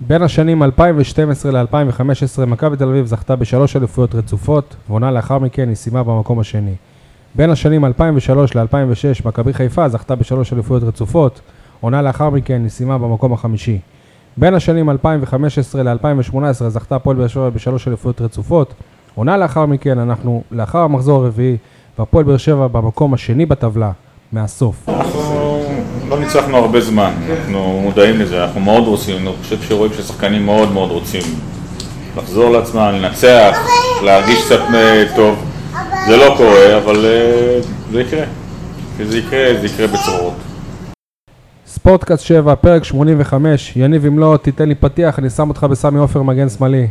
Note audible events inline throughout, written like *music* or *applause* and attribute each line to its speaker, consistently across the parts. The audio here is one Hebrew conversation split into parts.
Speaker 1: בין השנים 2012 ל-2015 מכבי תל אביב זכתה בשלוש אליפויות רצופות, ועונה לאחר מכן היא סיימה במקום השני. בין השנים 2003 ל-2006 מכבי חיפה זכתה בשלוש אליפויות רצופות, עונה לאחר מכן היא סיימה במקום החמישי. בין השנים 2015 ל-2018 זכתה הפועל באר שבע בשלוש אליפויות רצופות, עונה לאחר מכן אנחנו לאחר המחזור הרביעי, והפועל באר שבע במקום השני בטבלה, מהסוף.
Speaker 2: אנחנו לא ניצחנו הרבה זמן, אנחנו מודעים לזה, אנחנו מאוד רוצים, אני חושב שרואים ששחקנים מאוד מאוד רוצים לחזור לעצמם, לנצח, להרגיש קצת אה, טוב. זה לא קורה, אבל אה, זה יקרה. כשזה יקרה, זה יקרה בצרורות.
Speaker 1: ספורטקאסט 7, פרק 85, יניב אם לא, תיתן לי פתיח, אני שם אותך בסמי עופר מגן שמאלי.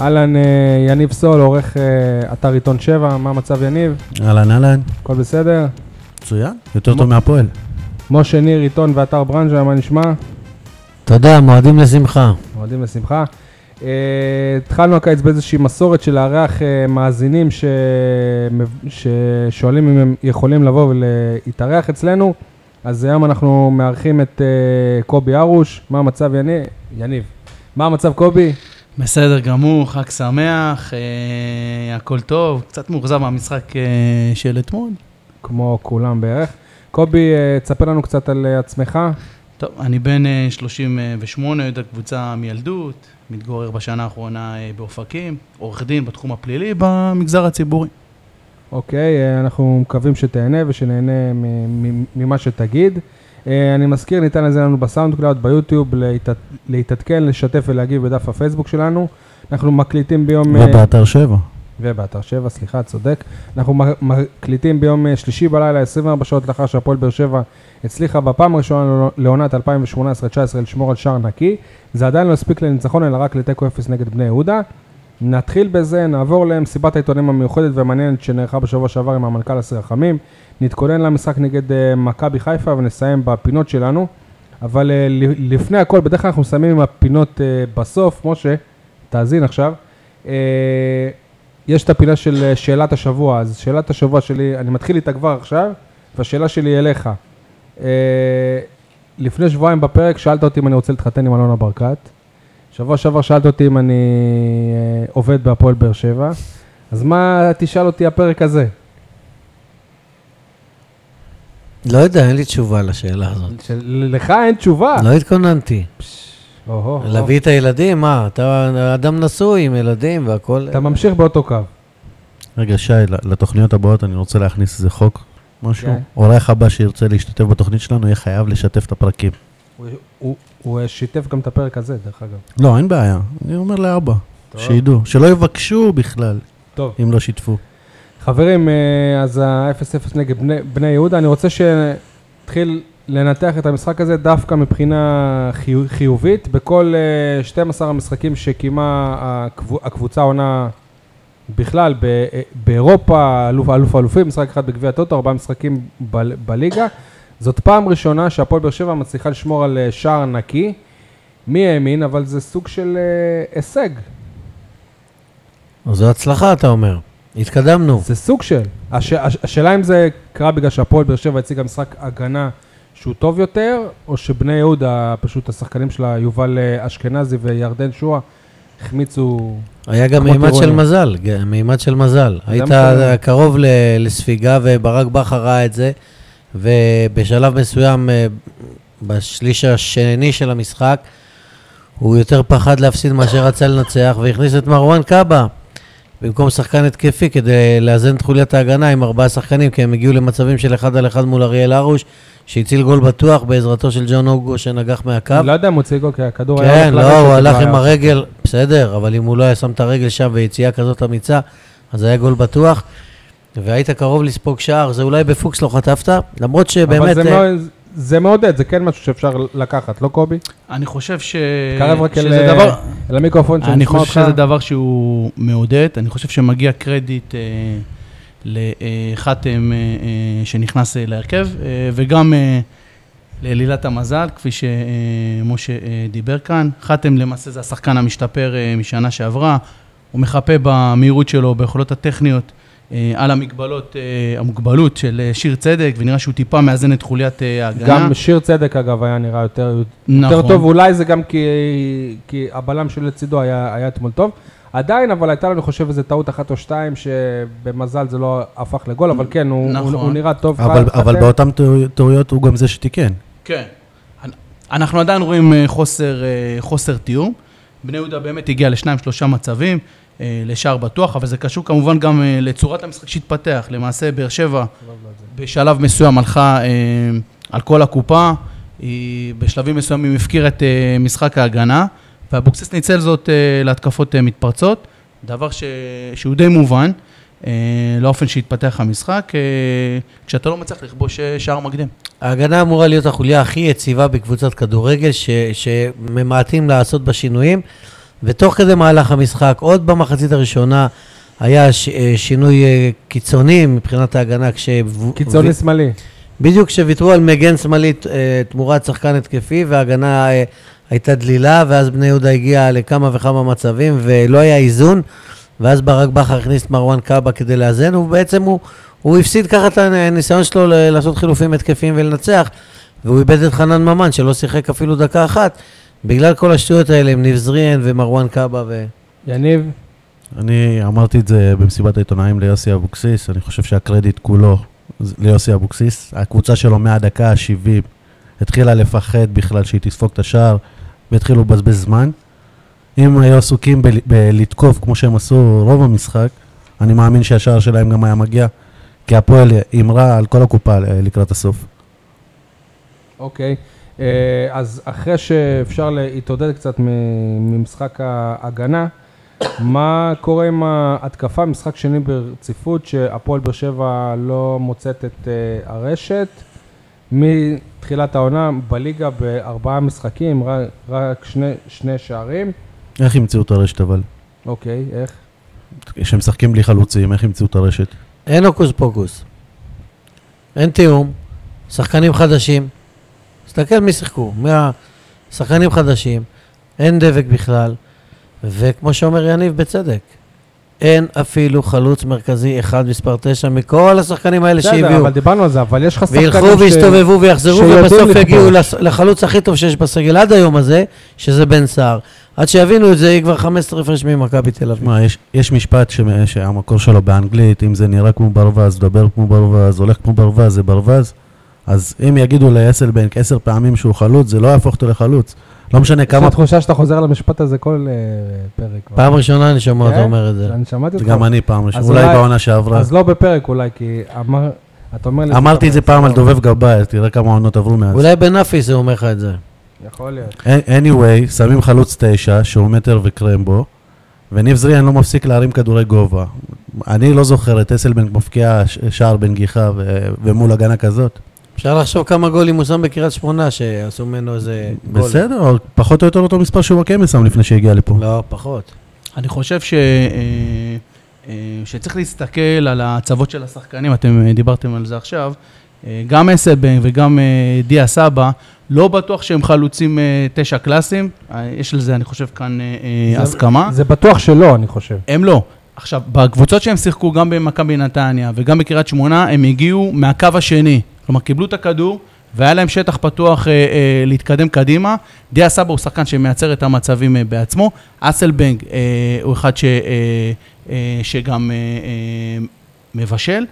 Speaker 1: אהלן, אה, יניב סול, עורך אה, אתר עיתון 7, מה המצב יניב?
Speaker 3: אהלן אהלן,
Speaker 1: הכל בסדר?
Speaker 3: מצוין, יותר טוב מהפועל.
Speaker 1: משה ניר, עיתון ואתר ברנז'ה, מה נשמע?
Speaker 4: תודה, מועדים לשמחה.
Speaker 1: מועדים לשמחה. אה, התחלנו הקיץ באיזושהי מסורת של לארח אה, מאזינים ש... ששואלים אם הם יכולים לבוא ולהתארח אצלנו, אז היום אנחנו מארחים את אה, קובי ארוש, מה המצב יניב? יניב. מה המצב קובי?
Speaker 5: בסדר גמור, חג שמח, אה, הכל טוב, קצת מאוכזב מהמשחק אה, של אתמול.
Speaker 1: כמו כולם בערך. קובי, אה, תספר לנו קצת על אה, עצמך.
Speaker 5: טוב, אני בן אה, 38, אוהד הקבוצה מילדות, מתגורר בשנה האחרונה אה, באופקים, עורך דין בתחום הפלילי במגזר הציבורי.
Speaker 1: אוקיי, אה, אנחנו מקווים שתהנה ושנהנה מ- מ- ממה שתגיד. אה, אני מזכיר, ניתן לזה לנו בסאונד קלאוד, ביוטיוב, להת- להתעדכן, לשתף ולהגיב בדף הפייסבוק שלנו. אנחנו מקליטים ביום... אה,
Speaker 3: ובאתר לא, שבע.
Speaker 1: ובאתר 7, סליחה, צודק. אנחנו מ- מקליטים ביום אה, שלישי בלילה, 24 שעות לאחר שהפועל באר שבע הצליחה בפעם הראשונה לא, לעונת 2018-2019 לשמור על שער נקי. זה עדיין לא הספיק לניצחון, אלא רק לתיקו 0 נגד בני יהודה. נתחיל בזה, נעבור למסיבת העיתונים המיוחדת והמעניינת שנערכה בשבוע שעבר עם המנכ"ל הסרחמים. נתכונן למשחק נגד אה, מכבי חיפה ונסיים בפינות שלנו. אבל אה, ל- לפני הכל, בדרך כלל אנחנו מסיימים עם הפינות אה, בסוף. משה, תאזין עכשיו. אה, יש את הפינה של אה, שאלת השבוע, אז שאלת השבוע שלי, אני מתחיל איתה כבר עכשיו, והשאלה שלי היא אליך. אה, לפני שבועיים בפרק שאלת אותי אם אני רוצה להתחתן עם אלונה ברקת. שבוע שעבר שאלת אותי אם אני אה, עובד בהפועל באר שבע. אז מה תשאל אותי הפרק הזה?
Speaker 4: לא יודע, אין לי תשובה לשאלה הזאת.
Speaker 1: של- לך אין תשובה.
Speaker 3: אה.
Speaker 4: לא התכוננתי.
Speaker 1: אוהו, אוהו.
Speaker 4: להביא את הילדים, מה? אתה אדם נשוי עם ילדים והכול.
Speaker 1: אתה ממשיך באותו קו.
Speaker 3: רגע, שי, ל- לתוכניות הבאות אני רוצה להכניס איזה חוק, משהו.
Speaker 1: כן.
Speaker 3: אורח הבא שירצה להשתתף בתוכנית שלנו יהיה חייב לשתף את הפרקים.
Speaker 1: הוא- הוא- הוא אה, שיתף גם את הפרק הזה, דרך אגב.
Speaker 3: לא, אין בעיה, אני אומר לאבא,
Speaker 1: טוב.
Speaker 3: שידעו, שלא יבקשו בכלל
Speaker 1: טוב.
Speaker 3: אם לא שיתפו.
Speaker 1: חברים, אה, אז ה-0-0 נגד בני, בני יהודה, אני רוצה שנתחיל לנתח את המשחק הזה דווקא מבחינה חיו, חיובית. בכל אה, 12 המשחקים שקיימה הקב, הקבוצה עונה בכלל, ב, אה, באירופה, אלוף אלוף האלופים, משחק אחד בגביע הטוטו, ארבעה משחקים ב, בליגה. זאת פעם ראשונה שהפועל באר שבע מצליחה לשמור על אה, שער נקי. מי האמין, אבל זה סוג של אה, הישג.
Speaker 4: אז זו הצלחה, אתה אומר. התקדמנו.
Speaker 1: זה סוג של. הש, הש, השאלה אם זה קרה בגלל שהפועל באר שבע הציגה משחק הגנה שהוא טוב יותר, או שבני יהודה, פשוט השחקנים שלה, יובל אה, אשכנזי וירדן שואה, החמיצו...
Speaker 4: היה גם
Speaker 1: כמו
Speaker 4: מימד של
Speaker 1: טירונים.
Speaker 4: מזל, ג- מימד של מזל. היית
Speaker 1: מה שאני אומר.
Speaker 4: קרוב ל- לספיגה וברק בכר ראה את זה, ובשלב מסוים, אה, בשליש השני של המשחק, הוא יותר פחד להפסיד מאשר רצה לנצח, והכניס את מרואן קאבה במקום שחקן התקפי כדי לאזן את חוליית ההגנה עם ארבעה שחקנים, כי הם הגיעו למצבים של אחד על אחד מול אריאל הרוש, שהציל גול בטוח בעזרתו של ג'ון אוגו שנגח מהקו.
Speaker 1: אני לא יודע אם הוא הציגו, כי הכדור היה...
Speaker 4: כן,
Speaker 1: בכלל
Speaker 4: לא, הוא
Speaker 1: בכלל
Speaker 4: הלך
Speaker 1: היה.
Speaker 4: עם הרגל, בסדר, אבל אם הוא לא היה שם את הרגל שם ויציאה כזאת אמיצה, אז היה גול בטוח. והיית קרוב לספוג שער, זה אולי בפוקס לא חטפת, למרות
Speaker 1: אבל
Speaker 4: שבאמת...
Speaker 1: זה
Speaker 4: אה,
Speaker 1: לא- זה מעודד, זה כן משהו שאפשר לקחת, לא קובי?
Speaker 5: אני חושב ש...
Speaker 1: תקרב רק
Speaker 5: אה, שזה
Speaker 1: אל- אה,
Speaker 5: דבר-
Speaker 1: אל המיקרופון
Speaker 5: אני
Speaker 1: שנשמע
Speaker 5: חושב
Speaker 1: נכון אותך.
Speaker 5: שזה דבר שהוא מעודד, אני חושב שמגיע קרדיט אה, לחתם אה, אה, שנכנס אה, להרכב, אה, וגם אה, לאלילת המזל, כפי שמשה אה, דיבר כאן. חתם למעשה זה השחקן המשתפר אה, משנה שעברה, הוא מחפה במהירות שלו, ביכולות הטכניות. אה, על המגבלות, אה, המוגבלות של אה, שיר צדק, ונראה שהוא טיפה מאזן את חוליית אה, ההגנה.
Speaker 1: גם שיר צדק, אגב, היה נראה יותר
Speaker 5: נכון.
Speaker 1: יותר טוב, אולי זה גם כי, כי הבלם שלצידו היה, היה אתמול טוב. עדיין, אבל הייתה לנו, חושב, איזה טעות אחת או שתיים, שבמזל זה לא הפך לגול, אבל כן, הוא,
Speaker 5: נכון.
Speaker 1: הוא, הוא נראה טוב.
Speaker 3: אבל,
Speaker 1: חתם.
Speaker 3: אבל באותן טעו- טעויות הוא גם זה שתיקן.
Speaker 5: כן. אנ- אנחנו עדיין רואים אה, חוסר, אה, חוסר תיאום. בני יהודה באמת הגיע לשניים, שלושה מצבים, אה, לשער בטוח, אבל זה קשור כמובן גם אה, לצורת המשחק שהתפתח. למעשה, באר שבע בשלב מסוים הלכה אה, על כל הקופה, היא בשלבים מסוימים הפקירה את אה, משחק ההגנה, ואבוקסיס ניצל זאת אה, להתקפות אה, מתפרצות, דבר ש... שהוא די מובן. אה, לאופן שהתפתח המשחק, אה, כשאתה לא מצליח לכבוש אה, שער מקדים.
Speaker 4: ההגנה אמורה להיות החוליה הכי יציבה בקבוצת כדורגל, ש, שממעטים לעשות בה שינויים, ותוך כדי מהלך המשחק, עוד במחצית הראשונה, היה ש, אה, שינוי אה, קיצוני מבחינת ההגנה, כש...
Speaker 1: קיצוני שמאלי.
Speaker 4: בדיוק כשוויתרו על מגן שמאלי אה, תמורת שחקן התקפי, וההגנה אה, הייתה דלילה, ואז בני יהודה הגיע לכמה וכמה מצבים, ולא היה איזון, ואז ברק בכר הכניס את מרואן קאבה כדי לאזן, ובעצם הוא, הוא הפסיד ככה את הניסיון שלו ל- לעשות חילופים התקפיים ולנצח, והוא איבד את חנן ממן, שלא שיחק אפילו דקה אחת, בגלל כל השטויות האלה עם ניב זריאן ומרואן קאבה ו...
Speaker 1: יניב,
Speaker 3: אני אמרתי את זה במסיבת העיתונאים ליוסי אבוקסיס, אני חושב שהקרדיט כולו זה ליוסי אבוקסיס. הקבוצה שלו מהדקה ה-70 התחילה לפחד בכלל שהיא תספוג את השער, והתחילו לבזבז זמן. אם היו עסוקים בל- בלתקוף כמו שהם עשו רוב המשחק, אני מאמין שהשער שלהם גם היה מגיע, כי הפועל הימרה על כל הקופה אה, לקראת הסוף.
Speaker 1: אוקיי. אה, אז אחרי שאפשר להתעודד קצת מ- ממשחק ההגנה, מה קורה עם ההתקפה? משחק שני ברציפות, שהפועל באר שבע לא מוצאת את אה, הרשת. מתחילת העונה בליגה בארבעה משחקים, רק, רק שני, שני שערים.
Speaker 3: איך ימצאו את הרשת אבל?
Speaker 1: אוקיי, איך?
Speaker 3: כשהם משחקים בלי חלוצים, איך ימצאו את הרשת?
Speaker 4: אין הוקוס פוקוס. אין תיאום, שחקנים חדשים. תסתכל מי שיחקו, מה... שחקנים חדשים, אין דבק בכלל, וכמו שאומר יניב בצדק, אין אפילו חלוץ מרכזי אחד מספר תשע מכל השחקנים האלה
Speaker 1: בסדר,
Speaker 4: שהביאו.
Speaker 1: אבל דיברנו על זה, אבל יש לך שחקנים
Speaker 4: וילכו ויסתובבו ויחזרו,
Speaker 1: שיודעים
Speaker 4: ובסוף
Speaker 1: לכבוש.
Speaker 4: יגיעו לס- לחלוץ הכי טוב שיש בסגל עד היום הזה, שזה בן סער. עד שיבינו את זה, יהיה כבר 15 הפרש ממכבי תל אביב.
Speaker 3: תשמע, יש, יש משפט ש, שהמקור שלו באנגלית, אם זה נראה כמו ברווז, דבר כמו ברווז, הולך כמו ברווז, זה ברווז. אז אם יגידו ליסלבנק עשר פעמים שהוא חלוץ, זה לא יהפוך אותו לחלוץ. לא משנה
Speaker 1: יש לי
Speaker 3: כמה...
Speaker 1: תחושה שאתה חוזר למשפט הזה כל אה, פרק.
Speaker 4: פעם ראשונה אני שומע אותו
Speaker 1: כן?
Speaker 4: אומר את זה.
Speaker 1: אני שמעתי אותך.
Speaker 3: גם אני פעם ראשונה,
Speaker 1: אז
Speaker 3: אולי
Speaker 1: אולי-
Speaker 3: בעונה שעברה.
Speaker 1: אז לא בפרק אולי, כי אמר, אתה אומר לי...
Speaker 3: אמרתי את זה פעם על
Speaker 1: סבבה.
Speaker 3: דובב גבאי, תראה כמה עונות עברו מאז.
Speaker 4: אולי בנאפיס הוא אומר לך את זה.
Speaker 1: יכול להיות.
Speaker 3: anyway, שמים חלוץ תשע, שהוא מטר וקרמבו, וניב זריאן לא מפסיק להרים כדורי גובה. אני לא זוכר את אסלבנק מפקיע ש- שער בנגיחה ו- ומול הגנה כזאת.
Speaker 4: אפשר לחשוב כמה גולים הוא שם בקריית שמונה, שעשו ממנו איזה גול.
Speaker 3: בסדר, פחות או יותר אותו מספר שוואקמה שם לפני שהגיע לפה.
Speaker 4: לא, פחות.
Speaker 5: אני חושב ש... אה, אה, שצריך להסתכל על ההצבות של השחקנים, אתם אה, דיברתם על זה עכשיו. אה, גם אסלבנק וגם אה, דיה סבא, לא בטוח שהם חלוצים אה, תשע קלאסיים. אה, יש על זה, אני חושב, כאן אה, אה,
Speaker 1: זה-
Speaker 5: הסכמה.
Speaker 1: זה בטוח שלא, אני חושב.
Speaker 5: הם לא. עכשיו, בקבוצות שהם שיחקו, גם במכבי נתניה וגם בקריית שמונה, הם הגיעו מהקו השני. כלומר, קיבלו את הכדור, והיה להם שטח פתוח אה, אה, להתקדם קדימה. דיה סבא הוא שחקן שמייצר את המצבים אה, בעצמו. אסלבנג אה, הוא אחד ש, אה, אה, שגם אה, אה, מבשל.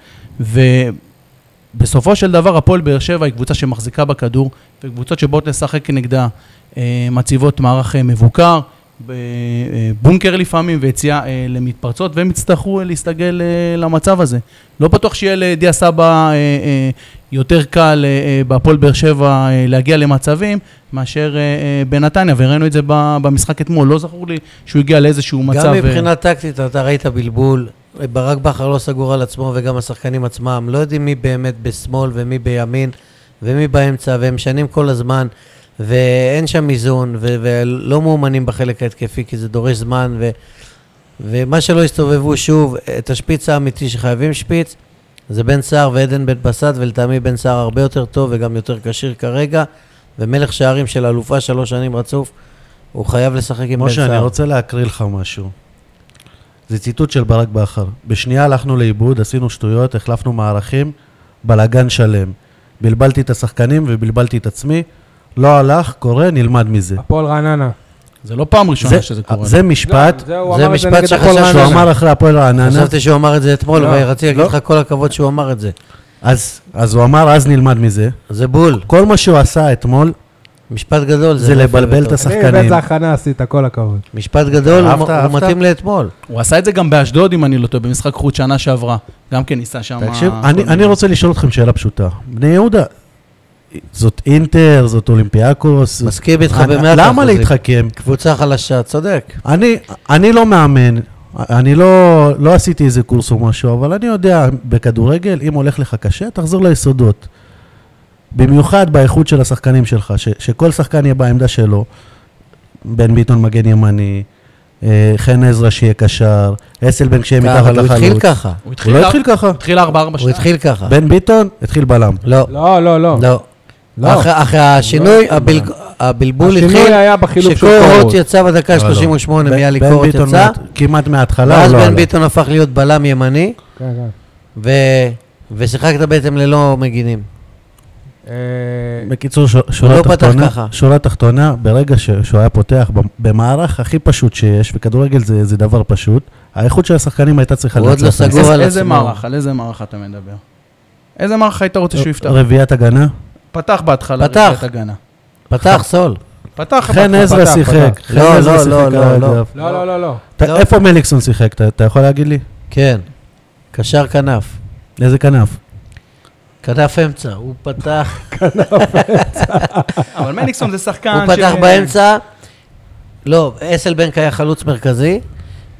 Speaker 5: ובסופו של דבר, הפועל באר שבע היא קבוצה שמחזיקה בכדור, וקבוצות שבאות לשחק נגדה אה, מציבות מערך אה, מבוקר. ב- אה, בונקר לפעמים ויציאה אה, למתפרצות, והם יצטרכו אה, להסתגל אה, למצב הזה. לא בטוח שיהיה לדיה סבא אה, אה, יותר קל אה, אה, בהפועל באר שבע אה, להגיע למצבים מאשר אה, אה, בנתניה, וראינו את זה ב- במשחק אתמול. לא זכור לי שהוא הגיע לאיזשהו מצב...
Speaker 4: גם
Speaker 5: אה,
Speaker 4: מבחינה טקטית, אתה ראית בלבול. ברק בכר לא סגור על עצמו, וגם השחקנים עצמם. לא יודעים מי באמת בשמאל ומי בימין. ומי באמצע, והם משנים כל הזמן, ואין שם איזון, ו- ולא מאומנים בחלק ההתקפי, כי זה דורש זמן, ו- ומה שלא הסתובבו שוב, את השפיץ האמיתי שחייבים שפיץ, זה בן סער ועדן בן בסט, ולטעמי בן סער הרבה יותר טוב וגם יותר כשיר כרגע, ומלך שערים של אלופה שלוש שנים רצוף, הוא חייב לשחק עם בן
Speaker 3: משה, אני
Speaker 4: סער.
Speaker 3: רוצה להקריא לך משהו. זה ציטוט של ברק בכר. בשנייה הלכנו לאיבוד, עשינו שטויות, החלפנו מערכים, בלאגן שלם. בלבלתי את השחקנים ובלבלתי את עצמי. לא הלך, קורה, נלמד מזה.
Speaker 1: הפועל רעננה.
Speaker 5: זה לא פעם ראשונה
Speaker 3: זה-
Speaker 5: שזה קורה.
Speaker 3: זה משפט
Speaker 1: לא, הוא
Speaker 4: זה
Speaker 1: אמר את
Speaker 4: משפט
Speaker 1: נגד
Speaker 4: שחשב
Speaker 1: הפועל
Speaker 4: שהוא
Speaker 1: רעננה.
Speaker 3: שהוא אמר אחרי הפועל רעננה,
Speaker 4: חשבתי שהוא אמר את זה אתמול,
Speaker 1: לא,
Speaker 4: ורציתי להגיד לך כל הכבוד שהוא אמר את זה.
Speaker 3: אז אז הוא אמר, אז נלמד מזה.
Speaker 4: זה בול,
Speaker 3: כל מה שהוא עשה אתמול,
Speaker 4: משפט גדול.
Speaker 3: זה
Speaker 4: לא
Speaker 3: לבלבל
Speaker 4: יפה
Speaker 3: את
Speaker 4: וטוב.
Speaker 1: אני
Speaker 3: השחקנים.
Speaker 1: באיזה הכנה עשית, כל הכבוד.
Speaker 4: משפט גדול, הוא-
Speaker 3: אהבת,
Speaker 4: הוא
Speaker 3: אהבת?
Speaker 4: מתאים לאתמול.
Speaker 5: הוא עשה את זה גם באשדוד, אם אני לא טועה, במשחק חוץ שנה שעברה. גם כן ניסה שם...
Speaker 3: תקשיב,
Speaker 5: כל
Speaker 3: אני,
Speaker 5: מיני-
Speaker 3: אני רוצה לשאול אתכם שאלה פשוטה. בני יהודה, זאת אינטר, זאת אולימפיאקוס. זאת-
Speaker 4: מסכים איתך
Speaker 3: אני-
Speaker 4: במאה
Speaker 3: למה להתחכם?
Speaker 4: קבוצה חלשה, צודק.
Speaker 3: אני, אני לא מאמן, אני לא, לא עשיתי איזה קורס או משהו, אבל אני יודע, בכדורגל, אם הולך לך קשה, תחזור ליסודות. במיוחד באיכות של השחקנים שלך, ש, שכל שחקן יהיה בעמדה שלו. בן ביטון מגן ימני, אה, חן עזרא שיהיה קשר, אסלבנק שיהיה מתחת לחלוץ.
Speaker 4: כן, אבל הוא התחיל ככה.
Speaker 5: הוא
Speaker 3: הוא לא
Speaker 5: אר-
Speaker 3: התחיל ככה.
Speaker 5: הוא התחיל 4-4
Speaker 4: הוא
Speaker 5: שנה.
Speaker 4: התחיל ככה.
Speaker 3: בן ביטון התחיל בלם.
Speaker 4: לא,
Speaker 1: לא, לא, לא.
Speaker 4: לא.
Speaker 1: לא.
Speaker 4: אחרי- אחרי השינוי,
Speaker 3: לא.
Speaker 4: הבלג- הבלבול
Speaker 1: השינוי
Speaker 4: התחיל,
Speaker 1: היה בחילוף של
Speaker 4: שקורות
Speaker 1: קורות.
Speaker 4: יצא בדקה
Speaker 3: לא, לא.
Speaker 4: 38,
Speaker 3: בן-
Speaker 4: מיאלי
Speaker 3: בן
Speaker 4: קורות
Speaker 3: ביטון
Speaker 4: יצא,
Speaker 3: מה- כמעט מההתחלה,
Speaker 4: ואז
Speaker 3: לא
Speaker 4: בן
Speaker 3: עלה.
Speaker 4: ביטון הפך להיות בלם ימני,
Speaker 1: כן, כן.
Speaker 4: ו- ושיחקת בעצם ללא מגינים.
Speaker 1: אה,
Speaker 3: בקיצור, ש-
Speaker 4: הוא
Speaker 3: שורה
Speaker 4: לא פתח
Speaker 3: תחתונה,
Speaker 4: ככה.
Speaker 3: שורה תחתונה, ברגע ש- שהוא היה פותח במ- במערך הכי פשוט שיש, וכדורגל זה זה דבר פשוט, האיכות של השחקנים הייתה צריכה
Speaker 4: הוא עוד לא
Speaker 3: לנצח את
Speaker 4: סגור
Speaker 5: איזה-
Speaker 4: על
Speaker 5: איזה
Speaker 4: עצמו.
Speaker 5: מערך, על איזה מערך אתה מדבר? איזה מערך היית רוצה שהוא יפתח?
Speaker 3: המשחק. רביעיית הגנה,
Speaker 5: פתח בהתחלה,
Speaker 4: פתח.
Speaker 5: רביעיית הגנה.
Speaker 3: *laughs*
Speaker 4: פתח, סול.
Speaker 5: פתח,
Speaker 3: חן
Speaker 5: בהתחלה.
Speaker 3: עזרא
Speaker 1: פתח,
Speaker 3: שיחק,
Speaker 1: פתח.
Speaker 3: חן
Speaker 4: לא,
Speaker 3: עזרא
Speaker 4: לא,
Speaker 3: שיחק
Speaker 4: לא,
Speaker 3: על
Speaker 4: לא, לא.
Speaker 3: האגף.
Speaker 1: לא, לא, לא, לא.
Speaker 3: אתה-
Speaker 4: לא.
Speaker 3: איפה מליקסון שיחק? אתה- אתה יכול להגיד לי?
Speaker 4: כן. קשר כנף.
Speaker 3: איזה כנף?
Speaker 4: כנף אמצע. הוא פתח,
Speaker 5: אבל מליקסון זה שחקן
Speaker 4: הוא פתח באמצע. לא, אסלבנק היה חלוץ מרכזי.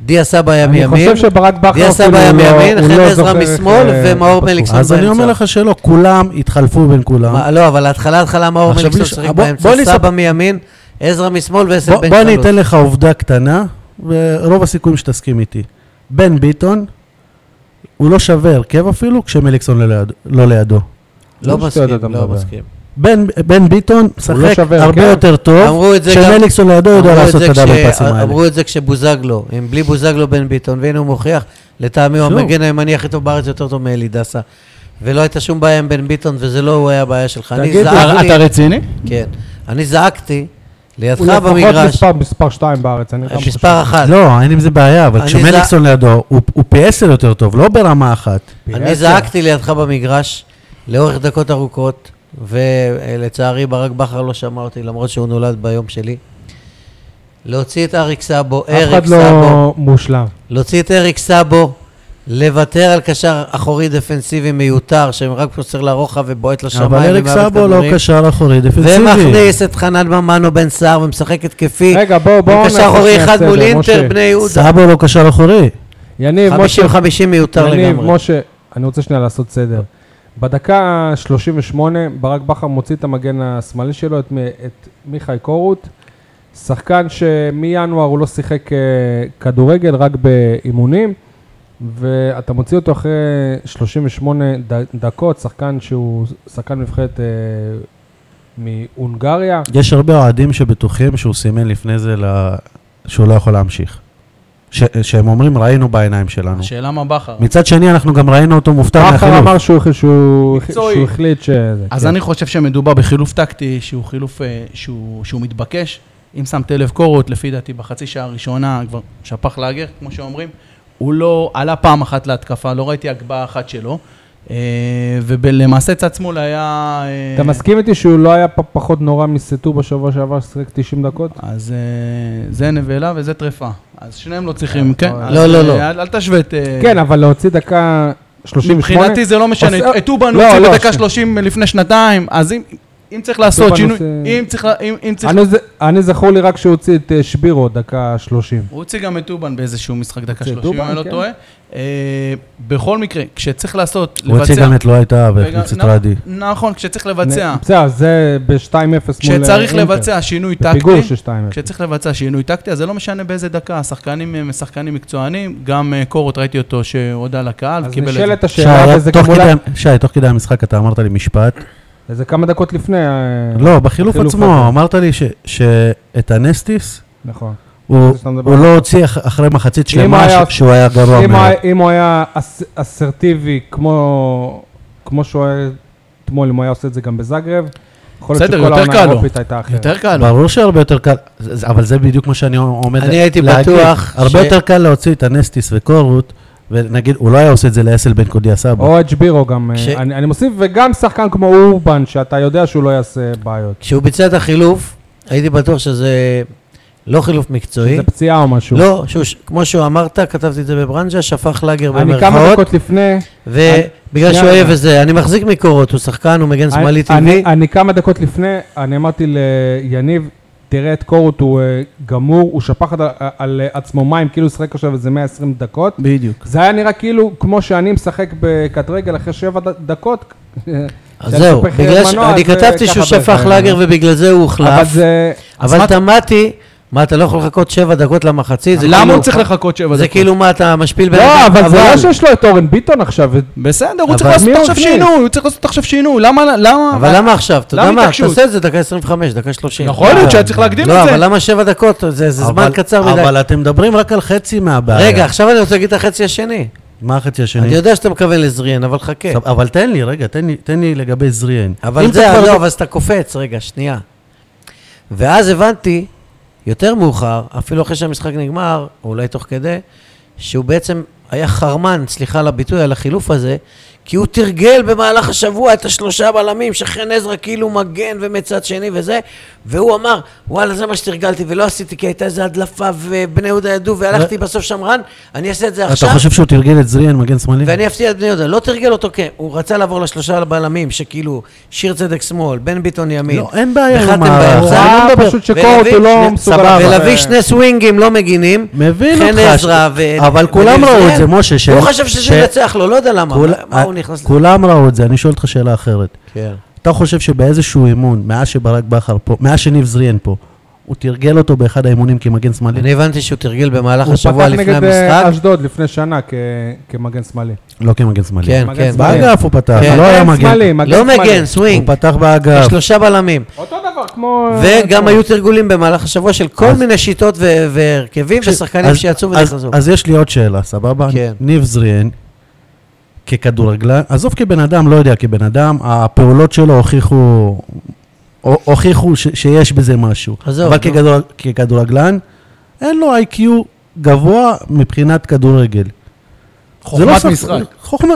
Speaker 4: דיה סבא היה
Speaker 1: אני
Speaker 4: מימין.
Speaker 1: חושב שברק בכר
Speaker 4: דיה
Speaker 1: אפילו
Speaker 4: סבא היה
Speaker 1: לא-
Speaker 4: מימין,
Speaker 1: הוא
Speaker 4: חן
Speaker 1: לא
Speaker 4: עזרא
Speaker 1: זוכר איך,
Speaker 4: משמאל
Speaker 1: אה,
Speaker 4: ומאור
Speaker 1: פתחו.
Speaker 4: מליקסון
Speaker 3: אז
Speaker 4: באמצע.
Speaker 3: אני אומר לך שלא, כולם התחלפו בין כולם.
Speaker 4: מה, לא, אבל התחלה התחלה מאור
Speaker 3: עכשיו
Speaker 4: מליקסון
Speaker 3: לש-
Speaker 4: שיחק
Speaker 3: בוא-
Speaker 4: באמצע,
Speaker 3: בוא נספר-
Speaker 4: סבא מימין, עזרא משמאל
Speaker 3: בוא-
Speaker 4: ואסלבנק
Speaker 3: בוא אני
Speaker 4: חלוץ.
Speaker 3: אתן לך עובדה קטנה, ורוב הסיכויים שתסכים איתי. בן ביטון, הוא לא שווה הרכב אפילו כשמליקסון לא ליד- לא לידו.
Speaker 4: לא
Speaker 1: איזה שטויות אתה
Speaker 4: מסכים, לא
Speaker 1: מדבר.
Speaker 4: מסכים.
Speaker 3: בן, בן ביטון
Speaker 1: לא
Speaker 3: משחק
Speaker 1: שווה
Speaker 3: הרבה
Speaker 1: הרכב.
Speaker 3: יותר טוב,
Speaker 4: אמרו את זה גם...
Speaker 3: כשמליקסון לידו לא יודע
Speaker 4: אמרו את
Speaker 3: לעשות
Speaker 4: זה
Speaker 3: את הדאבל
Speaker 4: כש-
Speaker 3: פאסים האלה.
Speaker 4: אמרו את זה כשבוזגלו, אם בלי בוזגלו בן ביטון, והנה הוא מוכיח, לטעמי הוא
Speaker 3: שוב.
Speaker 4: המגן הימני הכי טוב בארץ, יותר טוב מאלי דסה. ולא הייתה שום בעיה עם בן ביטון, וזה לא הוא היה הבעיה שלך. אני
Speaker 1: תגיד,
Speaker 4: זעקתי,
Speaker 5: אתה רציני?
Speaker 4: כן, אני זעקתי לידך
Speaker 1: הוא לפחות
Speaker 4: במגרש, אה,
Speaker 1: מספר- מספר 2 בארץ, אני גם חושב.
Speaker 4: מספר אחת.
Speaker 3: לא, אין עם זה בעיה, אבל
Speaker 4: אני
Speaker 3: כשמליקסון לידו, הוא, הוא פי עשר יותר טוב, לא ברמה אחת.
Speaker 1: עשר.
Speaker 4: אני זעקתי לידך במגרש לאורך דקות ארוכות, ולצערי ברק בכר לא שמע אותי, למרות שהוא נולד ביום שלי. להוציא את אריק סאבו,
Speaker 1: אף
Speaker 4: אריק
Speaker 1: אחד
Speaker 4: סאבו,
Speaker 1: לא מושלם.
Speaker 4: להוציא את אריק סאבו, לוותר על קשר אחורי דפנסיבי מיותר, שרק צריך לרוחב ובועט לשמיים.
Speaker 3: אבל אריק
Speaker 4: ומאבד
Speaker 3: סאבו לא
Speaker 4: כדורים.
Speaker 3: קשר אחורי דפנסיבי.
Speaker 4: ומכניס את חנן ממנו בן סער ומשחק התקפי.
Speaker 1: רגע, בואו, בואו
Speaker 4: עם קשר אחורי
Speaker 1: שנייה
Speaker 4: אחד
Speaker 1: סדר,
Speaker 4: מול אינטר,
Speaker 1: משה.
Speaker 4: בני יהודה.
Speaker 3: סאבו לא קשר אחורי.
Speaker 1: יניב, משה,
Speaker 4: 50-50 מיותר
Speaker 1: יניב,
Speaker 4: לגמרי.
Speaker 1: משה, אני רוצה שנייה לעשות סדר. בדקה 38, ברק בכר מוציא את המגן השמאלי שלו, את, מ- את מיכאי קורות, שחקן שמינואר הוא לא שיחק אה, כדורגל, רק באימונים, ואתה מוציא אותו אחרי 38 ד, דקות, שחקן שהוא שחקן נבחרת אה, מהונגריה.
Speaker 3: יש הרבה אוהדים שבטוחים שהוא סימן לפני זה ל- שהוא לא יכול להמשיך. ש- שהם אומרים, ראינו בעיניים שלנו.
Speaker 5: השאלה מה בכר.
Speaker 3: מצד שני, אנחנו גם ראינו אותו מופתע
Speaker 1: בכר
Speaker 3: מהחילוף.
Speaker 1: אמר שהוא, שהוא,
Speaker 5: מקצועי.
Speaker 1: שהוא החליט ש...
Speaker 5: אז אני חושב שמדובר בחילוף טקטי שהוא חילוף אה, שהוא שהוא מתבקש. אם שמת לב קורות, לפי דעתי בחצי שעה הראשונה כבר שפך לאגר, כמו שאומרים. הוא לא עלה פעם אחת להתקפה, לא ראיתי הגבהה אחת שלו. אה, ולמעשה צד שמאל היה... אה,
Speaker 1: אתה מסכים איתי שהוא לא היה פ- פחות נורא מסטו בשבוע שעבר, ששיחק 90 דקות?
Speaker 5: אז אה, זה נבלה וזה טרפה. אז שניהם לא צריכים, כן?
Speaker 1: לא,
Speaker 5: אז,
Speaker 4: לא, לא,
Speaker 5: אה,
Speaker 4: לא.
Speaker 5: אל אל תשווה את... אה,
Speaker 1: כן, אבל להוציא דקה 38?
Speaker 5: מבחינתי זה לא משנה,
Speaker 1: עושה-
Speaker 5: את- את אובן
Speaker 1: לא,
Speaker 5: הוציא
Speaker 1: לא,
Speaker 5: בדקה
Speaker 1: ש-
Speaker 5: 30 לפני שנתיים, אז אם... אם צריך לעשות
Speaker 1: טוב,
Speaker 5: שינוי,
Speaker 1: הנושא-
Speaker 5: אם צריך... לה- אם- אם צריך...
Speaker 1: אני ז- אני זכור לי רק שהוא הוציא את אה, שבירו, דקה 30.
Speaker 5: הוא הוציא גם את טובן באיזשהו משחק דקה
Speaker 1: הוציא את
Speaker 5: 30, אם
Speaker 1: טובן,
Speaker 5: אני לא
Speaker 1: כן.
Speaker 5: טועה. אה, בכל מקרה, כשצריך לעשות, לבצע...
Speaker 3: הוא הוציא גם את לא הייתה
Speaker 5: וגם-
Speaker 3: והכניס את
Speaker 5: נ-
Speaker 3: רדי.
Speaker 5: נכון, כשצריך לבצע,
Speaker 1: נ- בסדר, זה ב-2-0 מול... אה,
Speaker 5: כשצריך
Speaker 1: אינטר.
Speaker 5: לבצע שינוי
Speaker 1: בפיגור
Speaker 5: טקטי,
Speaker 1: של 2-0.
Speaker 5: כשצריך לבצע שינוי טקטי, אז זה לא משנה באיזה דקה, השחקנים הם שחקנים מקצוענים, גם אה, קורות ראיתי אותו שהודה לקהל,
Speaker 1: אז
Speaker 5: קיבל את זה.
Speaker 1: נשאלת
Speaker 3: שי,
Speaker 1: השאלה, וזה
Speaker 3: תוך
Speaker 1: גם אולי-
Speaker 3: כדי- שי, תוך כדי המשחק אתה אמרת לי משפט.
Speaker 1: זה כמה דקות לפני. אה,
Speaker 3: לא, בחילוף
Speaker 1: בחילוף
Speaker 3: עצמו,
Speaker 1: הזה.
Speaker 3: אמרת לי ש- שאת הנסטיס,
Speaker 1: נכון.
Speaker 3: הוא
Speaker 1: זה שאתה מדבר
Speaker 3: הוא
Speaker 1: עליו.
Speaker 3: לא הוציא אח- אחרי מחצית
Speaker 1: אם
Speaker 3: שלמה
Speaker 1: היה-
Speaker 3: ש- שהוא היה גרוע
Speaker 1: אם
Speaker 3: מאוד.
Speaker 1: היה- אם הוא היה אס- אסרטיבי כמו כמו שהוא היה אתמול, אם הוא היה עושה את זה גם בזאגרב, יכול להיות
Speaker 5: בסדר,
Speaker 1: שכל
Speaker 5: יותר
Speaker 1: העונה
Speaker 5: קל לו.
Speaker 1: האירופית הייתה אחרת.
Speaker 5: יותר קל.
Speaker 3: ברור שהרבה יותר קל, זה- אבל זה בדיוק מה שאני עומד
Speaker 4: לא. אני הייתי
Speaker 3: להגיד.
Speaker 4: בטוח
Speaker 3: הרבה
Speaker 4: ש-
Speaker 3: יותר קל להוציא את הנסטיס וקורות, ונגיד, הוא לא היה עושה את זה לאסל בן קודיה סבא.
Speaker 1: או את שבירו גם,
Speaker 4: כש-
Speaker 1: כש... אני, אני מוסיף, וגם שחקן כמו אורבן, שאתה יודע שהוא לא יעשה בעיות.
Speaker 4: כשהוא ביצע את החילוף, הייתי בטוח שזה לא חילוף מקצועי.
Speaker 1: זה פציעה או משהו.
Speaker 4: לא, שהוא, ש- כמו שהוא אמרת, כתבתי את זה בברנז'ה, שפך לאגר
Speaker 1: אני כמה
Speaker 4: במרכאות, כן,
Speaker 1: דקות לפני,
Speaker 4: ובגלל
Speaker 1: שנייה
Speaker 4: שהוא
Speaker 1: רגע.
Speaker 4: אוהב את זה, אני מחזיק מקורות, הוא שחקן, הוא מגן שמאלי
Speaker 1: אני,
Speaker 4: טבעי.
Speaker 1: אני, אני כמה דקות לפני, אני אמרתי ליניב, תראה את קורות, הוא אה, גמור, הוא שפך על, על עצמו מים, כאילו הוא שיחק עכשיו איזה 120 דקות.
Speaker 5: בדיוק.
Speaker 1: זה היה נראה כאילו כמו שאני משחק בקט רגל אחרי שבע ד-
Speaker 4: *laughs*
Speaker 1: דקות.
Speaker 4: אז זהו, בגלל ש... אני כתבתי שהוא שפך לאגר ובגלל זה הוא
Speaker 1: אבל
Speaker 4: הוחלף,
Speaker 1: זה...
Speaker 5: אז מה-
Speaker 4: אבל תמהתי, מה אתה לא יכול לחכות שבע דקות למחצית? זה
Speaker 5: למה
Speaker 4: כאילו-
Speaker 5: הוא צריך לחכות שבע
Speaker 4: זה
Speaker 5: דקות?
Speaker 4: כאילו מה אתה משפיל בן
Speaker 1: לא,
Speaker 4: אדם,
Speaker 1: אבל זה לא שיש לו את אורן ביטון עכשיו, את
Speaker 5: בסדר, הוא
Speaker 1: אבל
Speaker 5: צריך לעשות
Speaker 1: מי
Speaker 5: עכשיו
Speaker 1: מכניס?
Speaker 5: שינוי, הוא צריך לעשות עכשיו שינוי, למה... למה...
Speaker 4: אבל למה עכשיו? אתה יודע
Speaker 5: למה
Speaker 4: מה,
Speaker 5: התעקשות?
Speaker 4: תעשה את זה דקה 25, דקה 30.
Speaker 5: יכול להיות שהיה צריך להקדים
Speaker 4: לא,
Speaker 5: את זה.
Speaker 4: אבל למה שבע דקות? זה זה זמן
Speaker 3: אבל-
Speaker 4: קצר מדי.
Speaker 3: אבל אתם מדברים רק על חצי מהבעיה.
Speaker 4: רגע, עכשיו אני רוצה להגיד את החצי השני.
Speaker 3: מה החצי השני?
Speaker 4: אני יודע שאתה מכוון לזריאן, אבל חכה.
Speaker 3: סב- אבל תן לי, רגע, תן לי- תן לי לגבי זריאן. אם
Speaker 4: אבל
Speaker 3: אתה
Speaker 4: זה,
Speaker 3: כבר-
Speaker 4: לא, אבל אז אתה קופץ, רגע, שנייה. ואז הבנתי, יותר מאוחר, אפילו אחרי שהמשחק נגמר, או אולי תוך כדי, שהוא בעצם היה חרמן, סליחה על הביטוי, על החילוף הזה, כי הוא תרגל במהלך השבוע את השלושה בלמים, שחן עזרא כאילו מגן ומצד שני וזה, והוא אמר, וואלה, זה מה שתרגלתי ולא עשיתי, כי הייתה איזו הדלפה ובני יהודה ידעו, והלכתי בסוף שמרן, אני אעשה את זה
Speaker 3: לא- אתה
Speaker 4: עכשיו.
Speaker 3: חושב שהוא תרגל את זריאן, מגן שמאלי?
Speaker 4: ואני אפתיע את בני יהודה, לא תרגל אותו כ... הוא רצה לעבור לשלושה בלמים, שכאילו, שיר צדק שמאל, בן ביטון ימין.
Speaker 3: לא, אין בעיה עם
Speaker 4: וחתם
Speaker 3: המערך.
Speaker 4: באמצע.
Speaker 1: אני לא מדבר- פשוט שקורות הוא לא
Speaker 4: ולהביא-
Speaker 1: מסוגל
Speaker 4: סבבה.
Speaker 1: לעבור.
Speaker 4: ולהביא שני סווינגים לא מגינים.
Speaker 3: מבין אותך.
Speaker 4: חן עזרא
Speaker 3: ש-
Speaker 4: ו...
Speaker 3: אבל כולם
Speaker 4: ודניאל
Speaker 3: ראו את זה,
Speaker 4: זאב.
Speaker 3: משה. ש-
Speaker 4: הוא חשב
Speaker 3: ש-
Speaker 4: שזה ינצח לו, לא יודע למה.
Speaker 3: כול-
Speaker 4: מה הוא נכנס לזה?
Speaker 3: כולם ראו את זה, אני שואל אותך שאלה אחרת.
Speaker 4: כן.
Speaker 3: אתה חושב שבאיזשהו אימון, מאז שברק בכר פה, מאז שניב זריאן פה, הוא תרגל אותו באחד האימונים כמגן שמאלי?
Speaker 4: אני הבנתי שהוא תרגל במהלך
Speaker 1: הוא
Speaker 4: השבוע
Speaker 1: פתח
Speaker 4: לפני
Speaker 1: נגד אה,
Speaker 4: המשחק.
Speaker 1: אשדוד לפני שנה כ- כמגן שמאלי.
Speaker 3: לא כמגן שמאלי.
Speaker 4: כן,
Speaker 1: מגן
Speaker 4: כן.
Speaker 1: שמאלי.
Speaker 3: באגף הוא פתח,
Speaker 4: כן.
Speaker 3: לא היה
Speaker 1: מגן
Speaker 3: מגן.
Speaker 1: שמאלי, מגן
Speaker 4: לא
Speaker 1: שמאלי.
Speaker 4: מגן,
Speaker 3: הוא
Speaker 4: סווינג.
Speaker 3: פתח באגף.
Speaker 4: שלושה בלמים.
Speaker 1: אותו דבר, כמו... אה,
Speaker 4: וגם
Speaker 1: כמו-
Speaker 4: היו תרגולים במהלך השבוע של כל
Speaker 3: אה, אז-
Speaker 4: מיני שיטות ו- והרכבים ושחקנים
Speaker 3: אז-
Speaker 4: שיצאו
Speaker 3: אז-
Speaker 4: ונכנסו.
Speaker 3: אז יש לי עוד שאלה, סבבה?
Speaker 4: כן.
Speaker 3: ניב זריאן, ככדורגלן, עזוב כבן אדם, לא יודע, כבן אדם, הפעולות שלו הוכיחו, הוכ- הוכיחו ש- שיש בזה משהו.
Speaker 4: עזוב,
Speaker 3: אבל
Speaker 4: נו.
Speaker 3: ככדור- ככדורגלן, אין לו איי-קיו גבוה מבחינת כדורגל. זה לא
Speaker 5: חוכמת
Speaker 3: שחק-
Speaker 5: משחק.
Speaker 3: חוכמה,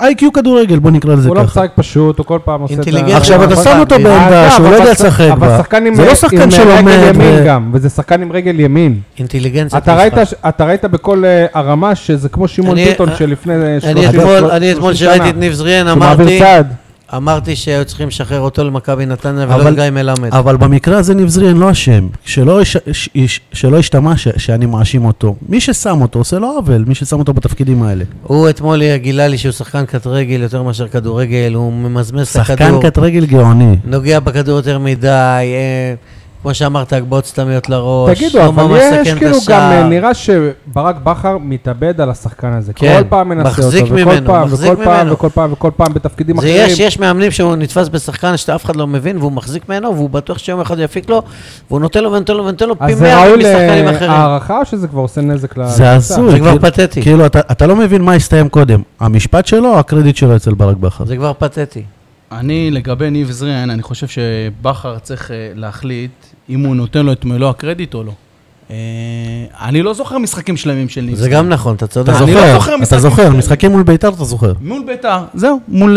Speaker 3: איי-קיו כדורגל, בוא נקרא לזה
Speaker 1: הוא לא
Speaker 3: ככה.
Speaker 1: משחק פשוט, הוא כל פעם עושה את ה...
Speaker 4: אינטליגנט.
Speaker 3: עכשיו אתה
Speaker 4: אבל-
Speaker 3: שם אותו
Speaker 4: אבל-
Speaker 3: בעמדה
Speaker 1: אה,
Speaker 3: שהוא לא
Speaker 1: אבל
Speaker 3: יודע
Speaker 1: שחק-
Speaker 3: לשחק
Speaker 1: אבל
Speaker 3: בה.
Speaker 1: שחקן עם אה,
Speaker 3: זה לא
Speaker 1: עם
Speaker 3: שחקן
Speaker 1: רגל
Speaker 3: שלומד.
Speaker 1: ימין
Speaker 3: ו-
Speaker 1: גם, וזה שחקן עם רגל ימין.
Speaker 4: אינטליגנציית
Speaker 1: אתה ראית,
Speaker 4: משחק.
Speaker 1: ש- אתה ראית בכל אה, הרמה שזה כמו שמעון
Speaker 4: אני-
Speaker 1: ביטון
Speaker 4: אה,
Speaker 1: שלפני אה, 30
Speaker 4: אני אתמול,
Speaker 1: שלושים
Speaker 4: אני אתמול
Speaker 1: לא שנה.
Speaker 4: שראיתי את ניב זריאן,
Speaker 1: שהוא מעביר
Speaker 4: אמרתי,
Speaker 1: צעד.
Speaker 4: אמרתי שהיו צריכים לשחרר אותו למכבי נתניה ולא
Speaker 3: אבל-
Speaker 4: לגיא מלמד.
Speaker 3: אבל במקרה הזה ניב זריאן לא אשם. שלא יש- ש- ש- שלא השתמע ש- שאני מאשים אותו. מי ששם אותו עושה לו עוול, מי ששם אותו בתפקידים האלה.
Speaker 4: הוא אתמול גילה לי שהוא שחקן קט רגל יותר מאשר כדורגל, הוא ממזמז את
Speaker 3: שחקן
Speaker 4: הכדור,
Speaker 3: קט רגל גאוני.
Speaker 4: נוגע בכדור יותר מדי, אה, כמו שאמרת, הגבות סתמיות לראש,
Speaker 1: תגידו,
Speaker 4: לא
Speaker 1: אבל
Speaker 4: ממש
Speaker 1: יש
Speaker 4: סכן את
Speaker 1: כאילו גם
Speaker 4: השער.
Speaker 1: אה, נראה שברק בכר מתאבד על השחקן הזה.
Speaker 4: כן,
Speaker 1: כל פעם מנסה
Speaker 4: מחזיק
Speaker 1: אותו, וכל
Speaker 4: ממנו,
Speaker 1: פעם,
Speaker 4: מחזיק
Speaker 1: וכל פעם,
Speaker 4: ממנו.
Speaker 1: וכל פעם, וכל פעם בתפקידים
Speaker 4: זה
Speaker 1: אחרים.
Speaker 4: יש, יש מאמנים שהוא נתפס בשחקן שאף אחד לא מבין והוא מחזיק ממנו והוא בטוח שיום אחד הוא יפיק לו והוא נותן לו ונותן לו ונותן לו פי
Speaker 1: אז זה
Speaker 4: מאה
Speaker 1: ראוי אה,
Speaker 4: משחקנים אחרים.
Speaker 1: להערכה או שזה כבר עושה נזק ל...
Speaker 3: זה הזוי.
Speaker 4: זה כבר
Speaker 3: כאילו-
Speaker 4: פתטי.
Speaker 3: כאילו, אתה אתה לא מבין מה הסתיים קודם. המשפט שלו או הקרדיט שלו אצל ברק בכר?
Speaker 4: זה כבר פתטי.
Speaker 5: אני, לגבי ניב זריאן, אני חושב שבכר צריך אה, להחליט אם הוא נותן לו את מלוא הקרדיט או לא. אה, אני לא זוכר משחקים שלמים של ניב
Speaker 4: זה
Speaker 5: זריאן.
Speaker 4: גם נכון, אתה צודק.
Speaker 3: אתה
Speaker 5: אני לא זוכר
Speaker 3: זוכר, אתה
Speaker 5: משחקים
Speaker 3: זוכר,
Speaker 5: כאלה.
Speaker 3: משחקים מול בית"ר אתה זוכר.
Speaker 5: מול ביתר, זהו, מול...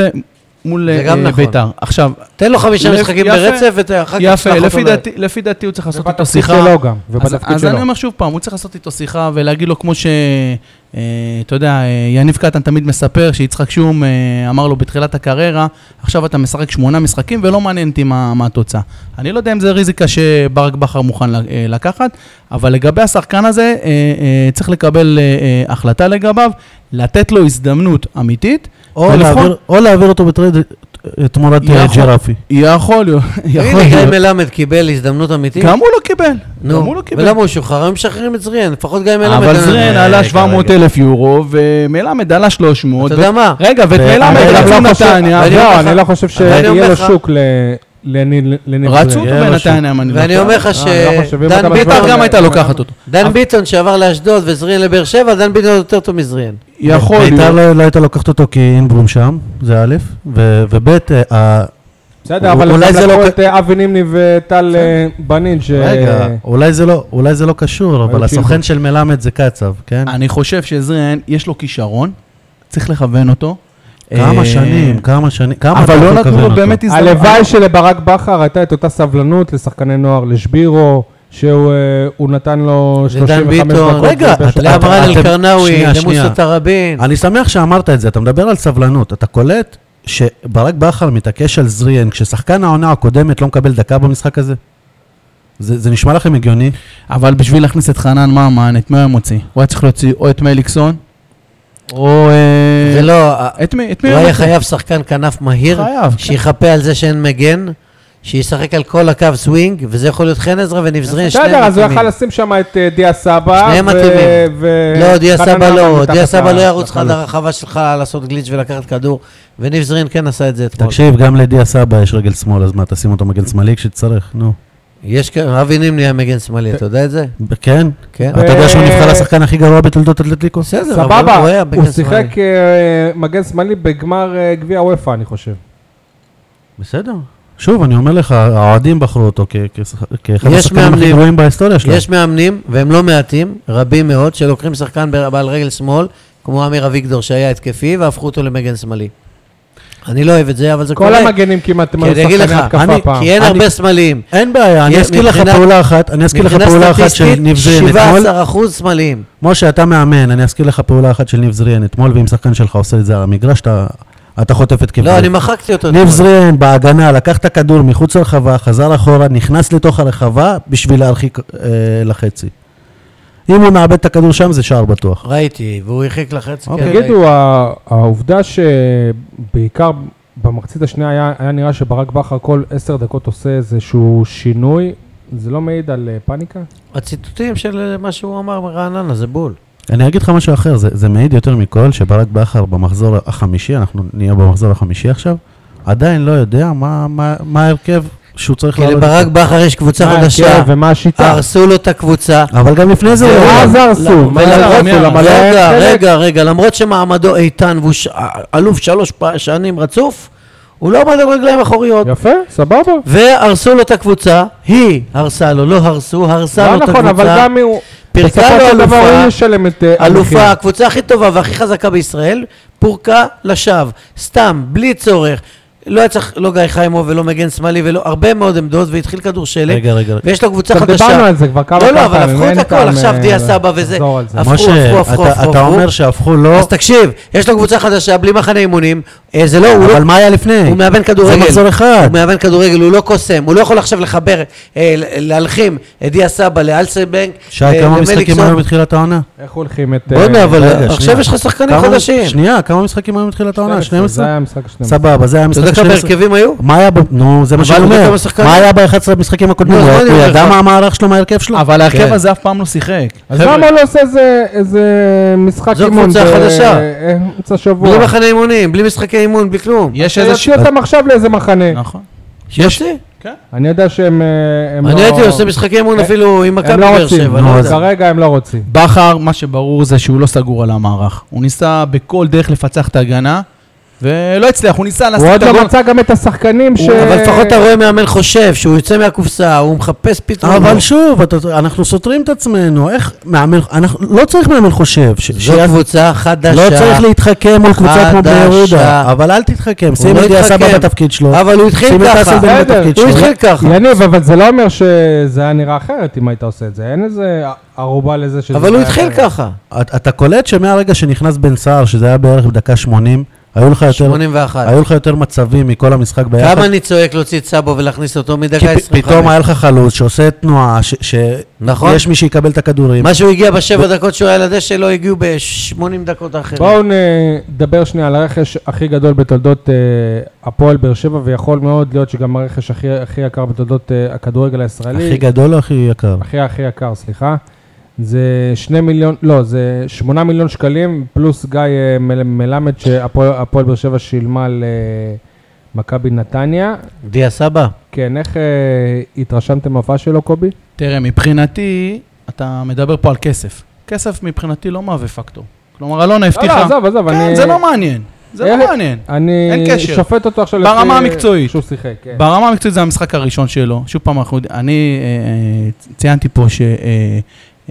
Speaker 5: מול
Speaker 4: זה גם
Speaker 5: אה,
Speaker 4: נכון.
Speaker 5: ביתר. עכשיו,
Speaker 4: תן לו חמישה
Speaker 5: לפ-
Speaker 4: משחקים
Speaker 5: יפה.
Speaker 4: ברצף, ואחר כך
Speaker 5: יפה,
Speaker 4: תשלח אותו
Speaker 5: לפי
Speaker 4: ל-
Speaker 5: דעתי, לפי דעתי הוא צריך לעשות איתו
Speaker 1: ובתפקיד
Speaker 5: שיחה.
Speaker 1: שלו גם,
Speaker 5: אז,
Speaker 1: ובתפקיד
Speaker 5: אז
Speaker 1: שלו.
Speaker 5: אני אומר שוב פעם, הוא צריך לעשות איתו שיחה ולהגיד לו כמו ש... אה, אתה יודע, אה, יניב קטן תמיד מספר שיצחק שום אה, אמר לו בתחילת הקריירה, עכשיו אתה משחק שמונה משחקים ולא מעניין אותי מה, מה התוצאה. אני לא יודע אם זה ריזיקה שברק בכר מוכן ל- אה, לקחת, אבל לגבי השחקן הזה, אה, אה, צריך לקבל אה, אה, החלטה לגביו, לתת לו הזדמנות אמיתית.
Speaker 3: או נכון.
Speaker 5: ולבחון-
Speaker 3: להעביר- או להעביר אותו בטרייד אה, תמורת אה,
Speaker 5: יכול.
Speaker 3: ג'רפי.
Speaker 5: יכול להיות, יכול
Speaker 4: הנה, גיא
Speaker 5: להיות.
Speaker 4: מלמד קיבל הזדמנות אמיתית.
Speaker 5: גם הוא לא קיבל, גם
Speaker 4: נו,
Speaker 5: הוא לא קיבל.
Speaker 4: ולמה הוא שוחרר? הם משחררים את זריאן, לפחות גיא מלמד.
Speaker 5: אבל
Speaker 4: אה,
Speaker 5: זרן
Speaker 4: אה,
Speaker 5: עלה
Speaker 4: כרגע.
Speaker 5: 700 אלף יורו, ומלמד עלה 300.
Speaker 4: אתה יודע מה?
Speaker 5: רגע, ואת
Speaker 3: ואני
Speaker 5: מלמד
Speaker 1: אני
Speaker 5: רצו
Speaker 1: לא חושב-
Speaker 5: נתניה,
Speaker 4: ואני
Speaker 1: לא,
Speaker 4: אומר לך-
Speaker 1: אני לא חושב
Speaker 4: אבל אני
Speaker 1: שיהיה
Speaker 4: אומר
Speaker 1: לו
Speaker 4: לך-
Speaker 1: שוק ל- לניב לניב
Speaker 5: רצו
Speaker 1: זריאן.
Speaker 5: אותו בנתניה, אם אני לא
Speaker 4: ואני
Speaker 5: טועה.
Speaker 4: אומר לך
Speaker 1: אני לא חושב, אם אתה
Speaker 4: שדן
Speaker 1: משווה
Speaker 5: ביתר
Speaker 1: אותו
Speaker 4: ביטון,
Speaker 5: גם הייתה לוקחת אותו.
Speaker 4: דן ביטון שעבר לאשדוד וזריאן לבאר שבע, דן ביטון יותר טוב מזריאן.
Speaker 5: יכול
Speaker 3: ביתר
Speaker 5: להיות.
Speaker 3: לא- לא הייתה לוקחת אותו כי אינברום שם, זה א', ו- וב', אה,
Speaker 1: בסדר, אבל
Speaker 3: אולי
Speaker 1: אולי
Speaker 3: זה
Speaker 1: זה
Speaker 3: לא
Speaker 1: לקחו
Speaker 3: ק-
Speaker 1: את אה, אבי נימני וטל אה, בנין, ש... אה,
Speaker 3: רגע,
Speaker 5: אה,
Speaker 3: אולי זה לא- אולי זה לא קשור, אבל
Speaker 1: היו
Speaker 3: הסוכן
Speaker 1: שילבו.
Speaker 3: של מלמד זה קצב, כן?
Speaker 5: אוקיי. אני חושב שזרן, יש לו כישרון, צריך לכוון אותו.
Speaker 3: כמה
Speaker 5: אה,
Speaker 3: שנים, כמה שנים, כמה
Speaker 5: אבל
Speaker 3: אתה
Speaker 5: לא
Speaker 3: יכול
Speaker 5: נתנו
Speaker 3: לכוון
Speaker 5: לו
Speaker 3: אותו?
Speaker 5: באמת הזדמנות.
Speaker 1: הלוואי שלברק בכר הייתה את אותה סבלנות לשחקני נוער, לשבירו, שהוא אה, הוא נתן לו
Speaker 4: לדן
Speaker 1: 35 דקות.
Speaker 4: ביטון,
Speaker 3: רגע,
Speaker 1: בבאר
Speaker 3: אתה-
Speaker 1: שבע.
Speaker 4: לאמרן
Speaker 3: אתם-
Speaker 4: אלקרנאווי,
Speaker 3: שנייה, שנייה.
Speaker 4: למוסא תראבין.
Speaker 3: אני שמח שאמרת את זה, אתה מדבר על סבלנות, אתה קולט שברק בכר מתעקש על זריאן, כששחקן העונה הקודמת לא מקבל דקה במשחק הזה? זה זה נשמע לכם הגיוני?
Speaker 5: אבל בשביל להכניס את חנן ממן, את מי הוא היה מוציא? הוא היה צריך להוציא או את מליקסון, או... אה,
Speaker 4: זה לא, אה,
Speaker 5: את מי את מי
Speaker 4: הוא
Speaker 5: הוא
Speaker 4: היה
Speaker 5: מוציא?
Speaker 4: חייב שחקן כנף מהיר,
Speaker 5: חייב, כן.
Speaker 4: שיחפה על זה שאין מגן, שישחק על כל הקו סווינג, וזה יכול להיות חן עזרא וניב זרין, אה, שניהם
Speaker 1: בסדר, אז הוא יכל
Speaker 4: מתאימים.
Speaker 1: לשים שם את אה, דיה סבא.
Speaker 4: שניהם
Speaker 1: ו-
Speaker 4: מתאימים.
Speaker 1: ו-
Speaker 3: אה,
Speaker 4: לא, דיה
Speaker 1: חנן
Speaker 4: סבא
Speaker 1: ממן
Speaker 4: לא,
Speaker 1: מתחת
Speaker 4: דיה סבא
Speaker 1: ל-
Speaker 4: לא ירוץ לך
Speaker 1: לחלוץ.
Speaker 4: עד הרחבה שלך לעשות גליץ' ולקחת כדור, וניב זרין כן עשה את זה אתמול.
Speaker 3: תקשיב, גם לדיה סבא יש רגל שמאל, אז מה, תשים אותו מגן שמאלי כשתצטרך, נו.
Speaker 4: יש כ- אבי נימני היה מגן שמאלי, אתה יודע את זה?
Speaker 3: כן?
Speaker 4: כן.
Speaker 3: אתה יודע שהוא
Speaker 1: ו-
Speaker 5: אה,
Speaker 3: נבחר לשחקן הכי גרוע בתולדות אתלטיקו?
Speaker 4: בסדר, אבל
Speaker 1: סבבה,
Speaker 4: הוא היה
Speaker 1: הוא
Speaker 4: בגן שמאלי.
Speaker 1: שיחק אה, מגן שמאלי בגמר אה, גביע וופא, אני חושב.
Speaker 3: בסדר. שוב, אני אומר לך, האוהדים בחרו אותו כ- כשח- כאחד
Speaker 4: יש
Speaker 3: השחקנים הכי
Speaker 4: מאמנים.
Speaker 3: גרועים בהיסטוריה שלהם.
Speaker 4: יש מאמנים, והם לא מעטים, רבים מאוד, שלוקחים שחקן בר- בעל רגל שמאל, כמו אמיר אביגדור שהיה התקפי, והפכו אותו למגן שמאלי. אני לא אוהב את זה, אבל זה
Speaker 1: כל
Speaker 4: קורה.
Speaker 1: המגנים כמעט הם
Speaker 4: כי
Speaker 1: היו
Speaker 4: אני אגיד
Speaker 1: שחקני
Speaker 4: לך,
Speaker 1: התקפה
Speaker 3: אני-
Speaker 1: פעם.
Speaker 4: כי אין
Speaker 3: אני-
Speaker 4: הרבה שמאליים.
Speaker 3: אין בעיה, אני
Speaker 4: יש
Speaker 3: אזכיר לך
Speaker 4: מבחינה-
Speaker 3: פעולה אחת, אני אזכיר לך פעולה אחת של ניב זרין אתמול.
Speaker 4: 17% שמאליים.
Speaker 3: משה, אתה מאמן, אני אזכיר לך פעולה אחת של ניב זריאן אתמול, ואם שחקן שלך עושה את זה על המגרש, אתה, אתה חוטף את כיוון.
Speaker 4: לא, אני מחקתי אותו.
Speaker 3: ניב
Speaker 4: אתמול.
Speaker 3: זריאן בהגנה, לקח את הכדור מחוץ לרחבה, חזר אחורה, נכנס לתוך הרחבה בשביל להרחיק אה, לחצי. אם הוא מאבד את הכדור שם, זה שער בטוח.
Speaker 4: ראיתי, והוא הרחיק לחצי.
Speaker 3: אוקיי,
Speaker 4: כן, ראיתי.
Speaker 1: תגידו, ה- העובדה שבעיקר במחצית השנייה היה, היה נראה שברק בכר כל עשר דקות עושה איזשהו שינוי, זה לא מעיד על אה, פאניקה?
Speaker 4: הציטוטים של אה, מה שהוא אמר מרעננה זה בול.
Speaker 3: אני אגיד לך משהו אחר, זה, זה מעיד יותר מכל שברק בכר במחזור החמישי, אנחנו נהיה במחזור החמישי עכשיו, עדיין לא יודע מה, מה, מה ההרכב שהוא צריך
Speaker 4: כי
Speaker 3: לעלות.
Speaker 4: לברק בכר יש קבוצה
Speaker 1: מה
Speaker 4: חדשה,
Speaker 1: ההרכב ומה השיטה?
Speaker 4: הרסו לו את הקבוצה.
Speaker 3: אבל גם לפני זה הוא לא
Speaker 1: מה
Speaker 3: יודע.
Speaker 1: זה הרסו? מה זה
Speaker 5: ולמרות-
Speaker 1: הרסו? למה לא היה
Speaker 4: רגע,
Speaker 1: חלק?
Speaker 4: רגע, רגע, למרות שמעמדו איתן והוא ש- אה, אלוף שלוש פע- שנים רצוף, הוא לא עמד על רגליים אחוריות.
Speaker 1: יפה, סבבה.
Speaker 4: והרסו לו את הקבוצה, היא הרסה לו, לא הרסו, הרסה
Speaker 1: לא
Speaker 4: לו את
Speaker 1: נכון, אבל
Speaker 4: הקבוצה.
Speaker 1: גם הוא...
Speaker 4: פירקה
Speaker 1: בסופו
Speaker 4: לו
Speaker 1: של דבר
Speaker 4: אלופה,
Speaker 1: הוא ישלם את אה, המחיר.
Speaker 4: אלופה, הקבוצה הכי טובה והכי חזקה בישראל, פורקה לשווא, סתם, בלי צורך. לא היה צריך, לא גיא חיימוב ולא מגן שמאלי ולא הרבה מאוד עמדות, והתחיל כדור שלג,
Speaker 3: רגע, רגע, רגע.
Speaker 4: ויש לו קבוצה
Speaker 1: עכשיו
Speaker 4: חדשה.
Speaker 1: דיברנו על זה כבר כמה
Speaker 4: לא,
Speaker 1: כמה
Speaker 4: לא, אבל
Speaker 1: פעמים,
Speaker 4: הפכו את
Speaker 1: אין
Speaker 4: הכל,
Speaker 1: טעם,
Speaker 4: עכשיו
Speaker 1: אה,
Speaker 4: דיה סבא וזה.
Speaker 1: לחזור על זה.
Speaker 4: הפכו,
Speaker 3: משה,
Speaker 4: הפכו, הפכו,
Speaker 3: אתה-
Speaker 4: הפכו,
Speaker 3: אתה
Speaker 4: הפכו.
Speaker 3: אומר שהפכו לא...
Speaker 4: אז תקשיב, יש לו קבוצה חדשה בלי מחנה אימונים, אה, זה לא, הוא לא...
Speaker 3: אבל מה היה לפני?
Speaker 4: הוא מאמן כדורגל.
Speaker 3: זה מחזור אחד.
Speaker 4: הוא מאמן כדורגל, הוא לא קוסם, הוא לא יכול עכשיו לחבר, אה, ל- להלחים את דיה סבא לאלסבנק.
Speaker 3: שי,
Speaker 4: אה,
Speaker 3: כמה
Speaker 4: למליקסון.
Speaker 3: משחקים היו בתחילת העונה?
Speaker 1: איך הולכים את... אה,
Speaker 4: בוא'נה, אבל
Speaker 3: רגע,
Speaker 4: לא, עכשיו
Speaker 3: שנייה.
Speaker 4: יש לך שחקנים
Speaker 3: כמה-
Speaker 4: חדשים.
Speaker 3: שנייה, כמה משחקים היו בתחילת העונה?
Speaker 1: 12, זה
Speaker 3: 12?
Speaker 1: היה המשחק 12.
Speaker 3: סבבה, זה היה
Speaker 4: אתה
Speaker 3: משחק
Speaker 4: יודע כמה
Speaker 3: 12.
Speaker 4: הרכבים היו?
Speaker 3: מה היה ב... נו, זה מה
Speaker 4: אבל
Speaker 3: שאני
Speaker 4: הוא יודע
Speaker 3: אומר.
Speaker 4: כמה שחקנים.
Speaker 3: מה היה ב-11 המשחקים הקודמים?
Speaker 4: נו, אז
Speaker 3: הוא
Speaker 4: מה אני
Speaker 3: הוא
Speaker 4: אומר
Speaker 3: ידע
Speaker 4: לך?
Speaker 3: מה המערך שלו מההרכב שלו?
Speaker 5: אבל ההרכב
Speaker 4: כן.
Speaker 5: הזה אף פעם לא שיחק.
Speaker 1: אז
Speaker 5: חבר'ה,
Speaker 1: למה הוא לא עושה איזה- איזה משחק
Speaker 4: זו
Speaker 1: אימון?
Speaker 4: קבוצה
Speaker 1: ב-
Speaker 4: חדשה.
Speaker 1: אה, אמצע שבוע.
Speaker 4: בלי מחנה אימונים, בלי משחקי אימון, בלי כלום.
Speaker 5: יש איזה...
Speaker 1: שיוציא אותם עכשיו לאיזה מחנה.
Speaker 4: אה.
Speaker 5: נכון.
Speaker 4: יש לי?
Speaker 1: אני יודע שהם אה, הם לא...
Speaker 4: אני הייתי עושה משחקי אימון
Speaker 1: אה,
Speaker 4: אפילו עם מכבי
Speaker 1: הם לא
Speaker 4: באר
Speaker 1: רוצים,
Speaker 4: שבע. לא
Speaker 1: נו,
Speaker 4: יודע.
Speaker 1: כרגע הם לא רוצים.
Speaker 5: בכר, מה שברור זה שהוא לא סגור על המערך. הוא ניסה בכל דרך לפצח את ההגנה, ולא הצליח, הוא ניסה
Speaker 1: הוא
Speaker 5: להשיג את
Speaker 1: עוד
Speaker 5: הגול.
Speaker 1: לא מצא גם את השחקנים ש...
Speaker 4: הוא- אבל לפחות אתה רואה מאמן חושב שהוא יוצא מהקופסה, הוא מחפש פתרונות.
Speaker 3: אבל שוב, אתה- אנחנו סותרים את עצמנו, איך מאמן, אנחנו- לא צריך מאמן חושב, ש-
Speaker 4: זו
Speaker 3: שיעשה-
Speaker 4: קבוצה חדשה.
Speaker 3: לא צריך להתחכם מול קבוצה כמו בני יהודה,
Speaker 4: חדשה.
Speaker 3: אבל אל תתחכם, שים
Speaker 4: לא
Speaker 3: את
Speaker 4: התחכם.
Speaker 3: יסבא בתפקיד שלו.
Speaker 4: אבל הוא התחיל
Speaker 3: שים את
Speaker 4: ככה.
Speaker 3: אסלבן
Speaker 1: בסדר,
Speaker 3: בתפקיד
Speaker 4: הוא
Speaker 3: שלו.
Speaker 4: התחיל ככה.
Speaker 1: יניב, אבל זה לא אומר שזה היה נראה אחרת אם היית עושה את זה. אין איזה ערובה לזה שזה...
Speaker 4: אבל הוא
Speaker 1: היה
Speaker 4: התחיל
Speaker 1: אחרת.
Speaker 4: ככה.
Speaker 3: אתה- אתה קולט שמהרגע שנכנס בן סער, שזה היה בערך בדקה 80, היו לך יותר-
Speaker 4: 81.
Speaker 3: היו לך יותר מצבים מכל המשחק ביחד.
Speaker 4: כמה אני צועק להוציא את סאבו ולהכניס אותו
Speaker 3: כי
Speaker 4: מדקה
Speaker 3: פ- פתאום
Speaker 4: 25?
Speaker 3: היה לך חלוץ שעושה תנועה, ש- ש-
Speaker 4: נכון.
Speaker 3: יש מי שיקבל את הכדורים.
Speaker 4: מה שהוא הגיע בשבע דקות שהוא היה על הדשא, לא הגיעו ב-80 דקות האחרות.
Speaker 1: בואו נדבר שנייה על הרכש הכי גדול בתולדות אה, הפועל באר שבע, ויכול מאוד להיות שגם הרכש הכי הכי יקר בתולדות אה, הכדורגל הישראלי.
Speaker 3: הכי גדול או הכי יקר?
Speaker 1: הכי הכי יקר, סליחה. זה שני מיליון, לא, זה שמונה מיליון שקלים, פלוס גיא אה, מל- מלמד שהפועל הפועל באר שבע שילמה למכבי נתניה.
Speaker 4: דיה סבא.
Speaker 1: כן, איך אה, התרשמתם מההופעה שלו, קובי?
Speaker 5: תראה, מבחינתי, אתה מדבר פה על כסף. כסף מבחינתי לא מהווה פקטור. כלומר, אלונה
Speaker 1: לא, לא,
Speaker 5: הבטיחה...
Speaker 1: עזוב, עזוב,
Speaker 5: כן,
Speaker 1: אני...
Speaker 5: זה לא מעניין. זה
Speaker 1: אה,
Speaker 5: לא מעניין.
Speaker 1: אני
Speaker 5: אין קשר.
Speaker 1: שופט אותו עכשיו אה,
Speaker 5: ברמה המקצועית.
Speaker 1: שהוא שיחק, כן.
Speaker 5: ברמה המקצועית זה המשחק הראשון שלו. שוב פעם, אנחנו, אני אה, אה, ציינתי פה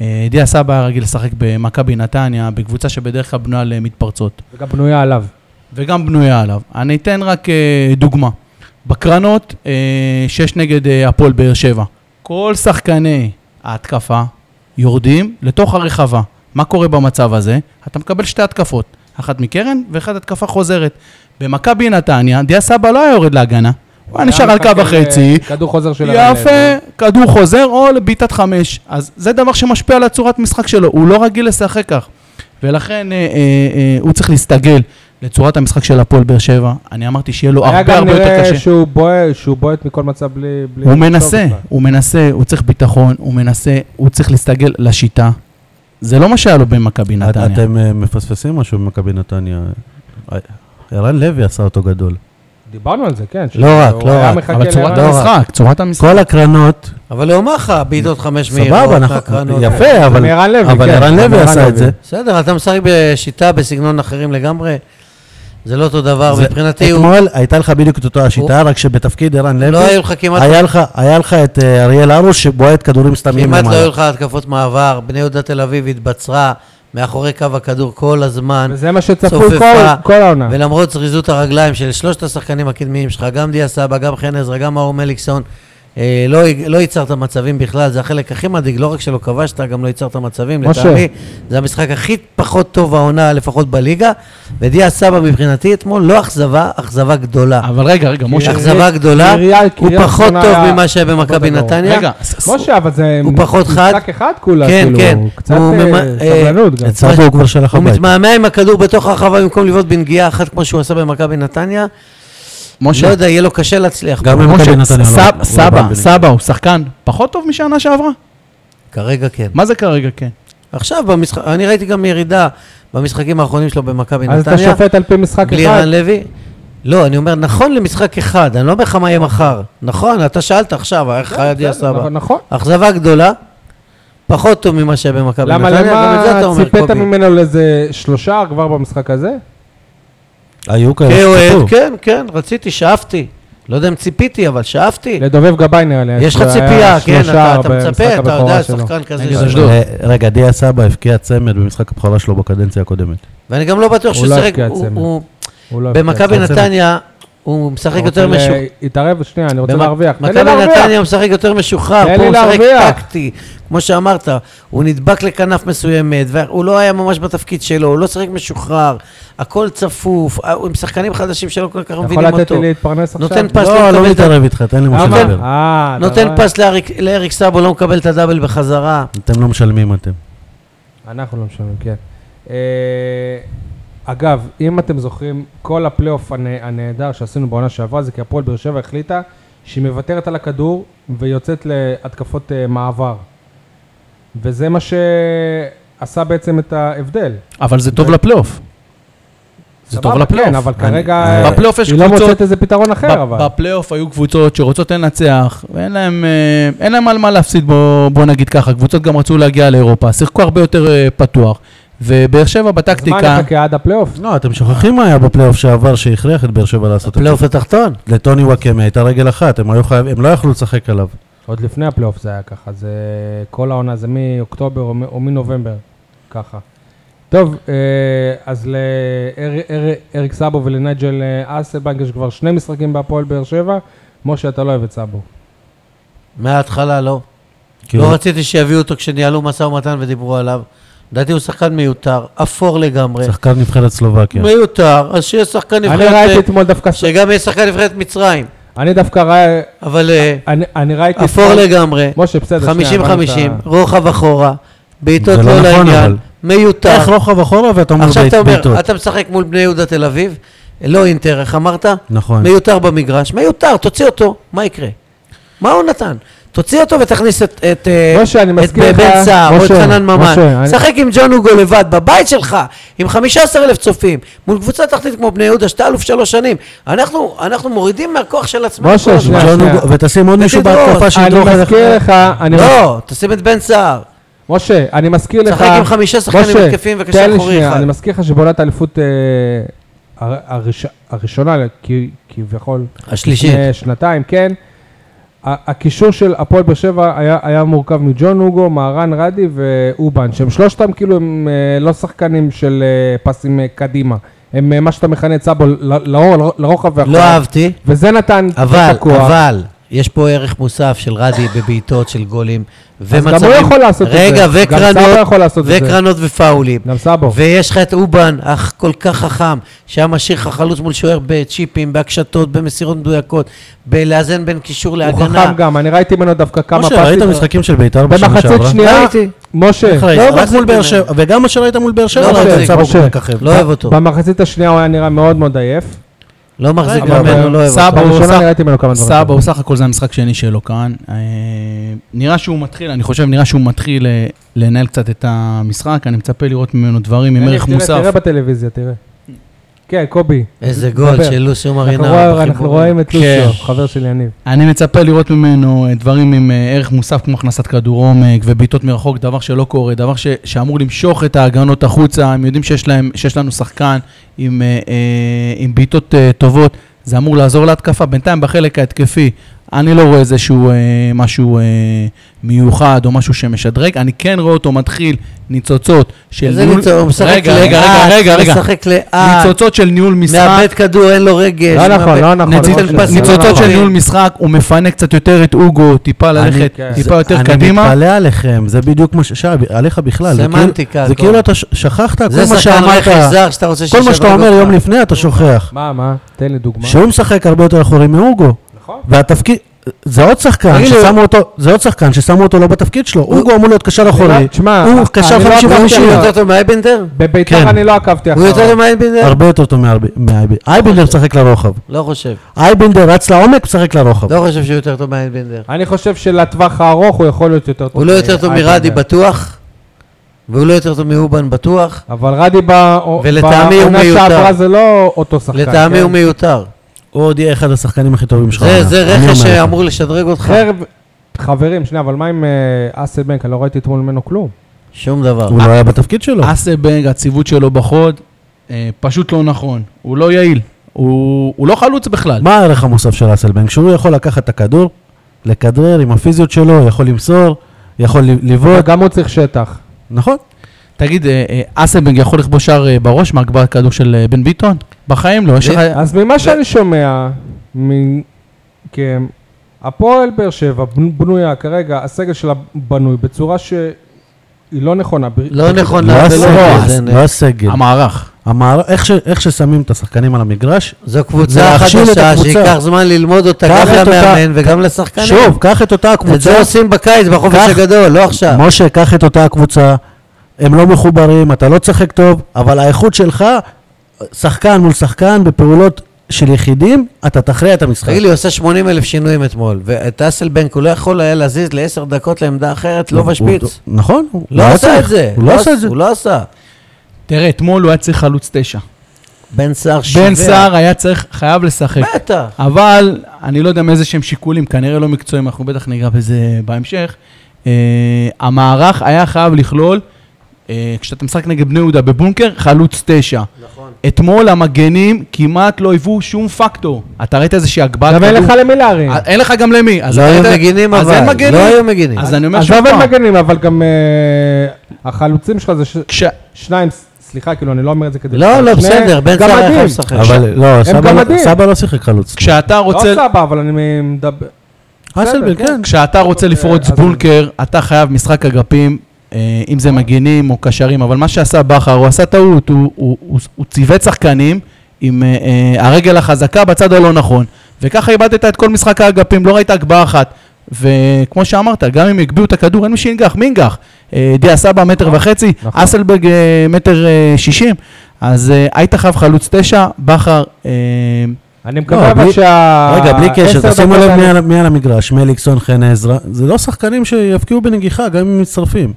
Speaker 5: שדיה סבא היה רגיל לשחק במכבי נתניה, בקבוצה שבדרך כלל בנויה למתפרצות,
Speaker 1: וגם בנויה עליו.
Speaker 5: וגם בנויה עליו. אני אתן רק אה, דוגמה. בקרנות, אה, שש נגד אה, הפועל באר שבע. כל שחקני ההתקפה יורדים לתוך הרחבה. מה קורה במצב הזה? אתה מקבל שתי התקפות, אחת מקרן ואחת התקפה חוזרת. במכבי נתניה, דיה סבא לא היה יורד להגנה. הוא היה נשאר על קו
Speaker 1: משחק, אה,
Speaker 5: וחצי,
Speaker 1: כדור חוזר של... אה.
Speaker 5: יפה, כדור חוזר או לבעיטת חמש. אז זה דבר שמשפיע על הצורת משחק שלו, הוא לא רגיל לשחק כך. ולכן אה, אה, אה, הוא צריך להסתגל לצורת המשחק של הפועל באר שבע. אני אמרתי שיהיה לו
Speaker 1: היה
Speaker 5: הרבה
Speaker 1: גם
Speaker 5: הרבה יותר
Speaker 1: נראה
Speaker 5: קשה.
Speaker 1: שהוא בועט- שהוא בועט מכל מצב בלי... בלי לחשוב
Speaker 5: הוא מנסה,
Speaker 1: בכלל.
Speaker 5: הוא מנסה, הוא צריך ביטחון, הוא מנסה, הוא צריך להסתגל לשיטה. זה לא מה שהיה לו במכבי
Speaker 3: את-
Speaker 5: נתניה.
Speaker 3: אתם אה, מפספסים משהו במכבי נתניה. אה, ערן לוי עשה אותו גדול.
Speaker 1: דיברנו על זה, כן.
Speaker 3: לא רק,
Speaker 1: שהוא
Speaker 3: לא
Speaker 1: היה
Speaker 3: רק,
Speaker 1: מחכה
Speaker 5: אבל
Speaker 1: לערן.
Speaker 5: צורת
Speaker 3: לא
Speaker 5: המשחק, צורת המשחק.
Speaker 3: כל הקרנות,
Speaker 4: אבל הוא אמר לך, בעיטות חמש מהירות,
Speaker 3: סבבה,
Speaker 4: הקרנות.
Speaker 3: אנחנו-
Speaker 1: זה
Speaker 3: יפה, אבל
Speaker 1: מערן לוי,
Speaker 3: אבל
Speaker 1: כן, זה
Speaker 3: ערן לוי
Speaker 1: מערן
Speaker 3: עשה את
Speaker 1: לוי.
Speaker 3: זה.
Speaker 4: בסדר, אתה משחק בשיטה, בסגנון אחרים לגמרי. זה לא אותו דבר,
Speaker 3: זה-
Speaker 4: מבחינתי הוא...
Speaker 3: אתמול הייתה לך בדיוק את אותה השיטה, רק שבתפקיד ערן
Speaker 4: לא
Speaker 3: לוי,
Speaker 4: היו לך כמעט...
Speaker 3: היה לך- היה לך את אה, אריאל הרוש שבועט כדורים סתמיים
Speaker 4: כמעט לא
Speaker 3: למעלה.
Speaker 4: היו לך התקפות מעבר, בני יהודה תל אביב התבצרה מאחורי קו הכדור כל הזמן,
Speaker 1: וזה מה שצפו
Speaker 4: צופפה.
Speaker 1: כל- כל העונה.
Speaker 4: ולמרות זריזות הרגליים של שלושת השחקנים הקדמיים שלך, גם דיה סבא, גם חן עזרא, גם מאור מליקסון, אה, לא, לא ייצרת מצבים בכלל, זה החלק הכי מדאיג, לא רק שלא כבשת, גם לא ייצרת מצבים,
Speaker 1: משה.
Speaker 4: לטעמי, זה המשחק הכי פחות טוב העונה, לפחות בליגה, ודיה סבא מבחינתי אתמול לא אכזבה, אכזבה גדולה.
Speaker 5: אבל רגע, רגע, משה.
Speaker 3: אה,
Speaker 1: אכזב-
Speaker 4: אכזבה גדולה,
Speaker 1: קריה-
Speaker 4: הוא
Speaker 1: קריה
Speaker 4: פחות
Speaker 1: ראשונה
Speaker 4: טוב
Speaker 1: היה-
Speaker 4: ממה שהיה במכבי
Speaker 1: פחות טוב.
Speaker 3: אה,
Speaker 4: נתניה.
Speaker 5: רגע, ס- ס-
Speaker 1: משה, אבל זה...
Speaker 4: הוא פחות חד.
Speaker 1: משחק אחד כולה,
Speaker 4: כן,
Speaker 1: כאילו.
Speaker 4: כן.
Speaker 1: קצת
Speaker 4: הוא
Speaker 1: אה,
Speaker 4: ממ- אה,
Speaker 1: סבלנות גם.
Speaker 3: את סבא הוא כבר שלח
Speaker 4: הוא
Speaker 3: הביתה.
Speaker 4: מתמהמה עם הכדור בתוך הרחבה במקום לבעוט בנגיעה אחת כמו שהוא עשה במכבי נתניה. לא
Speaker 5: משה,
Speaker 4: יודע, יהיה לו קשה להצליח.
Speaker 3: גם
Speaker 4: פה.
Speaker 3: במכבי
Speaker 5: משה,
Speaker 3: נתניה לא-
Speaker 5: סבא-
Speaker 3: לא בא
Speaker 5: סבא,
Speaker 3: בנגד.
Speaker 5: סבא הוא שחקן פחות טוב משנה שעברה?
Speaker 4: כרגע כן.
Speaker 5: מה זה כרגע כן?
Speaker 4: עכשיו, במשחק- אני ראיתי גם ירידה במשחקים האחרונים שלו במכבי
Speaker 1: אז אתה
Speaker 4: נתניה.
Speaker 1: שופט על פי משחק
Speaker 4: בלי
Speaker 1: אחד.
Speaker 4: רן לוי. לא, אני אומר, נכון למשחק אחד, אני לא אומר לך מה יהיה מחר. נכון, אתה שאלת עכשיו, איך היה דיה סבא.
Speaker 1: כן, נכון, נכון.
Speaker 4: אכזבה גדולה, פחות טוב ממה שהיה במכבי
Speaker 1: למה,
Speaker 4: נתניה, גם את זה אתה
Speaker 1: למה
Speaker 4: אומר,
Speaker 1: ציפית
Speaker 4: קובי.
Speaker 1: ממנו לאיזה שלושה כבר במשחק הזה?
Speaker 3: היו כאלה
Speaker 4: כאוהד,
Speaker 3: שכתוב.
Speaker 4: כן, כן, רציתי, שאפתי. לא יודע אם ציפיתי, אבל שאפתי.
Speaker 1: לדובב גבאי נראה לי.
Speaker 4: יש לך
Speaker 1: היה
Speaker 4: ציפייה, כן,
Speaker 1: שלושה
Speaker 4: אתה אתה
Speaker 1: במשחק
Speaker 4: מצפה, אתה
Speaker 1: הבכורה
Speaker 4: יודע,
Speaker 1: שלו.
Speaker 4: שחקן כזה.
Speaker 5: נגד
Speaker 4: ש-
Speaker 5: אשדוד.
Speaker 3: אה, רגע, דיה סבא הבקיע צמד במשחק הבכורה שלו בקדנציה הקודמת.
Speaker 4: ואני גם לא בטוח
Speaker 1: הוא
Speaker 4: שהוא
Speaker 1: לא
Speaker 4: שיחק,
Speaker 1: הבקיע
Speaker 4: הוא-
Speaker 1: צמד.
Speaker 4: הוא-
Speaker 1: הוא לא הבקיע.
Speaker 4: במכבי
Speaker 3: צמד.
Speaker 4: נתניה הוא משחק
Speaker 1: אתה
Speaker 4: יותר
Speaker 1: רוצה
Speaker 4: משוחרר.
Speaker 1: ל- התערב, שנייה, אני אוקיי, רוצה
Speaker 4: במ-
Speaker 1: להרוויח. תן לי
Speaker 4: מכבי
Speaker 1: להרוויח.
Speaker 4: נתניה הוא משחק יותר משוחרר,
Speaker 1: תן
Speaker 4: פה
Speaker 1: לי
Speaker 4: הוא משחק
Speaker 1: להרוויח.
Speaker 4: טקטי, כמו שאמרת, הוא נדבק לכנף מסוימת, והוא לא היה ממש בתפקיד שלו, הוא לא שיחק משוחרר, הכל צפוף, אה, הוא עם שחקנים חדשים שלא כל כך
Speaker 1: אתה יכול
Speaker 4: מבינים
Speaker 1: לתת
Speaker 4: אותו.
Speaker 1: לי להתפרנס עכשיו?
Speaker 4: נותן פס
Speaker 3: לא, לא
Speaker 4: מקבל את ה-
Speaker 3: מתערב איתך, תן לי משה
Speaker 1: למה?
Speaker 3: לדבר.
Speaker 1: אה, אתה
Speaker 4: נותן
Speaker 1: רואה?
Speaker 4: פס לאריק- לאריק סאבו, לא מקבל את הדאבל בחזרה.
Speaker 3: אתם לא משלמים אתם.
Speaker 1: אנחנו לא משלמים, כן. אה, אגב, אם אתם זוכרים, כל הפלייאוף הנ- הנהדר שעשינו בעונה שעברה זה כי הפועל באר שבע החליטה שהיא מוותרת על הכדור ויוצאת להתקפות אה, מעבר. וזה מה שעשה בעצם את ההבדל.
Speaker 5: אבל זה טוב לפלייאוף. זה טוב
Speaker 1: סבבה,
Speaker 5: לפלייאוף.
Speaker 1: כן, אבל
Speaker 5: אני-
Speaker 1: כרגע
Speaker 5: אה,
Speaker 1: אה,
Speaker 5: בפלייאוף יש
Speaker 1: היא לא
Speaker 5: קבוצות-
Speaker 1: מוצאת איזה פתרון
Speaker 5: ב-
Speaker 1: אחר, כן, אבל.
Speaker 5: בפלייאוף היו קבוצות שרוצות הן לנצח, ואין להם, אה, אין להם על מה להפסיד, בוא, בוא נגיד ככה. קבוצות גם רצו להגיע לאירופה, שיחקו הרבה יותר אה, פתוח. ובאר שבע
Speaker 1: אז מה
Speaker 5: בטקטיקה,
Speaker 1: נחכה עד הפלייאוף?
Speaker 3: לא, אתם שוכחים מה היה בפלייאוף שעבר שהכריח את באר שבע לעשות את זה.
Speaker 4: הפלייאוף התחתון.
Speaker 3: לטוני וואקמה הייתה רגל אחת, הם היו חייב- הם לא יכלו לשחק עליו.
Speaker 1: עוד לפני הפלייאוף זה היה ככה, זה כל העונה, זה מאוקטובר או מ- או מנובמבר, ככה. טוב, אה, אז לאריק סאבו ולנייג'ל אה, אסלבנק יש כבר שני משחקים בהפועל באר שבע. משה, אתה לא אוהב את סאבו.
Speaker 4: מההתחלה לא.
Speaker 3: כי
Speaker 4: לא
Speaker 3: הוא-
Speaker 4: רציתי שיביאו אותו כשניהלו משא ומתן ודיברו עליו. לדעתי הוא שחקן מיותר, אפור לגמרי.
Speaker 3: שחקן כן. נבחרת סלובקיה.
Speaker 4: מיותר, אז שיהיה שחקן
Speaker 1: אני ראיתי
Speaker 4: נבחרת... אה,
Speaker 1: אתמול דווקא,
Speaker 4: שגם יהיה שחקן נבחרת מצרים.
Speaker 1: אני דווקא ראה,
Speaker 4: אבל אה,
Speaker 1: אני- אני ראיתי...
Speaker 4: אפור
Speaker 1: אתמול-
Speaker 4: לגמרי.
Speaker 1: משה, בסדר, שנייה,
Speaker 4: 50-50,
Speaker 1: הבנת.
Speaker 4: רוחב אחורה, בעיטות
Speaker 3: זה לא
Speaker 4: לא
Speaker 3: נכון, אבל.
Speaker 4: לעניין, מיותר.
Speaker 3: איך רוחב אחורה ואתה אומר
Speaker 4: עכשיו אתה
Speaker 3: בעיט-
Speaker 4: אומר,
Speaker 3: בעיטות.
Speaker 4: אתה משחק מול בני יהודה תל אביב, לא אינטר, איך אמרת?
Speaker 3: נכון.
Speaker 4: מיותר במגרש, מיותר, תוציא אותו, מה יקרה? מה הוא נתן? תוציא אותו ותכניס את, את, אה,
Speaker 1: משה, אני
Speaker 4: את
Speaker 1: מזכיר לך-
Speaker 4: בן סער או את
Speaker 1: משה,
Speaker 4: חנן ממן.
Speaker 1: משה, אני-
Speaker 4: שחק עם ג'ון אוגו לבד, בבית שלך, עם 15 אלף צופים, מול קבוצה תחתית כמו בני יהודה, שאתה אלוף שלוש שנים. אנחנו, אנחנו מורידים מהכוח של עצמנו
Speaker 1: משה,
Speaker 4: כל הזמן.
Speaker 1: שנייה,
Speaker 3: ג'ון
Speaker 1: שנייה. לא,
Speaker 3: הוגו- לא, ותשים עוד מישהו
Speaker 4: תדרוס.
Speaker 3: בהתקפה
Speaker 5: לא
Speaker 1: אני
Speaker 3: שידרוך אליך.
Speaker 1: מזכיר לך, אני...
Speaker 4: לא, תשים את בן סער.
Speaker 1: משה, אני מזכיר לך...
Speaker 4: שחק עם חמישה שחקנים
Speaker 1: משה,
Speaker 4: התקפיים וקשר
Speaker 1: תן לי
Speaker 4: אחורי
Speaker 1: שנייה,
Speaker 4: אחד.
Speaker 1: אני מזכיר לך שבעונת האליפות אה, הר- הראש- הראשונה, כי- כביכול,
Speaker 4: השלישית.
Speaker 1: לפני שנתיים, כן. ה- הקישור של הפועל באר שבע היה, היה מורכב מג'ון הוגו, מהרן רדי ואובן, שהם שלושתם כאילו הם אה, לא שחקנים של אה, פסים אה, קדימה. הם אה, מה שאתה מכנה את סאבו ל- לאור, לרוחב
Speaker 4: לא
Speaker 1: ואחורה.
Speaker 4: אהבתי.
Speaker 1: וזה נתן את
Speaker 4: אבל,
Speaker 1: הכוח.
Speaker 4: אבל, יש פה ערך מוסף של רדי בבעיטות, של גולים,
Speaker 1: אז
Speaker 4: ומצבים.
Speaker 1: גם הוא יכול לעשות
Speaker 4: רגע,
Speaker 1: את זה. גם סאבו
Speaker 4: וקרנות,
Speaker 1: יכול לעשות את זה.
Speaker 4: וקרנות ופאולים.
Speaker 1: גם סאבו.
Speaker 4: ויש לך את אובן, אך כל כך חכם, שהיה משאיר לך חלוץ מול שוער בצ'יפים, בהקשתות, במסירות מדויקות, בלאזן בין קישור
Speaker 1: הוא
Speaker 4: להגנה.
Speaker 1: חכם גם, אני ראיתי ממנו דווקא כמה
Speaker 3: משה, ראית משחקים של בית"ר בשנה
Speaker 1: במחצית
Speaker 3: שעברה?
Speaker 1: שנייה,
Speaker 4: ראיתי.
Speaker 1: לא, משה,
Speaker 3: איך ראית?
Speaker 4: לא
Speaker 3: רק
Speaker 4: מחזיק
Speaker 3: מול באר
Speaker 4: ממנו.
Speaker 3: שבע, וגם מה שראית מול באר שבע,
Speaker 4: לא
Speaker 3: ראית את
Speaker 4: מחזיק,
Speaker 3: סבא
Speaker 1: משה.
Speaker 3: מככב.
Speaker 4: לא אוהב אותו,
Speaker 1: במחצית השנייה הוא היה נראה מאוד מאוד עייף.
Speaker 4: לא מחזיק
Speaker 1: רגע,
Speaker 4: ממנו,
Speaker 1: אבל-
Speaker 4: לא אוהב אותו.
Speaker 5: סבא, הוא
Speaker 1: בראשונה
Speaker 5: סך-
Speaker 1: אני ראיתי ממנו כמה דברים.
Speaker 5: סבא, הוא סך הכל זה המשחק שני שלו כאן. אה, נראה שהוא מתחיל, אני חושב, נראה שהוא מתחיל אה, לנהל קצת את המשחק, אני מצפה לראות ממנו דברים עם
Speaker 1: הנה,
Speaker 5: ערך
Speaker 1: תראה,
Speaker 5: מוסף.
Speaker 1: תראה בטלוויזיה, תראה. כן, קובי.
Speaker 4: איזה גול
Speaker 1: דבר.
Speaker 4: של לוסיו
Speaker 1: אנחנו
Speaker 4: מרינאו.
Speaker 1: רואים- אנחנו
Speaker 4: בחיבורים.
Speaker 1: רואים את
Speaker 5: כן.
Speaker 1: לוסיו, חבר של יניב.
Speaker 5: אני מצפה לראות ממנו אה, דברים עם אה, ערך מוסף כמו הכנסת כדור עומק ובעיטות מרחוק, דבר שלא קורה, דבר ש, שאמור למשוך את ההגנות החוצה, הם יודעים שיש, להם, שיש לנו שחקן עם, אה, אה, עם בעיטות אה, טובות, זה אמור לעזור להתקפה. בינתיים בחלק ההתקפי אני לא רואה איזשהו אה, משהו אה, מיוחד או משהו שמשדרג, אני כן רואה אותו מתחיל ניצוצות של
Speaker 4: איזה ניצול, הוא משחק
Speaker 5: רגע, רגע,
Speaker 4: לאט,
Speaker 5: רגע, רגע, רגע,
Speaker 4: משחק לאט,
Speaker 5: ניצוצות של ניהול משחק.
Speaker 4: מאבד כדור, אין לו רגל.
Speaker 1: לא נכון, לא נכון.
Speaker 5: ניצוצות-
Speaker 1: משה, זה לא
Speaker 5: כן, ניצוצות
Speaker 1: נכון.
Speaker 5: של ניהול משחק, הוא מפנה קצת יותר את אוגו, טיפה ללכת,
Speaker 1: כן.
Speaker 5: טיפה יותר
Speaker 3: אני
Speaker 5: קדימה.
Speaker 3: מתפלא עליכם, זה בדיוק מה ש... שי, עליך בכלל. זה כאילו-
Speaker 4: סמנטיקה,
Speaker 3: זה
Speaker 4: הכל.
Speaker 3: כאילו אתה ש- שכחת כל
Speaker 4: זה
Speaker 3: מה
Speaker 4: שחקן
Speaker 3: שאמרת.
Speaker 4: רכש זר שאתה רוצה
Speaker 3: כל מה
Speaker 4: שישב
Speaker 3: שאתה
Speaker 4: על
Speaker 3: אומר
Speaker 4: הגובה.
Speaker 3: יום לפני אתה שוכח.
Speaker 1: מה, מה? תן לי דוגמה.
Speaker 3: שהוא משחק הרבה יותר אחורי מהוגו.
Speaker 1: נכון.
Speaker 3: והתפקיד... זה עוד שחקן
Speaker 4: תגיד לי-
Speaker 3: ששמו אותו, זה עוד שחקן ששמו אותו לא בתפקיד שלו. אוגו אמור להיות קשר אחורי.
Speaker 1: תשמע,
Speaker 3: הוא
Speaker 1: אני
Speaker 3: קשר
Speaker 1: לא
Speaker 3: 50
Speaker 1: עקבתי
Speaker 4: הוא
Speaker 3: 50
Speaker 1: אחריו.
Speaker 4: יותר טוב מאייבנדר?
Speaker 1: בביתר
Speaker 3: כן.
Speaker 1: אני לא עקבתי
Speaker 4: הוא יותר
Speaker 1: אחריו.
Speaker 4: טוב מאייבנדר?
Speaker 3: הרבה יותר טוב מארב- מאייבנדר. אייבנדר משחק לרוחב.
Speaker 4: לא חושב.
Speaker 3: אייבנדר רץ לעומק, משחק לרוחב.
Speaker 4: לא חושב שהוא יותר טוב מאייבנדר.
Speaker 1: אני חושב שלטווח הארוך הוא יכול להיות יותר טוב. אה,
Speaker 4: הוא לא
Speaker 3: אוקיי,
Speaker 4: יותר טוב
Speaker 1: מאייבנדר.
Speaker 4: מרדי בטוח, והוא לא יותר טוב מאובן בטוח,
Speaker 1: אבל רדי בא-
Speaker 4: ולטעמי הוא
Speaker 1: בעונה
Speaker 4: מיותר.
Speaker 1: שעברה זה לא אותו שחקן.
Speaker 4: לטעמי
Speaker 1: כן?
Speaker 4: הוא מיותר.
Speaker 3: הוא עוד יהיה אחד השחקנים הכי טובים שלך.
Speaker 4: זה-
Speaker 3: העונה.
Speaker 4: זה
Speaker 3: אני
Speaker 4: רכש
Speaker 3: אומר לך.
Speaker 4: שאמור לשדרג אותך,
Speaker 1: חרב... חברים, שנייה, אבל מה עם אה, אסלבנק? אני לא ראיתי אתמול ממנו כלום.
Speaker 4: שום דבר.
Speaker 3: הוא לא היה בתפקיד שלו.
Speaker 5: אסבנג, הציוות שלו בחוד, אה, פשוט לא נכון. הוא לא יעיל. הוא הוא לא חלוץ בכלל.
Speaker 3: מה הערך המוסף של אסלבנק? שהוא יכול לקחת את הכדור, לכדרר עם הפיזיות שלו, יכול למסור, יכול ל- לבעוט,
Speaker 1: גם הוא צריך שטח.
Speaker 3: נכון?
Speaker 5: תגיד, אה, אה, אסלבנג יכול לכבוש שער אה, בראש מהגבהת כדור של אה, בן ביטון? בחיים לא, יש לך...
Speaker 1: אז ממה שאני שומע מכם, הפועל באר שבע בנ- בנויה כרגע, הסגל שלה בנוי בצורה שהיא לא נכונה. ב-
Speaker 4: לא נכונה,
Speaker 3: לא
Speaker 4: זה לא
Speaker 3: הסגל,
Speaker 4: זה
Speaker 3: זה לא הסגל.
Speaker 5: המערך.
Speaker 3: המער- איך ש- איך ששמים את השחקנים על המגרש,
Speaker 4: זו
Speaker 3: זה
Speaker 4: קבוצה
Speaker 3: להכשיל את
Speaker 4: חדשה
Speaker 3: הקבוצה.
Speaker 4: שייקח זמן ללמוד אותה
Speaker 3: קח
Speaker 4: גם
Speaker 3: את
Speaker 4: למאמן
Speaker 3: אותה-
Speaker 4: וגם לשחקנים.
Speaker 3: שוב, קח את אותה
Speaker 4: את זה
Speaker 3: הקבוצה,
Speaker 4: עושים בקיץ, בחופש
Speaker 3: קח-
Speaker 4: הגדול, לא עכשיו.
Speaker 3: משה, קח את אותה הקבוצה, הם לא מחוברים, אתה לא צחק טוב, אבל האיכות שלך, שחקן מול שחקן, בפעולות של יחידים, אתה תכריע את המשחק.
Speaker 4: תגיד לי, הוא עשה 80 אלף שינויים אתמול, ואת אסלבנק הוא לא יכול היה להזיז לעשר דקות לעמדה אחרת, לא
Speaker 3: הוא-
Speaker 4: בשפיץ.
Speaker 3: הוא- נכון, הוא
Speaker 4: לא
Speaker 3: היה
Speaker 4: עשה
Speaker 3: צריך,
Speaker 4: את זה.
Speaker 3: הוא לא עשה את זה.
Speaker 4: הוא לא עשה.
Speaker 5: תראה, אתמול הוא היה צריך חלוץ תשע.
Speaker 4: בן סער שיבר.
Speaker 5: בן סער היה צריך, חייב לשחק.
Speaker 4: בטח.
Speaker 5: אבל אני לא יודע מאיזה שהם שיקולים, כנראה לא מקצועיים, אנחנו בטח ניגע בזה בהמשך. אה, המערך היה חייב לכלול אה, כשאתה משחק נגד בני יהודה בבונקר, חלוץ תשע.
Speaker 4: נכון.
Speaker 5: אתמול המגנים כמעט לא היוו שום פקטור. אתה ראית איזושהי הגבהת
Speaker 1: גם אין לך למי להרים.
Speaker 5: אה, אין לך גם למי. אז
Speaker 4: לא
Speaker 5: אתה
Speaker 4: היו
Speaker 5: ראית-
Speaker 4: מגינים
Speaker 5: אז
Speaker 4: אבל,
Speaker 5: אין מגנים.
Speaker 4: לא היו מגינים.
Speaker 5: אז אני אומר שוב
Speaker 1: עזוב אין
Speaker 5: פעם.
Speaker 1: לא מגנים, אבל גם אה, החלוצים שלך זה ש-
Speaker 5: כש...
Speaker 1: שניים, ס- סליחה, כאילו, אני לא אומר את זה כדי...
Speaker 4: לא,
Speaker 1: לשחק.
Speaker 4: לא,
Speaker 1: שני
Speaker 4: בסדר, בן סער היה
Speaker 1: גמדים.
Speaker 4: חייב לשחק.
Speaker 3: אבל לא, סבא לא-
Speaker 1: גמדים.
Speaker 3: סבא לא שיחק חלוץ.
Speaker 5: כשאתה
Speaker 1: לא
Speaker 5: רוצה...
Speaker 1: סבא, אבל אני מדבר...
Speaker 3: אסלבן,
Speaker 1: בסדר,
Speaker 3: כן.
Speaker 5: כשאתה רוצה לפרוץ
Speaker 1: אה, אז-
Speaker 5: בונקר, אתה חייב משחק אגפים, אה, אם זה מגינים או קשרים, אבל מה שעשה בכר, הוא עשה טעות, הוא- הוא- הוא הוא ציוות שחקנים עם אה, אה, הרגל החזקה בצד הלא נכון, וככה איבדת את כל משחק האגפים, לא ראית הגבהה אחת. וכמו שאמרת, גם אם הגביהו את הכדור, אין מי שינגח, מי ינגח? אה, דיה סבא מטר וחצי,
Speaker 1: נכון.
Speaker 5: אסלבג אה, מטר אה, שישים, אז אה, היית חייב חלוץ תשע, בכר... אה,
Speaker 1: אני מקווה
Speaker 3: לא,
Speaker 1: אבל
Speaker 3: בלי-
Speaker 1: שה...
Speaker 3: רגע, בלי קשר,
Speaker 1: עשר
Speaker 3: תשימו
Speaker 1: דקות
Speaker 3: לב מי
Speaker 1: האלה-
Speaker 3: על- מי על המגרש, מליקסון, חן עזרא, זה לא שחקנים שיבקיעו בנגיחה, גם אם מצטרפים.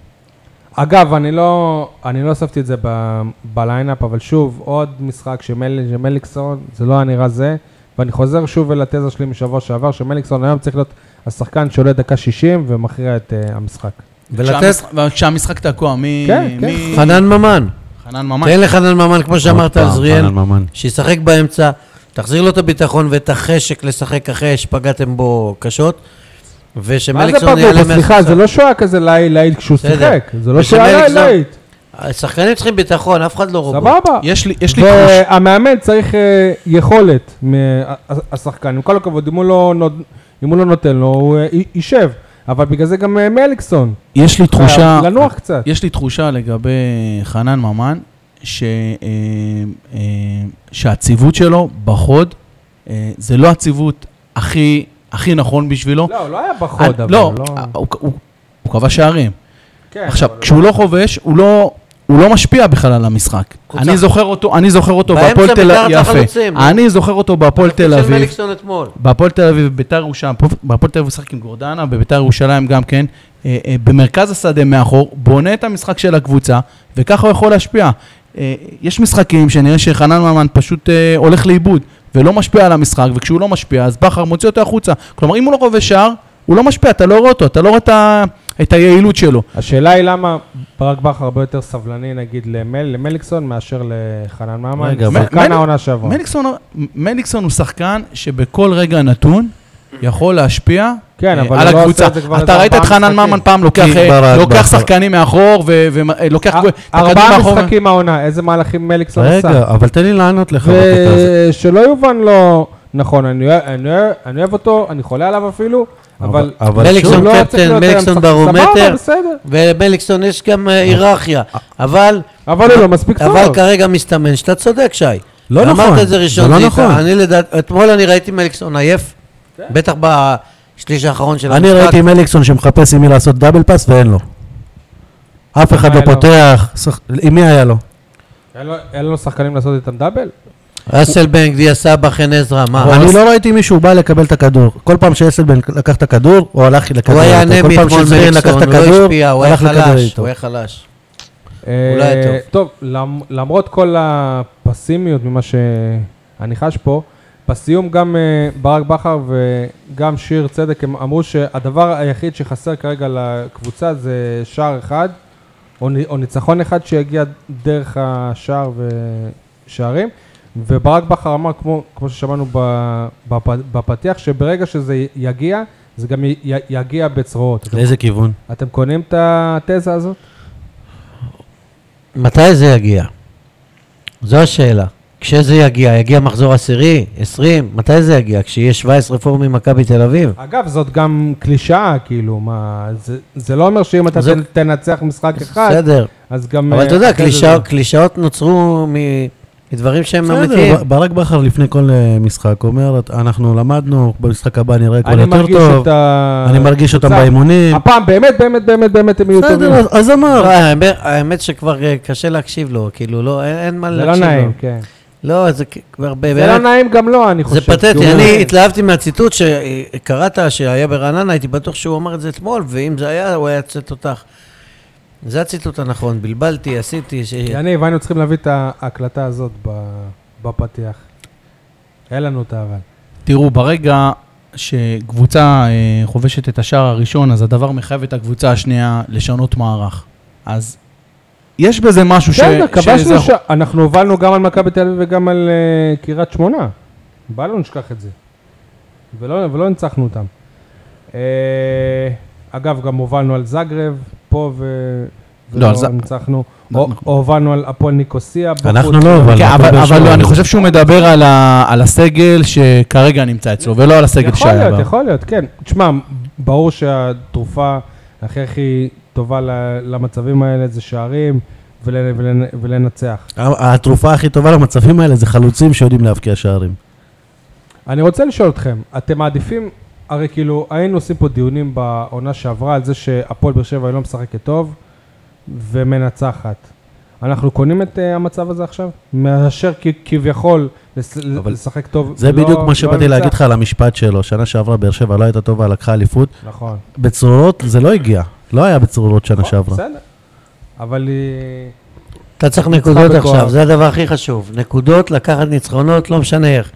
Speaker 1: אגב, אני לא, אני לא הוספתי את זה ב, בליינאפ, אבל שוב, עוד משחק שמל, שמליקסון, זה לא היה נראה זה, ואני חוזר שוב אל התזה שלי משבוע שעבר, שמליקסון היום צריך להיות השחקן שעולה דקה 60 ומכריע את uh, המשחק.
Speaker 4: ולתת,
Speaker 5: כשהמשחק- כשהמשחק תקוע, מי...
Speaker 1: כן, כן.
Speaker 5: מי-
Speaker 4: חנן ממן,
Speaker 5: חנן ממן.
Speaker 4: תן לחנן ממן, כמו
Speaker 3: עוד
Speaker 4: שאמרת
Speaker 3: פעם,
Speaker 4: על זריאל,
Speaker 3: חנן ממן.
Speaker 4: שישחק באמצע, תחזיר לו את הביטחון ואת החשק לשחק אחרי שפגעתם בו קשות,
Speaker 1: מה זה
Speaker 4: ושמליקסון
Speaker 1: פגעו
Speaker 4: יעלה
Speaker 1: בו? סליחה, זה
Speaker 4: מהספסל.
Speaker 1: לא שואה כזה לעיל לעיל כשהוא
Speaker 4: בסדר.
Speaker 1: שיחק, זה לא שואה לעיל
Speaker 4: ושמליקסון-
Speaker 1: לעיל,
Speaker 4: השחקנים אה, צריכים ביטחון, אף אחד לא רובוט.
Speaker 1: סבבה.
Speaker 5: אוקיי. יש לי, יש לי תחוש...
Speaker 1: והמאמן צריך אה, יכולת מהשחקן, עם כל הכבוד, אם הוא לא נות- אם הוא לא נותן לו, הוא אה, י- יישב, אבל בגלל זה גם אה, מליקסון,
Speaker 5: יש לי תחושה...
Speaker 1: חייב אה, לנוח קצת.
Speaker 5: יש לי תחושה לגבי חנן ממן, ש, אה, אה, שהציוות שלו בחוד, אה, זה לא הציוות הכי, הכי נכון בשבילו.
Speaker 1: לא, הוא לא היה
Speaker 5: אני-
Speaker 1: בחוד, אבל
Speaker 5: לא,
Speaker 1: לא...
Speaker 5: הוא, הוא, הוא כבש שערים.
Speaker 1: כן,
Speaker 5: עכשיו,
Speaker 1: אבל-
Speaker 5: כשהוא לא חובש, הוא לא... הוא לא משפיע בכלל על המשחק.
Speaker 4: הוא
Speaker 5: אני
Speaker 4: צריך-
Speaker 5: זוכר אותו, אני זוכר אותו
Speaker 4: באמצע
Speaker 5: בהפועל תל
Speaker 4: מתחת
Speaker 5: אביב.
Speaker 4: לחלוצים.
Speaker 5: יפה. אני זוכר אותו בהפועל תל
Speaker 4: של
Speaker 5: אביב.
Speaker 4: מליקסון אתמול.
Speaker 5: בהפועל תל אביב, ביתר ירושלים, בהפועל תל אביב הוא משחק עם גורדנה, בביתר ירושלים גם כן, אה, אה, במרכז השדה מאחור, בונה את המשחק של הקבוצה, וככה הוא יכול להשפיע. אה, יש משחקים שנראה שחנן ממן פשוט אה, הולך לאיבוד, ולא משפיע על המשחק, וכשהוא לא משפיע, אז בכר מוציא אותו החוצה. כלומר, אם הוא לא כובש שער, הוא לא משפיע, אתה לא רואה אותו, אתה לא רואה את ה- את היעילות שלו.
Speaker 1: השאלה היא למה ברק בכר הרבה יותר סבלני נגיד למל, למליקסון מאשר לחנן ממן,
Speaker 3: רגע, אבל-
Speaker 1: שחקן
Speaker 5: מל-
Speaker 1: העונה שעברה.
Speaker 5: מליקסון, מליקסון הוא שחקן שבכל רגע נתון יכול להשפיע
Speaker 1: כן,
Speaker 5: אה,
Speaker 1: אבל
Speaker 5: על
Speaker 1: הוא לא
Speaker 5: הקבוצה.
Speaker 1: עושה את זה כבר איזה
Speaker 5: אתה ראית את
Speaker 1: ארבעה
Speaker 5: חנן
Speaker 1: משחקים.
Speaker 5: ממן פעם לוקח
Speaker 3: כי
Speaker 5: אה,
Speaker 3: ברק
Speaker 5: לוקח
Speaker 3: בכר.
Speaker 5: שחקנים מאחור ולוקח
Speaker 1: אר- אה, ארבעה משחקים העונה, איזה מהלכים מליקסון לא עשה.
Speaker 3: רגע, אבל תן לי לענות לך בקטע הזה.
Speaker 1: ושלא יובן לא נכון, אני אוה- אני אוה- אני אוהב אותו, אני חולה עליו אפילו, אבל...
Speaker 3: אבל
Speaker 4: מליקסון
Speaker 1: הוא
Speaker 3: שוב,
Speaker 1: לא היה צריך
Speaker 4: קפטן,
Speaker 1: להיות היום
Speaker 4: מליקסון
Speaker 1: שחק- סבבה,
Speaker 4: ברומטר,
Speaker 1: בסדר.
Speaker 4: ולמליקסון יש גם אה, היררכיה, אבל...
Speaker 1: אבל הוא לא מספיק טוב.
Speaker 4: אבל כרגע מסתמן שאתה צודק, שי.
Speaker 3: לא נכון,
Speaker 4: אמרת את זה
Speaker 3: זה
Speaker 4: ראשון,
Speaker 3: לא
Speaker 4: זיתה.
Speaker 3: נכון.
Speaker 4: אני לדעת, אתמול אני ראיתי מליקסון עייף, בטח בשליש האחרון של
Speaker 3: אני
Speaker 4: המשחק.
Speaker 3: ראיתי מליקסון שמחפש עם מי לעשות דאבל פאס ואין לו. אף אחד
Speaker 1: היה
Speaker 3: לא
Speaker 1: לו?
Speaker 3: פותח, שח- עם מי היה לו?
Speaker 1: אין לו- אין לו שחקנים לעשות איתם דאבל?
Speaker 4: אסלבנג, דיה סבא, חן עזרא, מה?
Speaker 3: אני לא ראיתי מישהו בא לקבל את הכדור. כל פעם שאסלבן לקח את הכדור, הוא הלך לקבל
Speaker 4: הוא
Speaker 3: אותו.
Speaker 4: היה
Speaker 3: לא- כל
Speaker 4: אנמי
Speaker 3: פעם
Speaker 4: אתמול
Speaker 3: שזריאן לקח
Speaker 4: מליקסון,
Speaker 3: את
Speaker 4: הוא לא
Speaker 3: הכדור,
Speaker 4: השפיע, הוא היה
Speaker 3: הלך לקבל
Speaker 4: חלש,
Speaker 3: איתו.
Speaker 4: הוא היה חלש.
Speaker 1: אה,
Speaker 4: טוב.
Speaker 1: טוב, למ- למרות כל הפסימיות ממה שאני חש פה, בסיום גם אה, ברק בכר וגם שיר צדק הם אמרו שהדבר היחיד שחסר כרגע לקבוצה זה שער אחד, או נ- או ניצחון אחד שיגיע דרך השער ושערים. וברק בכר אמר, כמו, כמו ששמענו ב- בפ, בפתיח, שברגע שזה יגיע, זה גם י, י, יגיע בצרועות. אתם,
Speaker 3: לאיזה כיוון?
Speaker 1: אתם קונים את התזה הזאת?
Speaker 4: מתי זה יגיע? זו השאלה. כשזה יגיע, יגיע מחזור עשירי, 20, מתי זה יגיע? כשיהיה 17 פורומים מכבי תל אביב?
Speaker 1: אגב, זאת גם קלישאה, כאילו, מה... זה, זה לא אומר שאם אתה
Speaker 4: זה-
Speaker 1: תנ- תנצח משחק אחד,
Speaker 4: בסדר.
Speaker 1: אז גם...
Speaker 4: אבל
Speaker 1: אה,
Speaker 4: אתה יודע, אוקיי,
Speaker 1: אחרי זה
Speaker 4: קלישאות-
Speaker 1: זה-
Speaker 4: קלישאות נוצרו מ- מדברים שהם אמיתיים.
Speaker 3: בסדר, ב- ברק בכר לפני כל אה, משחק אומר, "את- אנחנו למדנו, במשחק הבא נראה הכל
Speaker 1: אני
Speaker 3: יותר
Speaker 1: מרגיש
Speaker 3: טוב,
Speaker 1: את ה...
Speaker 3: אני מרגיש אותם
Speaker 1: קבוצה.
Speaker 3: באימונים.
Speaker 1: הפעם באמת, באמת, באמת, באמת הם יהיו טובים.
Speaker 3: בסדר, אז- אז
Speaker 4: לא,
Speaker 3: אמר.
Speaker 4: האמת- האמת שכבר אה, קשה להקשיב לו, כאילו, לא, אין- אין מה
Speaker 1: זה לא
Speaker 4: להקשיב לו.
Speaker 1: נעים, כן.
Speaker 4: לא, זה כ- כבר ב-
Speaker 1: זה לא
Speaker 4: באמת-
Speaker 1: נעים גם לו, אני
Speaker 4: זה
Speaker 1: חושב. כאילו, אה, כי
Speaker 4: פתטי,
Speaker 1: הוא-
Speaker 4: אני התלהבתי מהציטוט שקראת, שהיה ברעננה, הייתי בטוח שהוא אמר את זה אתמול, ואם זה היה, הוא היה יוצאת אותך. זה הציטוט הנכון, בלבלתי, עשיתי, ש...
Speaker 1: יניב, היינו צריכים להביא את ההקלטה הזאת ב- בפתיח. אין לנו אותה, אבל.
Speaker 5: תראו, ברגע שקבוצה אה, חובשת את השער הראשון, אז הדבר מחייב את הקבוצה השנייה לשנות מערך. אז יש בזה משהו ש...
Speaker 1: בסדר,
Speaker 5: שזה-
Speaker 1: כן, כבשנו ש... אנחנו הובלנו גם על מכבי תל אביב וגם על אה, קריית שמונה. בל לא נשכח את זה. ולא, ולא ניצחנו אותם. אה, אגב, גם הובלנו על זאגרב, פה ו...
Speaker 5: לא,
Speaker 1: ולא
Speaker 5: על ז-
Speaker 1: ניצחנו.
Speaker 5: לא,
Speaker 1: או- או הובלנו על הפועל ניקוסיה. בחוץ.
Speaker 3: אנחנו לא הובלנו.
Speaker 5: כן,
Speaker 3: הפועל
Speaker 5: אבל,
Speaker 3: באר
Speaker 5: אבל
Speaker 3: שבע.
Speaker 5: לא, אני חושב שהוא מדבר על, ה, על הסגל שכרגע נמצא אצלו, ולא על הסגל
Speaker 1: יכול
Speaker 5: שהיה.
Speaker 1: להיות,
Speaker 5: בעבר.
Speaker 1: יכול להיות, כן. תשמע, ברור שהתרופה הכי הכי טובה ל- למצבים האלה זה שערים ול- ול- ולנצח.
Speaker 3: ה- התרופה הכי טובה למצבים האלה זה חלוצים שיודעים להבקיע שערים.
Speaker 1: אני רוצה לשאול אתכם, אתם מעדיפים, הרי כאילו היינו עושים פה דיונים בעונה שעברה על זה שהפועל באר שבע היא לא משחקת טוב ומנצחת. אנחנו קונים את אה, המצב הזה עכשיו? מאשר כ- כביכול לס-
Speaker 3: אבל
Speaker 1: לשחק טוב.
Speaker 3: זה
Speaker 1: ולא-
Speaker 3: בדיוק
Speaker 1: לא
Speaker 3: מה שבאתי
Speaker 1: לנצח?
Speaker 3: להגיד לך על המשפט שלו. שנה שעברה באר שבע לא הייתה טובה, לקחה אליפות.
Speaker 1: נכון.
Speaker 3: בצרורות זה לא הגיע. לא היה בצרורות שנה שעברה.
Speaker 1: בסדר. אבל אה, היא...
Speaker 4: אתה צריך נקודות
Speaker 1: בכוח.
Speaker 4: עכשיו, זה הדבר הכי חשוב. נקודות, לקחת ניצחונות, לא משנה איך.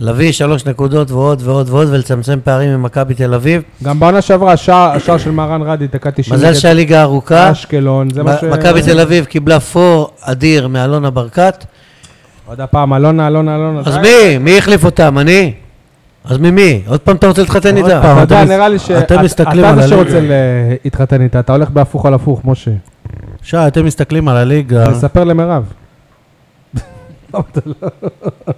Speaker 4: להביא שלוש נקודות ועוד ועוד ועוד ולצמצם פערים עם מכבי תל אביב.
Speaker 1: גם בעונה שעברה השער השער של מהרן רדי דקה 90
Speaker 4: מזל
Speaker 1: נגד
Speaker 4: שהליגה ארוכה.
Speaker 1: אשקלון, זה מה אה, ש...
Speaker 4: מ- מכבי תל אביב קיבלה פור אדיר מאלונה ברקת.
Speaker 1: עוד הפעם, אלונה, אלונה, אלונה.
Speaker 4: אז
Speaker 1: די.
Speaker 4: מי? מי החליף אותם? אני? אז ממי? עוד פעם אתה רוצה להתחתן
Speaker 3: עוד
Speaker 4: איתה?
Speaker 3: פעם.
Speaker 1: אתה יודע,
Speaker 3: אתם מס-
Speaker 1: נראה לי ש...
Speaker 3: אתם
Speaker 1: אתה-
Speaker 3: מסתכלים
Speaker 1: אתה
Speaker 3: על
Speaker 1: זה
Speaker 3: הליגה.
Speaker 1: שרוצה להתחתן איתה, אתה הולך בהפוך על הפוך, משה.
Speaker 3: שי, אתם מסתכלים על הליגה.
Speaker 1: תספר למירב. *laughs* למה אתה לא? *laughs*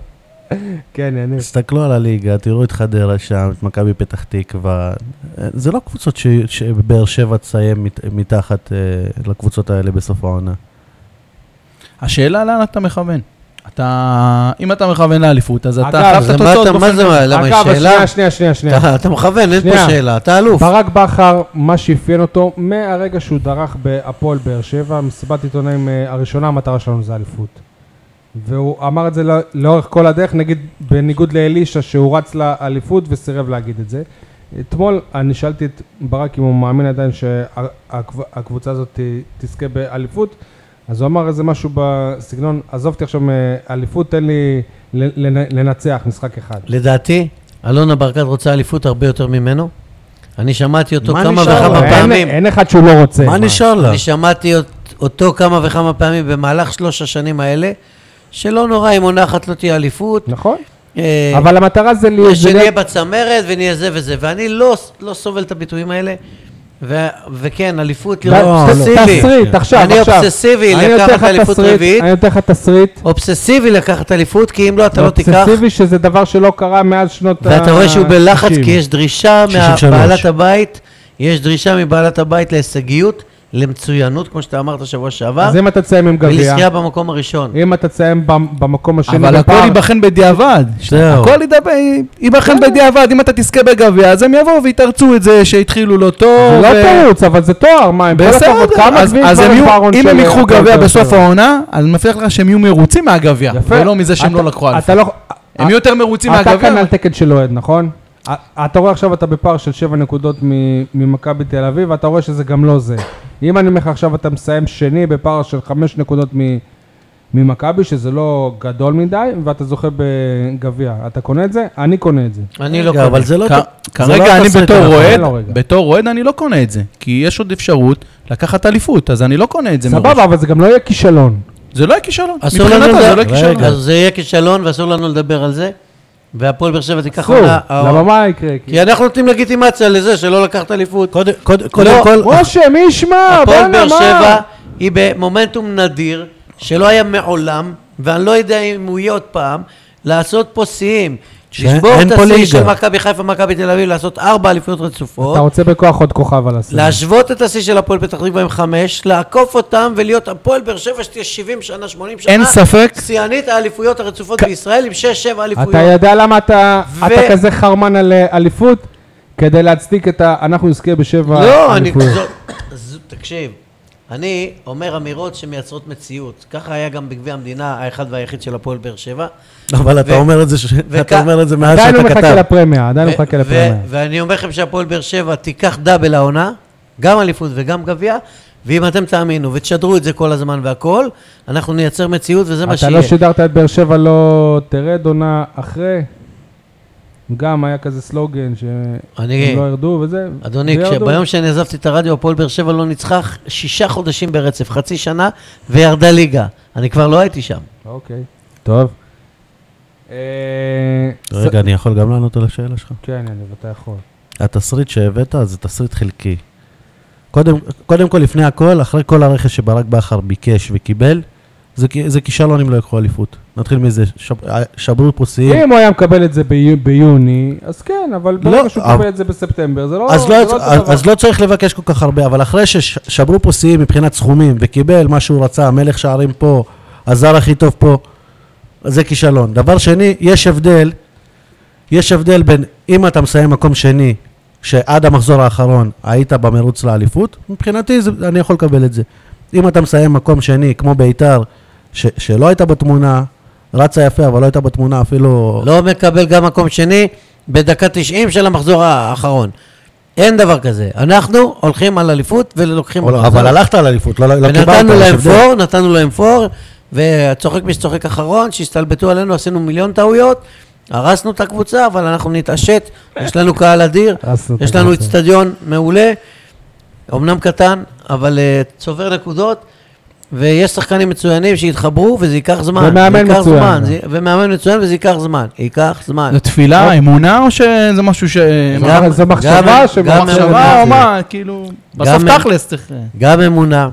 Speaker 1: כן, יניב.
Speaker 3: תסתכלו על הליגה, תראו את חדרה שם, את מכבי פתח תקווה. אה, זה לא קבוצות ש- שבאר שבע תסיים מת- מתחת אה, לקבוצות האלה בסוף העונה.
Speaker 5: השאלה לאן אתה מכוון. אתה, אם אתה מכוון לאליפות, אז אתה
Speaker 1: אגב,
Speaker 5: חייב את
Speaker 4: זה מה
Speaker 5: התוצאות.
Speaker 4: אתה, מה
Speaker 5: באופן-
Speaker 4: זה, מה, למה יש
Speaker 1: אגב,
Speaker 4: שאלה?
Speaker 1: שנייה, שנייה, שנייה, שנייה.
Speaker 4: אתה- אתה מכוון, אין פה
Speaker 1: שנייה.
Speaker 4: שאלה, אתה אלוף.
Speaker 1: ברק בכר, מה שאפיין אותו מהרגע שהוא דרך בהפועל באר שבע, מסיבת עיתונאים אה, הראשונה, המטרה שלנו זה אליפות. והוא אמר את זה לא- לאורך כל הדרך, נגיד בניגוד לאלישע שהוא רץ לאליפות וסירב להגיד את זה. אתמול אני שאלתי את ברק אם הוא מאמין עדיין שהקבוצה הזאת ת- תזכה באליפות, אז הוא אמר איזה משהו בסגנון, עזוב אותי עכשיו מאליפות, תן לי ל- לנ- לנצח משחק אחד.
Speaker 4: לדעתי, אלונה ברקת רוצה אליפות הרבה יותר ממנו. אני שמעתי אותו
Speaker 3: מה
Speaker 4: כמה
Speaker 3: נשאר לה?
Speaker 4: וכמה
Speaker 1: אין-
Speaker 4: פעמים.
Speaker 1: אין אחד שהוא לא רוצה.
Speaker 3: מה נשאר לה?
Speaker 4: אני שמעתי אות- אותו כמה וכמה פעמים במהלך שלוש השנים האלה, שלא נורא אם עונה אחת לא תהיה אליפות.
Speaker 1: נכון.
Speaker 4: אה,
Speaker 1: אבל המטרה זה להיות... זה
Speaker 4: שנהיה
Speaker 1: להיות-
Speaker 4: בצמרת ונהיה זה וזה, ואני לא, לא סובל את הביטויים האלה, ו, וכן, אליפות
Speaker 1: די,
Speaker 3: לא,
Speaker 4: לראות אובססיבי,
Speaker 1: תסריט, עכשיו,
Speaker 4: לא, אני
Speaker 1: עכשיו.
Speaker 4: אובססיבי
Speaker 1: אני נותן
Speaker 4: לקחת
Speaker 1: לך
Speaker 4: אליפות
Speaker 1: תסריט,
Speaker 4: רביעית,
Speaker 1: אני נותן לך תסריט.
Speaker 4: אובססיבי לקחת אליפות, כי אם לא אתה לא תיקח,
Speaker 1: אובססיבי שזה דבר שלא קרה מאז שנות ה...
Speaker 4: ואתה רואה שהוא בלחץ,
Speaker 1: 60.
Speaker 4: כי יש דרישה
Speaker 3: 63.
Speaker 4: מבעלת הבית, יש דרישה מבעלת הבית להישגיות, למצוינות, כמו שאתה אמרת שבוע שעבר,
Speaker 1: אז אם אתה תסיים עם גביע,
Speaker 4: ולזכייה במקום הראשון.
Speaker 1: אם אתה תסיים במ- במקום השני,
Speaker 5: אבל הכל
Speaker 1: בפער-
Speaker 5: ייבחן בדיעבד.
Speaker 3: זהו.
Speaker 5: הכל ידבר- ייבחן בדיעבד. אם אתה תזכה בגביע, אז הם יבואו ויתרצו את זה שהתחילו לא טוב.
Speaker 1: זה
Speaker 5: ו-
Speaker 1: לא תירוץ, אבל זה תואר, מה, עם כל
Speaker 5: בסדר,
Speaker 1: הכבוד, כמה
Speaker 5: אז-
Speaker 1: גביעים
Speaker 5: אז
Speaker 1: כבר
Speaker 5: הם
Speaker 1: יש
Speaker 5: יהיו-
Speaker 1: בארון
Speaker 5: אם
Speaker 1: של
Speaker 5: הם ייקחו
Speaker 1: הפועל
Speaker 5: גביע
Speaker 1: באר
Speaker 5: בסוף
Speaker 1: שבע?
Speaker 5: העונה, אז אני מבטיח לך שהם יהיו מרוצים מהגביע,
Speaker 1: יפה.
Speaker 5: ולא מזה שהם
Speaker 1: אתה-
Speaker 5: לא לקחו אליפות.
Speaker 1: אתה לא...
Speaker 5: הם יהיו יותר מרוצים מהגביע.
Speaker 1: אתה כאן על תקן של אוהד, נכון? א- אתה רואה עכשיו אתה בפער של 7 נקודות מ- ממכבי תל אביב, ואתה רואה שזה גם לא זה. אם אני אומר לך עכשיו אתה מסיים שני בפער של 5 נקודות מ- ממכבי, שזה לא גדול מדי, ואתה זוכה בגביע. אתה קונה את זה? אני קונה את זה.
Speaker 4: אני לא
Speaker 3: רגע,
Speaker 4: קונה.
Speaker 3: אבל זה לא...
Speaker 5: כ-
Speaker 3: זה לא
Speaker 5: כרגע אני
Speaker 3: התסריט
Speaker 5: בתור
Speaker 3: הנכון.
Speaker 5: אוהד,
Speaker 1: אין לו לא, רגע.
Speaker 5: בתור אוהד אני לא קונה את זה, כי יש עוד אפשרות לקחת אליפות, אז אני לא קונה את זה מראש.
Speaker 1: סבבה, אבל זה גם לא יהיה כישלון.
Speaker 5: זה לא יהיה כישלון.
Speaker 4: אסור
Speaker 5: מבחינתו
Speaker 4: לנו
Speaker 5: זה
Speaker 4: לדבר-
Speaker 5: לא יהיה כישלון.
Speaker 3: רגע.
Speaker 4: אז זה יהיה כישלון ואסור לנו לדבר על זה. והפועל באר שבע תיקח
Speaker 1: אסור.
Speaker 4: עונה...
Speaker 1: למה מה יקרה? כי-
Speaker 4: כי אנחנו נותנים לגיטימציה לזה שלא לקחת אליפות.
Speaker 3: קודם- קודם קודם כל...
Speaker 1: לא,
Speaker 3: *laughs*
Speaker 1: משה, מי ישמע?
Speaker 4: הפועל
Speaker 1: אה, בואנה,
Speaker 4: באר שבע
Speaker 1: מה?
Speaker 4: היא במומנטום נדיר, שלא היה מעולם, ואני לא יודע אם הוא יהיה עוד פעם, לעשות פה שיאים.
Speaker 3: שאין-
Speaker 4: לשבור את
Speaker 3: אין פה
Speaker 4: השיא
Speaker 3: ליגה.
Speaker 4: של מכבי חיפה, מכבי תל אביב, לעשות ארבע אליפויות רצופות.
Speaker 1: אתה רוצה בכוח עוד כוכב על הסרט.
Speaker 4: להשוות את השיא של הפועל פתח תקווה עם חמש, לעקוף אותם ולהיות הפועל באר שבע שתהיה 70 שנה, 80 שנה.
Speaker 5: אין ספק.
Speaker 4: שיאנית האליפויות הרצופות בישראל עם 6-7 אליפויות.
Speaker 1: אתה יודע למה אתה
Speaker 4: ו-
Speaker 1: אתה כזה חרמן על אה, אליפות? כדי להצדיק את ה... אנחנו נזכה בשבע
Speaker 4: לא, אני...
Speaker 1: אליפויות.
Speaker 4: זו- זו- תקשיב, אני אומר אמירות שמייצרות מציאות. ככה היה גם בגביע המדינה האחד והיחיד של הפועל באר שבע.
Speaker 3: אבל אתה
Speaker 4: ו-
Speaker 3: אומר את זה ש-
Speaker 4: וכ-
Speaker 3: אתה אומר את זה מאז
Speaker 1: עדיין הוא
Speaker 3: שאתה
Speaker 1: מחכה
Speaker 3: כתב.
Speaker 1: לפרמיה, עדיין הוא
Speaker 4: ו-
Speaker 1: מחכה
Speaker 4: ו-
Speaker 1: לפרמיה.
Speaker 4: ואני אומר לכם שהפועל באר שבע תיקח דאבל העונה, גם אליפות וגם גביע, ואם אתם תאמינו ותשדרו את זה כל הזמן והכל, אנחנו נייצר מציאות וזה מה
Speaker 1: אתה
Speaker 4: שיהיה.
Speaker 1: לא שידרת את באר שבע לא תרד עונה אחרי? גם היה כזה סלוגן
Speaker 4: אני-
Speaker 1: שהם לא ירדו וזה.
Speaker 4: כן. אדוני,
Speaker 1: וירדו.
Speaker 4: כש- ביום שאני עזבתי את הרדיו, הפועל באר שבע לא ניצחה ח- שישה חודשים ברצף, חצי שנה, וירדה ליגה. אני כבר לא הייתי שם.
Speaker 1: אוקיי, טוב. אה, זה-
Speaker 3: רגע, אני יכול גם לענות על השאלה שלך?
Speaker 1: כן, יניב, אתה יכול.
Speaker 3: התסריט שהבאת זה תסריט חלקי. קודם, קודם כל, לפני הכל, אחרי כל הרכש שברק בכר ביקש וקיבל, זה, כ- זה כישלון אם לא יקחו אליפות. נתחיל מזה, שב, אה, שברו פה שיאים.
Speaker 1: אם הוא היה מקבל את זה ביו- ביוני, אז כן, אבל ברגע
Speaker 3: אה. לא,
Speaker 1: שהוא
Speaker 3: אבל-
Speaker 1: מקבל את זה בספטמבר, זה לא...
Speaker 3: אז,
Speaker 1: זה
Speaker 3: לא,
Speaker 1: אותו
Speaker 3: אז,
Speaker 1: דבר.
Speaker 3: אז לא צריך לבקש כל כך הרבה, אבל אחרי ששברו פה שיאים מבחינת סכומים וקיבל מה שהוא רצה, המלך שערים פה, הזר הכי טוב פה, זה כישלון. דבר שני, יש הבדל, יש הבדל בין אם אתה מסיים מקום שני, שעד המחזור האחרון היית במרוץ לאליפות, מבחינתי זה, אני יכול לקבל את זה. אם אתה מסיים מקום שני, כמו ביתר, ש, שלא הייתה בתמונה, רצה יפה, אבל לא הייתה בתמונה אפילו...
Speaker 4: לא מקבל גם מקום שני בדקה 90 של המחזור האחרון. אין דבר כזה. אנחנו הולכים על אליפות ולוקחים...
Speaker 3: אבל-
Speaker 4: במחזור.
Speaker 3: אבל הלכת על אליפות, לא, לא קיבלת.
Speaker 4: ונתנו
Speaker 3: יש
Speaker 4: להם
Speaker 3: הבדל.
Speaker 4: פור, נתנו להם פור, והצוחק מי שצוחק אחרון, שהסתלבטו עלינו, עשינו מיליון טעויות, הרסנו את הקבוצה, אבל אנחנו נתעשת, יש לנו קהל אדיר,
Speaker 1: הרסנו את
Speaker 4: יש לנו
Speaker 1: הקבוצה.
Speaker 4: איצטדיון מעולה, אמנם קטן, אבל אה, צובר נקודות, ויש שחקנים מצוינים שיתחברו, וזה ייקח זמן.
Speaker 1: ומאמן
Speaker 4: זה ייקח
Speaker 1: מצוין. לא
Speaker 4: זמן, זה- ומאמן מצוין, וזה ייקח זמן. ייקח זמן.
Speaker 5: זו תפילה, אמונה, או שזה משהו ש...
Speaker 4: גם-
Speaker 1: זו מחשבה
Speaker 4: גם-
Speaker 1: שהם-
Speaker 4: גם
Speaker 5: מחשבה
Speaker 4: אמונה.
Speaker 5: או מה, כאילו... בסוף
Speaker 4: גם-
Speaker 5: תכלס צריך...
Speaker 4: גם אמונה.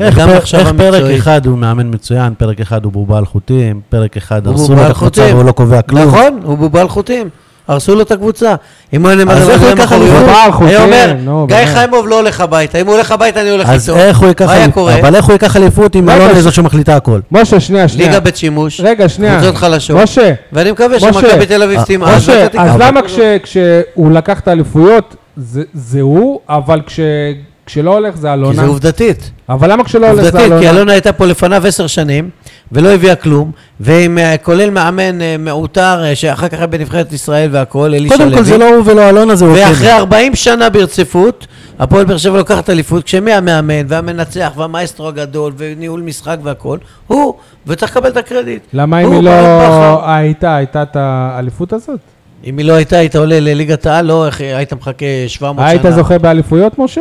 Speaker 3: איך,
Speaker 4: וגם
Speaker 3: פר,
Speaker 4: מחשבה
Speaker 3: איך פרק
Speaker 4: מקצועית.
Speaker 3: אחד הוא מאמן מצוין, פרק אחד הוא בובה על חוטים, פרק אחד
Speaker 4: הוא
Speaker 3: הרסו
Speaker 4: בובה
Speaker 3: לו את
Speaker 4: על
Speaker 3: הקבוצה
Speaker 4: חוטים.
Speaker 3: והוא לא קובע כלום.
Speaker 4: נכון, הוא בובה על חוטים. הרסו לו את הקבוצה. אם הוא היה
Speaker 3: אז
Speaker 4: למעלה
Speaker 3: איך הוא
Speaker 4: רגליים
Speaker 3: ייקח
Speaker 4: אחוריות,
Speaker 1: אליפות? בובה על חוטים,
Speaker 4: היה אומר,
Speaker 1: נו,
Speaker 4: גיא
Speaker 1: באמת.
Speaker 4: חיימוב לא הולך הביתה. אם הוא הולך הביתה, אני הולך
Speaker 3: אז
Speaker 4: איתו.
Speaker 3: איך הוא ייקח
Speaker 4: מה היה
Speaker 3: אליפות?
Speaker 4: קורה?
Speaker 3: אבל איך הוא ייקח אליפות אם
Speaker 1: לא,
Speaker 3: אלונה
Speaker 1: אבל-
Speaker 3: היא זו שמחליטה הכל?
Speaker 1: משה, שנייה, שנייה.
Speaker 4: ליגה בית שימוש,
Speaker 1: רגע, שנייה.
Speaker 4: קבוצות חלשות. לא
Speaker 1: משה,
Speaker 4: ואני מקווה
Speaker 1: משה, אה,
Speaker 4: שמכבי תל אביב תימא.
Speaker 1: משה, אז למה כש- כשהוא לקח את האליפויות, זה- זה הוא, אבל כש- כשלא הולך זה
Speaker 4: כי
Speaker 1: אלונה.
Speaker 4: זה עובדתית.
Speaker 1: אבל למה כשלא הולך זה
Speaker 4: עובדתית, כן, כי
Speaker 1: אלונה?
Speaker 4: אלונה הייתה פה לפניו עשר שנים, ולא הביאה כלום, ועם, אה, כולל מאמן אה, מעוטר, אה, שאחר כך היה בנבחרת ישראל והכול, אלישע לוי.
Speaker 3: קודם כל זה לא הוא ולא אלונה, זה
Speaker 4: ואחרי
Speaker 3: אוקיי.
Speaker 4: 40 שנה ברציפות, הפועל באר שבע לוקחת אליפות, כשמי המאמן והמנצח והמאסטרו הגדול וניהול משחק והכל? הוא, וצריך לקבל את הקרדיט.
Speaker 1: למה אם
Speaker 4: הוא
Speaker 1: היא לא
Speaker 4: ברק בכר.
Speaker 1: הייתה, הייתה את האליפות הזאת?
Speaker 4: אם היא לא הייתה, היית עולה לליגת העל, לא, איך- היית מחכה 700 שנה.
Speaker 1: היית זוכה באליפות, משה?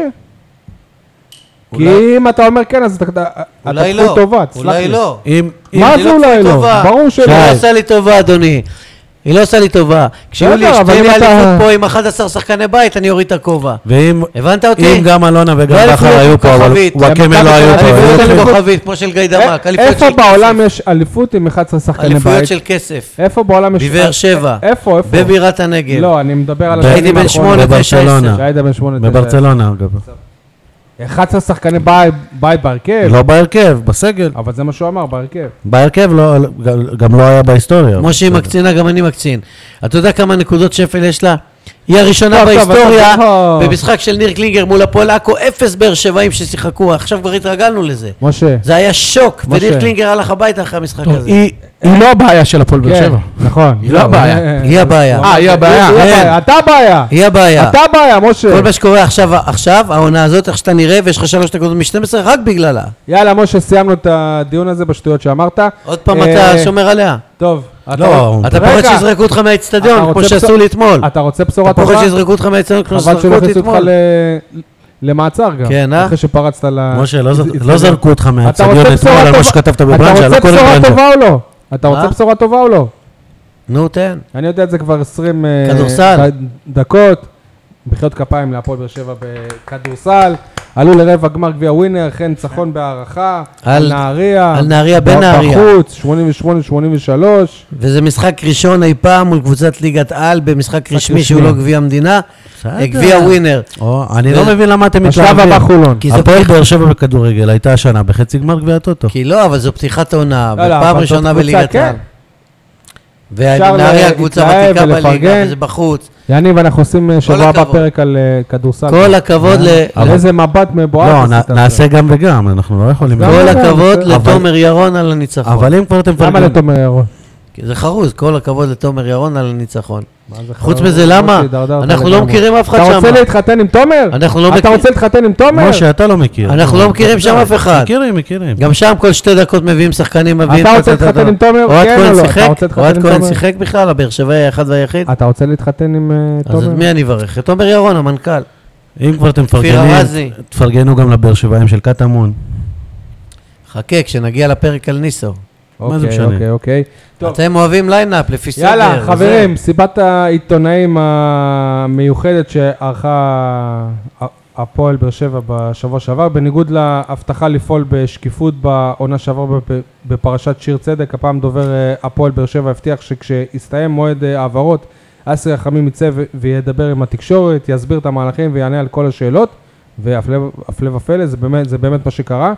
Speaker 1: כי
Speaker 4: אולי-
Speaker 1: אם אתה אומר כן, אז אתה- אתה
Speaker 4: אולי
Speaker 1: כפוי
Speaker 4: לא,
Speaker 1: טובה, תסלח לי.
Speaker 4: אולי לא.
Speaker 3: אוקיי. אם... אם-
Speaker 1: מה
Speaker 4: היא
Speaker 1: זה
Speaker 4: לא
Speaker 1: אולי
Speaker 4: כפוי
Speaker 1: לא?
Speaker 4: טובה.
Speaker 1: ברור שלא.
Speaker 4: היא לא עושה לי טובה, אדוני. היא לא עושה לי טובה. כשיהיו לי
Speaker 1: בסדר,
Speaker 4: שתי
Speaker 1: אבל אם אתה-
Speaker 4: אליפות פה עם 11 שחקני בית, אני אוריד את הכובע.
Speaker 3: ואם...
Speaker 4: הבנת אותי?
Speaker 3: אם גם אלונה
Speaker 4: לא
Speaker 3: וגם בכר
Speaker 4: אליפות,
Speaker 3: היו פה, אבל
Speaker 4: כוכבית.
Speaker 3: וואקמה לא היו פה.
Speaker 4: אליפויות
Speaker 3: היו-
Speaker 4: של
Speaker 1: אליפות-
Speaker 4: כוכבית, כמו של גיא דמק.
Speaker 1: א-
Speaker 4: אליפויות
Speaker 1: אה, איפה
Speaker 4: של
Speaker 1: בעולם יש אליפות עם 11 שחקני
Speaker 4: אליפויות
Speaker 1: בית?
Speaker 4: של כסף.
Speaker 1: איפה בעולם יש... אה,
Speaker 4: בבאר שבע.
Speaker 1: איפה, איפה?
Speaker 4: בבירת הנגב.
Speaker 1: לא, אני מדבר על...
Speaker 3: הייתי
Speaker 1: השנים
Speaker 4: בן
Speaker 1: האחרונות.
Speaker 4: שמונה, תשע,
Speaker 3: בברצלונה.
Speaker 1: שהיית בן שמונה, תשע.
Speaker 3: לא. בברצלונה, אגב.
Speaker 1: 11 שחקני בית בית בהרכב,
Speaker 3: לא בהרכב, בסגל.
Speaker 1: אבל זה מה שהוא אמר, בהרכב.
Speaker 3: בהרכב לא- גם- גם לא היה בהיסטוריה.
Speaker 4: כמו שהיא מקצינה, גם אני מקצין. אתה יודע כמה נקודות שפל יש לה? היא הראשונה
Speaker 1: טוב, טוב,
Speaker 4: בהיסטוריה,
Speaker 1: אתה לא-
Speaker 4: במשחק של ניר קלינגר מול הפועל עכו, אפס באר שבעים ששיחקו, עכשיו כבר התרגלנו לזה.
Speaker 1: משה.
Speaker 4: זה היה שוק,
Speaker 1: משה.
Speaker 4: וניר קלינגר הלך הביתה אחרי המשחק הזה.
Speaker 6: היא היא לא הבעיה של הפועל באר
Speaker 1: כן,
Speaker 6: שבע.
Speaker 1: נכון.
Speaker 6: היא לא הבעיה.
Speaker 1: אה,
Speaker 4: היא הבעיה.
Speaker 6: אה, היא הבעיה.
Speaker 1: היא הבעיה. אתה הבעיה.
Speaker 4: היא הבעיה.
Speaker 1: אתה הבעיה, משה.
Speaker 4: כל מה שקורה עכשיו, עכשיו, העונה הזאת, איך שאתה נראה, ויש לך שלוש נקודות מ-12, רק בגללה.
Speaker 1: יאללה, משה, סיימנו את הדיון הזה בשטויות שאמרת.
Speaker 4: עוד פעם
Speaker 1: אה,
Speaker 4: אתה שומר עליה.
Speaker 1: טוב. אתה-
Speaker 3: לא,
Speaker 4: אתה
Speaker 1: רגע.
Speaker 4: פוחד שיזרקו אותך
Speaker 1: אתה
Speaker 4: מהאיצטדיון,
Speaker 1: רוצה
Speaker 4: כמו
Speaker 1: בשורה-
Speaker 4: שעשו לי אתמול.
Speaker 1: אתה רוצה בשורה
Speaker 4: אתה
Speaker 1: טובה?
Speaker 4: פוחד שיזרקו אותך מהאיצטדיון, כמו
Speaker 1: חבל לא
Speaker 4: שזרקו
Speaker 1: שלא
Speaker 4: אותי
Speaker 1: הכניסו אותך
Speaker 4: אתמול.
Speaker 1: ל- למעצר גם.
Speaker 4: כן, אה?
Speaker 1: אחרי שפרצת ל...
Speaker 3: משה, לא זר-
Speaker 1: הצטדיון.
Speaker 3: לא זרקו אותך
Speaker 1: אה, אתה רוצה
Speaker 3: מהצדיון אתמול
Speaker 1: בשורה
Speaker 3: על
Speaker 1: טובה?
Speaker 3: מה שכתבת
Speaker 1: אתה
Speaker 3: בברנז'ה, לא
Speaker 1: רוצה
Speaker 3: כולל
Speaker 1: בשורה
Speaker 3: ברנז'ה.
Speaker 1: טובה או לא? אתה
Speaker 4: מה?
Speaker 1: רוצה בשורה טובה או לא?
Speaker 4: נו, תן.
Speaker 1: אני יודע את זה כבר 20 אה,
Speaker 4: כדורסל.
Speaker 1: ד- דקות. מחיאות כפיים להפועל באר שבע בכדורסל. עלו לרבע גמר גביע ווינר, חן ניצחון בהערכה.
Speaker 4: על-
Speaker 1: על נהריה.
Speaker 4: על נהריה, בנהריה.
Speaker 1: בחוץ, 88-83.
Speaker 4: וזה משחק ראשון אי פעם מול קבוצת ליגת על במשחק רשמי
Speaker 1: רשמי.
Speaker 4: שהוא לא גביע המדינה,
Speaker 3: בסדר.
Speaker 4: גביע ווינר.
Speaker 3: או, אני
Speaker 4: ו-
Speaker 3: לא מבין למה אתם מתלהבים.
Speaker 1: השלב הבא חולון.
Speaker 4: כי זו
Speaker 3: הפועל
Speaker 4: פתיחה-
Speaker 3: באר שבע בכדורגל הייתה השנה בחצי גמר גביע הטוטו.
Speaker 4: כי לא, אבל זו פתיחת עונה,
Speaker 1: לא, לא,
Speaker 4: ופעם
Speaker 1: אבל זאת
Speaker 4: ראשונה
Speaker 1: קבוצה,
Speaker 4: בליגת
Speaker 1: כן.
Speaker 4: על.
Speaker 1: אפשר
Speaker 4: ונהריה
Speaker 1: לה-
Speaker 4: קבוצה
Speaker 1: להתלהב
Speaker 4: ותיקה בליגה,
Speaker 1: ולפרגן. לא,
Speaker 4: וזה בחוץ.
Speaker 1: יניב, אנחנו עושים אה, שבוע הבא
Speaker 4: הכבוד.
Speaker 1: פרק על אה, כדורסל. אה?
Speaker 4: כל הכבוד ל...
Speaker 1: על איזה מבט
Speaker 3: לא,
Speaker 1: מבוהל.
Speaker 3: נ-
Speaker 1: עשית את
Speaker 3: נעשה גם וגם, אנחנו לא יכולים...
Speaker 1: גם
Speaker 4: כל
Speaker 1: אבל-
Speaker 4: הכבוד
Speaker 1: אבל-
Speaker 4: לתומר ירון על הניצחון.
Speaker 3: אבל אם כבר אתם
Speaker 1: זה. לא? למה
Speaker 3: מפרגנים-
Speaker 1: לתומר ירון?
Speaker 4: כי זה חרוז, כל הכבוד לתומר ירון על הניצחון.
Speaker 1: מה זה
Speaker 4: חוץ
Speaker 1: חרא?
Speaker 4: מזה, למה?
Speaker 1: הידרדרת
Speaker 4: אנחנו לא
Speaker 1: לגמרי.
Speaker 4: מכירים אף אחד
Speaker 1: אתה רוצה
Speaker 4: שם.
Speaker 1: להתחתן עם תומר?
Speaker 4: אנחנו לא
Speaker 1: אתה
Speaker 4: מכיר-
Speaker 1: רוצה להתחתן עם תומר?
Speaker 3: משה, אתה לא מכיר. אה,
Speaker 4: אנחנו לא מכירים שם אף אחד.
Speaker 3: מכירים, מכירים.
Speaker 4: גם שם כל שתי דקות מביאים שחקנים, מביאים...
Speaker 1: אתה רוצה
Speaker 4: טה, טה, טה,
Speaker 1: להתחתן
Speaker 4: טה.
Speaker 1: עם תומר?
Speaker 4: אוהד
Speaker 1: כן או
Speaker 4: כהן
Speaker 1: לא? אתה
Speaker 4: שיחק?
Speaker 1: רוצה להתחתן
Speaker 4: אוהד
Speaker 1: עם
Speaker 4: כהן
Speaker 1: תומר?
Speaker 4: שיחק בכלל, הבאר שבעי האחד והיחיד.
Speaker 1: אתה רוצה להתחתן עם אה,
Speaker 4: אז את
Speaker 1: תומר?
Speaker 4: מי אני אברך? את תומר ירון, המנכ"ל.
Speaker 3: אם כבר אתם
Speaker 4: כפיר
Speaker 3: מפרגנים,
Speaker 4: ארזי.
Speaker 3: תפרגנו גם לבאר שבעים של קטמון.
Speaker 4: חכה, כשנגיע לפרק על ניסו.
Speaker 3: מה זה
Speaker 1: אוקיי,
Speaker 3: משנה?
Speaker 1: אוקיי, אוקיי. טוב.
Speaker 4: אתם אוהבים ליינאפ לפי סדר.
Speaker 1: יאללה,
Speaker 4: וזה.
Speaker 1: חברים, סיבת העיתונאים המיוחדת שערכה הפועל באר שבע בשבוע שעבר, בניגוד להבטחה לפעול בשקיפות בעונה שעברה בפ- בפרשת שיר צדק, הפעם דובר אה, הפועל באר שבע הבטיח שכשיסתיים מועד אה, ההעברות, אסי רחמים יצא ו- וידבר עם התקשורת, יסביר את המהלכים ויענה על כל השאלות, והפלא ופלא, זה באמת, זה באמת מה שקרה.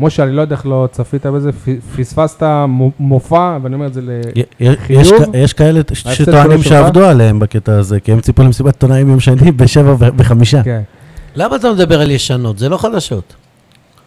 Speaker 1: משה, אני לא יודע איך לא צפית בזה, פ- פספסת מו- מופע, ואני אומר את זה ל...
Speaker 3: י- י- יש
Speaker 1: חיוב?
Speaker 3: כ- יש כאלה ש-
Speaker 1: ההפסד
Speaker 3: שטוענים
Speaker 1: כולו שלך?
Speaker 3: שעבדו עליהם בקטע הזה, כי הם ציפו למסיבת עיתונאים יום שני בשבע ו- וחמישה.
Speaker 1: כן.
Speaker 4: למה אתה מדבר על ישנות? זה לא חדשות.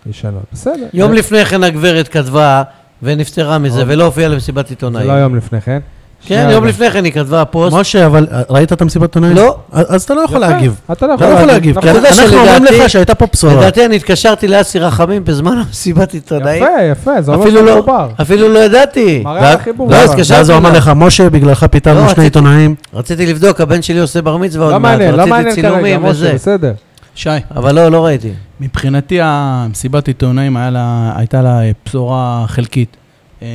Speaker 1: אה. ישנות. בסדר. אה,
Speaker 4: יום לפני כן הגברת כתבה ונפטרה מזה ולא הופיעה למסיבת
Speaker 1: זה לא
Speaker 4: עיתונאים.
Speaker 1: יום לפני כן.
Speaker 4: כן, יום לפני כן היא כתבה פוסט.
Speaker 3: משה, אבל אה, ראית את המסיבת עיתונאים?
Speaker 4: לא. אה,
Speaker 3: אז אז אתה לא יכול להגיב.
Speaker 1: אתה
Speaker 3: אתה לא יכול להגיב, כי
Speaker 1: נכון.
Speaker 4: אתה יודע
Speaker 3: אנחנו אומרים
Speaker 4: שלדעתי-
Speaker 3: לך שהייתה פה בשורה.
Speaker 4: אה, לדעתי אני התקשרתי לאסי רחמים בזמן המסיבת עיתונאים.
Speaker 1: יפה, יפה, זה אומר
Speaker 4: אפילו
Speaker 1: שזה
Speaker 4: לא,
Speaker 1: מחובר.
Speaker 4: אפילו לא ידעתי.
Speaker 1: מראה על החיבור.
Speaker 4: לא, אז
Speaker 1: אבל.
Speaker 4: קשה.
Speaker 3: ואז הוא אמר לך, משה, בגללך
Speaker 4: לא,
Speaker 3: פיטרנו שני
Speaker 4: רציתי-
Speaker 3: עיתונאים.
Speaker 4: רציתי לבדוק, הבן שלי עושה בר מצווה
Speaker 1: לא
Speaker 4: עוד מעט,
Speaker 1: מעניין, לא
Speaker 4: רציתי
Speaker 1: מעניין כרגע,
Speaker 4: צילומים
Speaker 1: משה,
Speaker 4: וזה.
Speaker 1: בסדר.
Speaker 5: שי,
Speaker 4: אבל לא, לא ראיתי.
Speaker 5: מבחינתי המסיבת עיתונאים היה לה, הייתה לה אה, בשורה חלקית. אה,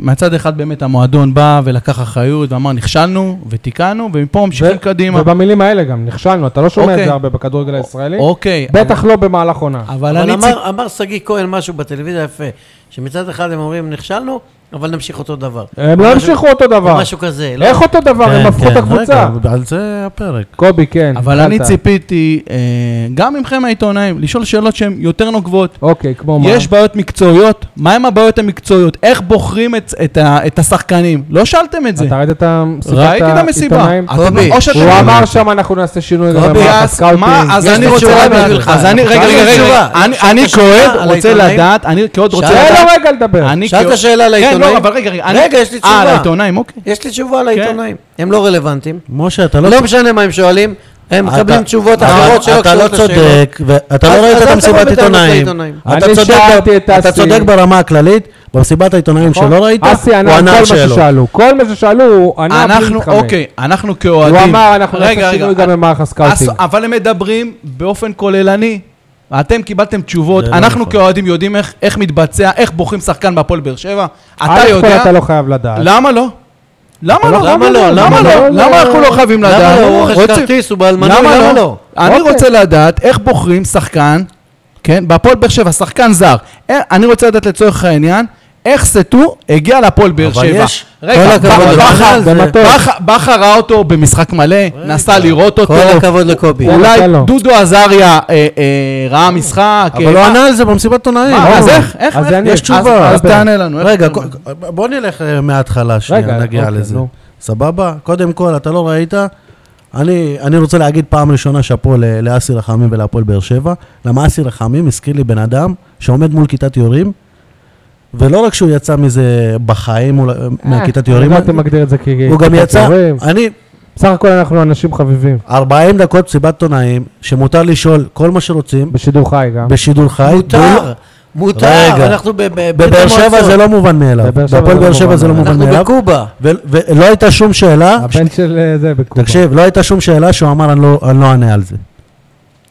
Speaker 5: מהצד אחד באמת המועדון בא ולקח אחריות ואמר נכשלנו ותיקנו ומפה ממשיכים
Speaker 1: ו-
Speaker 5: קדימה.
Speaker 1: ובמילים האלה גם, נכשלנו, אתה לא שומע את
Speaker 5: אוקיי.
Speaker 1: זה הרבה בכדורגל הישראלי.
Speaker 5: אוקיי,
Speaker 1: בטח לא במהלך עונה.
Speaker 5: אבל
Speaker 4: אבל
Speaker 5: אני ציפ-
Speaker 4: אמר- אמר שגיא כהן משהו בטלוויזיה יפה, שמצד אחד הם אומרים נכשלנו, אבל נמשיך אותו דבר.
Speaker 1: הם לא
Speaker 4: או משהו-
Speaker 1: המשיכו אותו
Speaker 4: או
Speaker 1: דבר.
Speaker 4: משהו כזה. לא?
Speaker 1: איך אותו דבר?
Speaker 3: כן,
Speaker 1: הם הפכו את
Speaker 3: כן,
Speaker 1: הקבוצה.
Speaker 3: רגע, על זה הפרק.
Speaker 1: קובי, כן.
Speaker 5: אבל אני
Speaker 1: התחלת.
Speaker 5: ציפיתי, אה, גם מכם העיתונאים, לשאול שאלות שהן יותר נוקבות.
Speaker 1: אוקיי, כמו מה?
Speaker 5: יש בעיות מקצועיות? מהם הבעיות המקצועיות? איך בוחרים את, את, ה, את השחקנים? לא שאלתם את זה.
Speaker 1: אתה ראית את המסיבת
Speaker 5: ראיתי את המסיבה.
Speaker 1: העיתונאים?
Speaker 5: אתם-
Speaker 4: קובי,
Speaker 5: או שאתם-
Speaker 1: הוא אמר שם אנחנו נעשה שינוי
Speaker 5: קובי,
Speaker 1: במערך
Speaker 5: אז מה, אז
Speaker 4: יש
Speaker 5: אני
Speaker 4: לי
Speaker 5: רוצה
Speaker 4: תשובה
Speaker 5: לדעת,
Speaker 4: בשבילך.
Speaker 5: אז אני, רגע,
Speaker 4: יש לי
Speaker 5: רגע, רגע,
Speaker 4: תשובה.
Speaker 5: אני-
Speaker 4: שאלת
Speaker 5: אני
Speaker 4: שאלה
Speaker 5: כאוהד
Speaker 4: על
Speaker 5: רוצה
Speaker 4: העיתונאים?
Speaker 5: לדעת, אני כאוהד רוצה
Speaker 4: שאלת-
Speaker 1: תן
Speaker 5: לדעת,
Speaker 1: לו רגע לדבר.
Speaker 5: אני
Speaker 4: שאלת
Speaker 5: כאוהד-
Speaker 4: שאלה על
Speaker 5: כן,
Speaker 4: העיתונאים?
Speaker 5: לא, אבל רגע, רגע, אני-
Speaker 4: רגע, יש לי
Speaker 5: אה,
Speaker 4: תשובה.
Speaker 5: על העיתונאים, אוקיי.
Speaker 4: יש לי תשובה על העיתונאים. הם לא רלוונטיים.
Speaker 3: משה, אתה לא...
Speaker 4: לא משנה מה הם שואלים, הם
Speaker 3: אתה-
Speaker 4: מקבלים תשובות
Speaker 3: אתה-
Speaker 4: אחרות שלא
Speaker 3: אתה לא
Speaker 4: קשורות לשאלות.
Speaker 3: צודק, ואתה לא
Speaker 4: אז-
Speaker 3: ראית
Speaker 4: אז
Speaker 3: את
Speaker 4: אל
Speaker 3: המסיבת
Speaker 4: תבוא בטענות
Speaker 3: עיתונאים.
Speaker 4: לעיתונאים.
Speaker 3: אתה
Speaker 1: אני
Speaker 3: צודק
Speaker 1: שאלתי
Speaker 3: ב-
Speaker 1: את
Speaker 3: אתה
Speaker 1: אסי. נכון?
Speaker 3: צודק ברמה הכללית, במסיבת העיתונאים שלא ראית,
Speaker 1: אסי
Speaker 3: הוא
Speaker 1: ענה על
Speaker 3: ענה על
Speaker 1: כל מה
Speaker 3: שאלות.
Speaker 1: ששאלו. כל מה ששאלו, הוא ענה
Speaker 4: לא
Speaker 1: בלי
Speaker 5: אנחנו,
Speaker 1: להתחמק.
Speaker 5: אוקיי, אנחנו כאוהדים.
Speaker 1: הוא אמר, אנחנו
Speaker 5: רגע, אה,
Speaker 1: נעשה שינוי
Speaker 5: רגע,
Speaker 1: גם במערך הסקאוטינג.
Speaker 5: אז- אבל הם מדברים באופן כוללני. אתם קיבלתם תשובות,
Speaker 3: זה לא
Speaker 5: אנחנו
Speaker 3: נכון.
Speaker 5: כאוהדים יודעים איך- איך מתבצע, איך בוחרים שחקן בהפועל באר שבע. אתה
Speaker 1: אלף כל
Speaker 5: יודע?
Speaker 1: אה, אתה לא חייב לדעת.
Speaker 5: למה לא? למה
Speaker 1: לא
Speaker 5: לא?
Speaker 1: חייב לדעת.
Speaker 5: למה
Speaker 1: למה לא?
Speaker 5: לא? למה אנחנו לא חייבים לדעת?
Speaker 4: למה לא? הוא רוכש
Speaker 5: רוצים-
Speaker 4: כרטיס, הוא בעל מנוי,
Speaker 5: למה
Speaker 4: למה
Speaker 5: לא?
Speaker 4: לא?
Speaker 5: אני
Speaker 1: אוקיי.
Speaker 5: רוצה לדעת איך בוחרים שחקן, כן, בהפועל באר שבע, שחקן זר. אה, אני רוצה לדעת לצורך העניין, איך סטו הגיע להפועל באר
Speaker 3: אבל
Speaker 5: שבע.
Speaker 3: יש-
Speaker 4: כל
Speaker 5: רגע, ב-
Speaker 4: הכבוד, לא
Speaker 5: בכר-
Speaker 4: בכר
Speaker 1: לא, זה מטוס.
Speaker 5: בכר- בכר ראה אותו במשחק מלא, נסע לראות אותו.
Speaker 4: כל הכבוד לא? לקובי.
Speaker 5: אולי
Speaker 1: תן לו.
Speaker 5: דודו עזריה אה, אה, ראה משחק. אה,
Speaker 3: אבל לא הוא
Speaker 5: מה-
Speaker 3: ענה על זה במסיבת עיתונאים. לא.
Speaker 5: מה, אז
Speaker 1: אורן,
Speaker 5: איך? איך?
Speaker 1: אז
Speaker 5: איך?
Speaker 1: אין לי-
Speaker 5: יש
Speaker 1: אז-
Speaker 5: תשובה. אז
Speaker 1: אז
Speaker 5: תענה לנו. איך
Speaker 3: רגע,
Speaker 5: אתה אומר?
Speaker 3: קו- בוא נלך אה, מההתחלה שנייה,
Speaker 1: רגע,
Speaker 3: נגיע
Speaker 1: אוקיי,
Speaker 3: לזה.
Speaker 1: נו.
Speaker 3: סבבה? קודם כל, אתה לא ראית? אני, אני רוצה להגיד פעם ראשונה שאפו ל- לאסי רחמים ולהפועל באר שבע. למה אסי רחמים הזכיר לי בן אדם שעומד מול כיתת יורים, ולא רק שהוא יצא מזה בחיים מול, מהכיתת יורים,
Speaker 1: אה, אני לא הייתי מגדיר את זה כ...
Speaker 3: הוא גם יצא, אה,
Speaker 1: כיורים.
Speaker 3: אני
Speaker 1: בסך הכל אנחנו אנשים חביבים.
Speaker 3: 40 דקות מסיבת עיתונאים, שמותר לשאול כל מה שרוצים,
Speaker 1: בשידור חי גם.
Speaker 3: בשידור חי.
Speaker 4: מותר, מותר,
Speaker 3: רגע.
Speaker 4: אנחנו ב- ב- בברית
Speaker 3: בבאר שבע
Speaker 4: המועצות.
Speaker 3: זה לא מובן מאליו.
Speaker 1: בבאר שבע
Speaker 3: בהפועל
Speaker 1: זה לא
Speaker 3: באר שבע
Speaker 1: מובן
Speaker 3: זה לא
Speaker 1: מאליו.
Speaker 3: מובן
Speaker 4: אנחנו
Speaker 3: מאליו.
Speaker 4: בקובה.
Speaker 3: ו- ולא הייתה שום שאלה,
Speaker 1: הבן של אה, זה בקובה.
Speaker 3: תקשיב, לא הייתה שום שאלה שהוא אמר, אני לא- אני לא אענה על זה.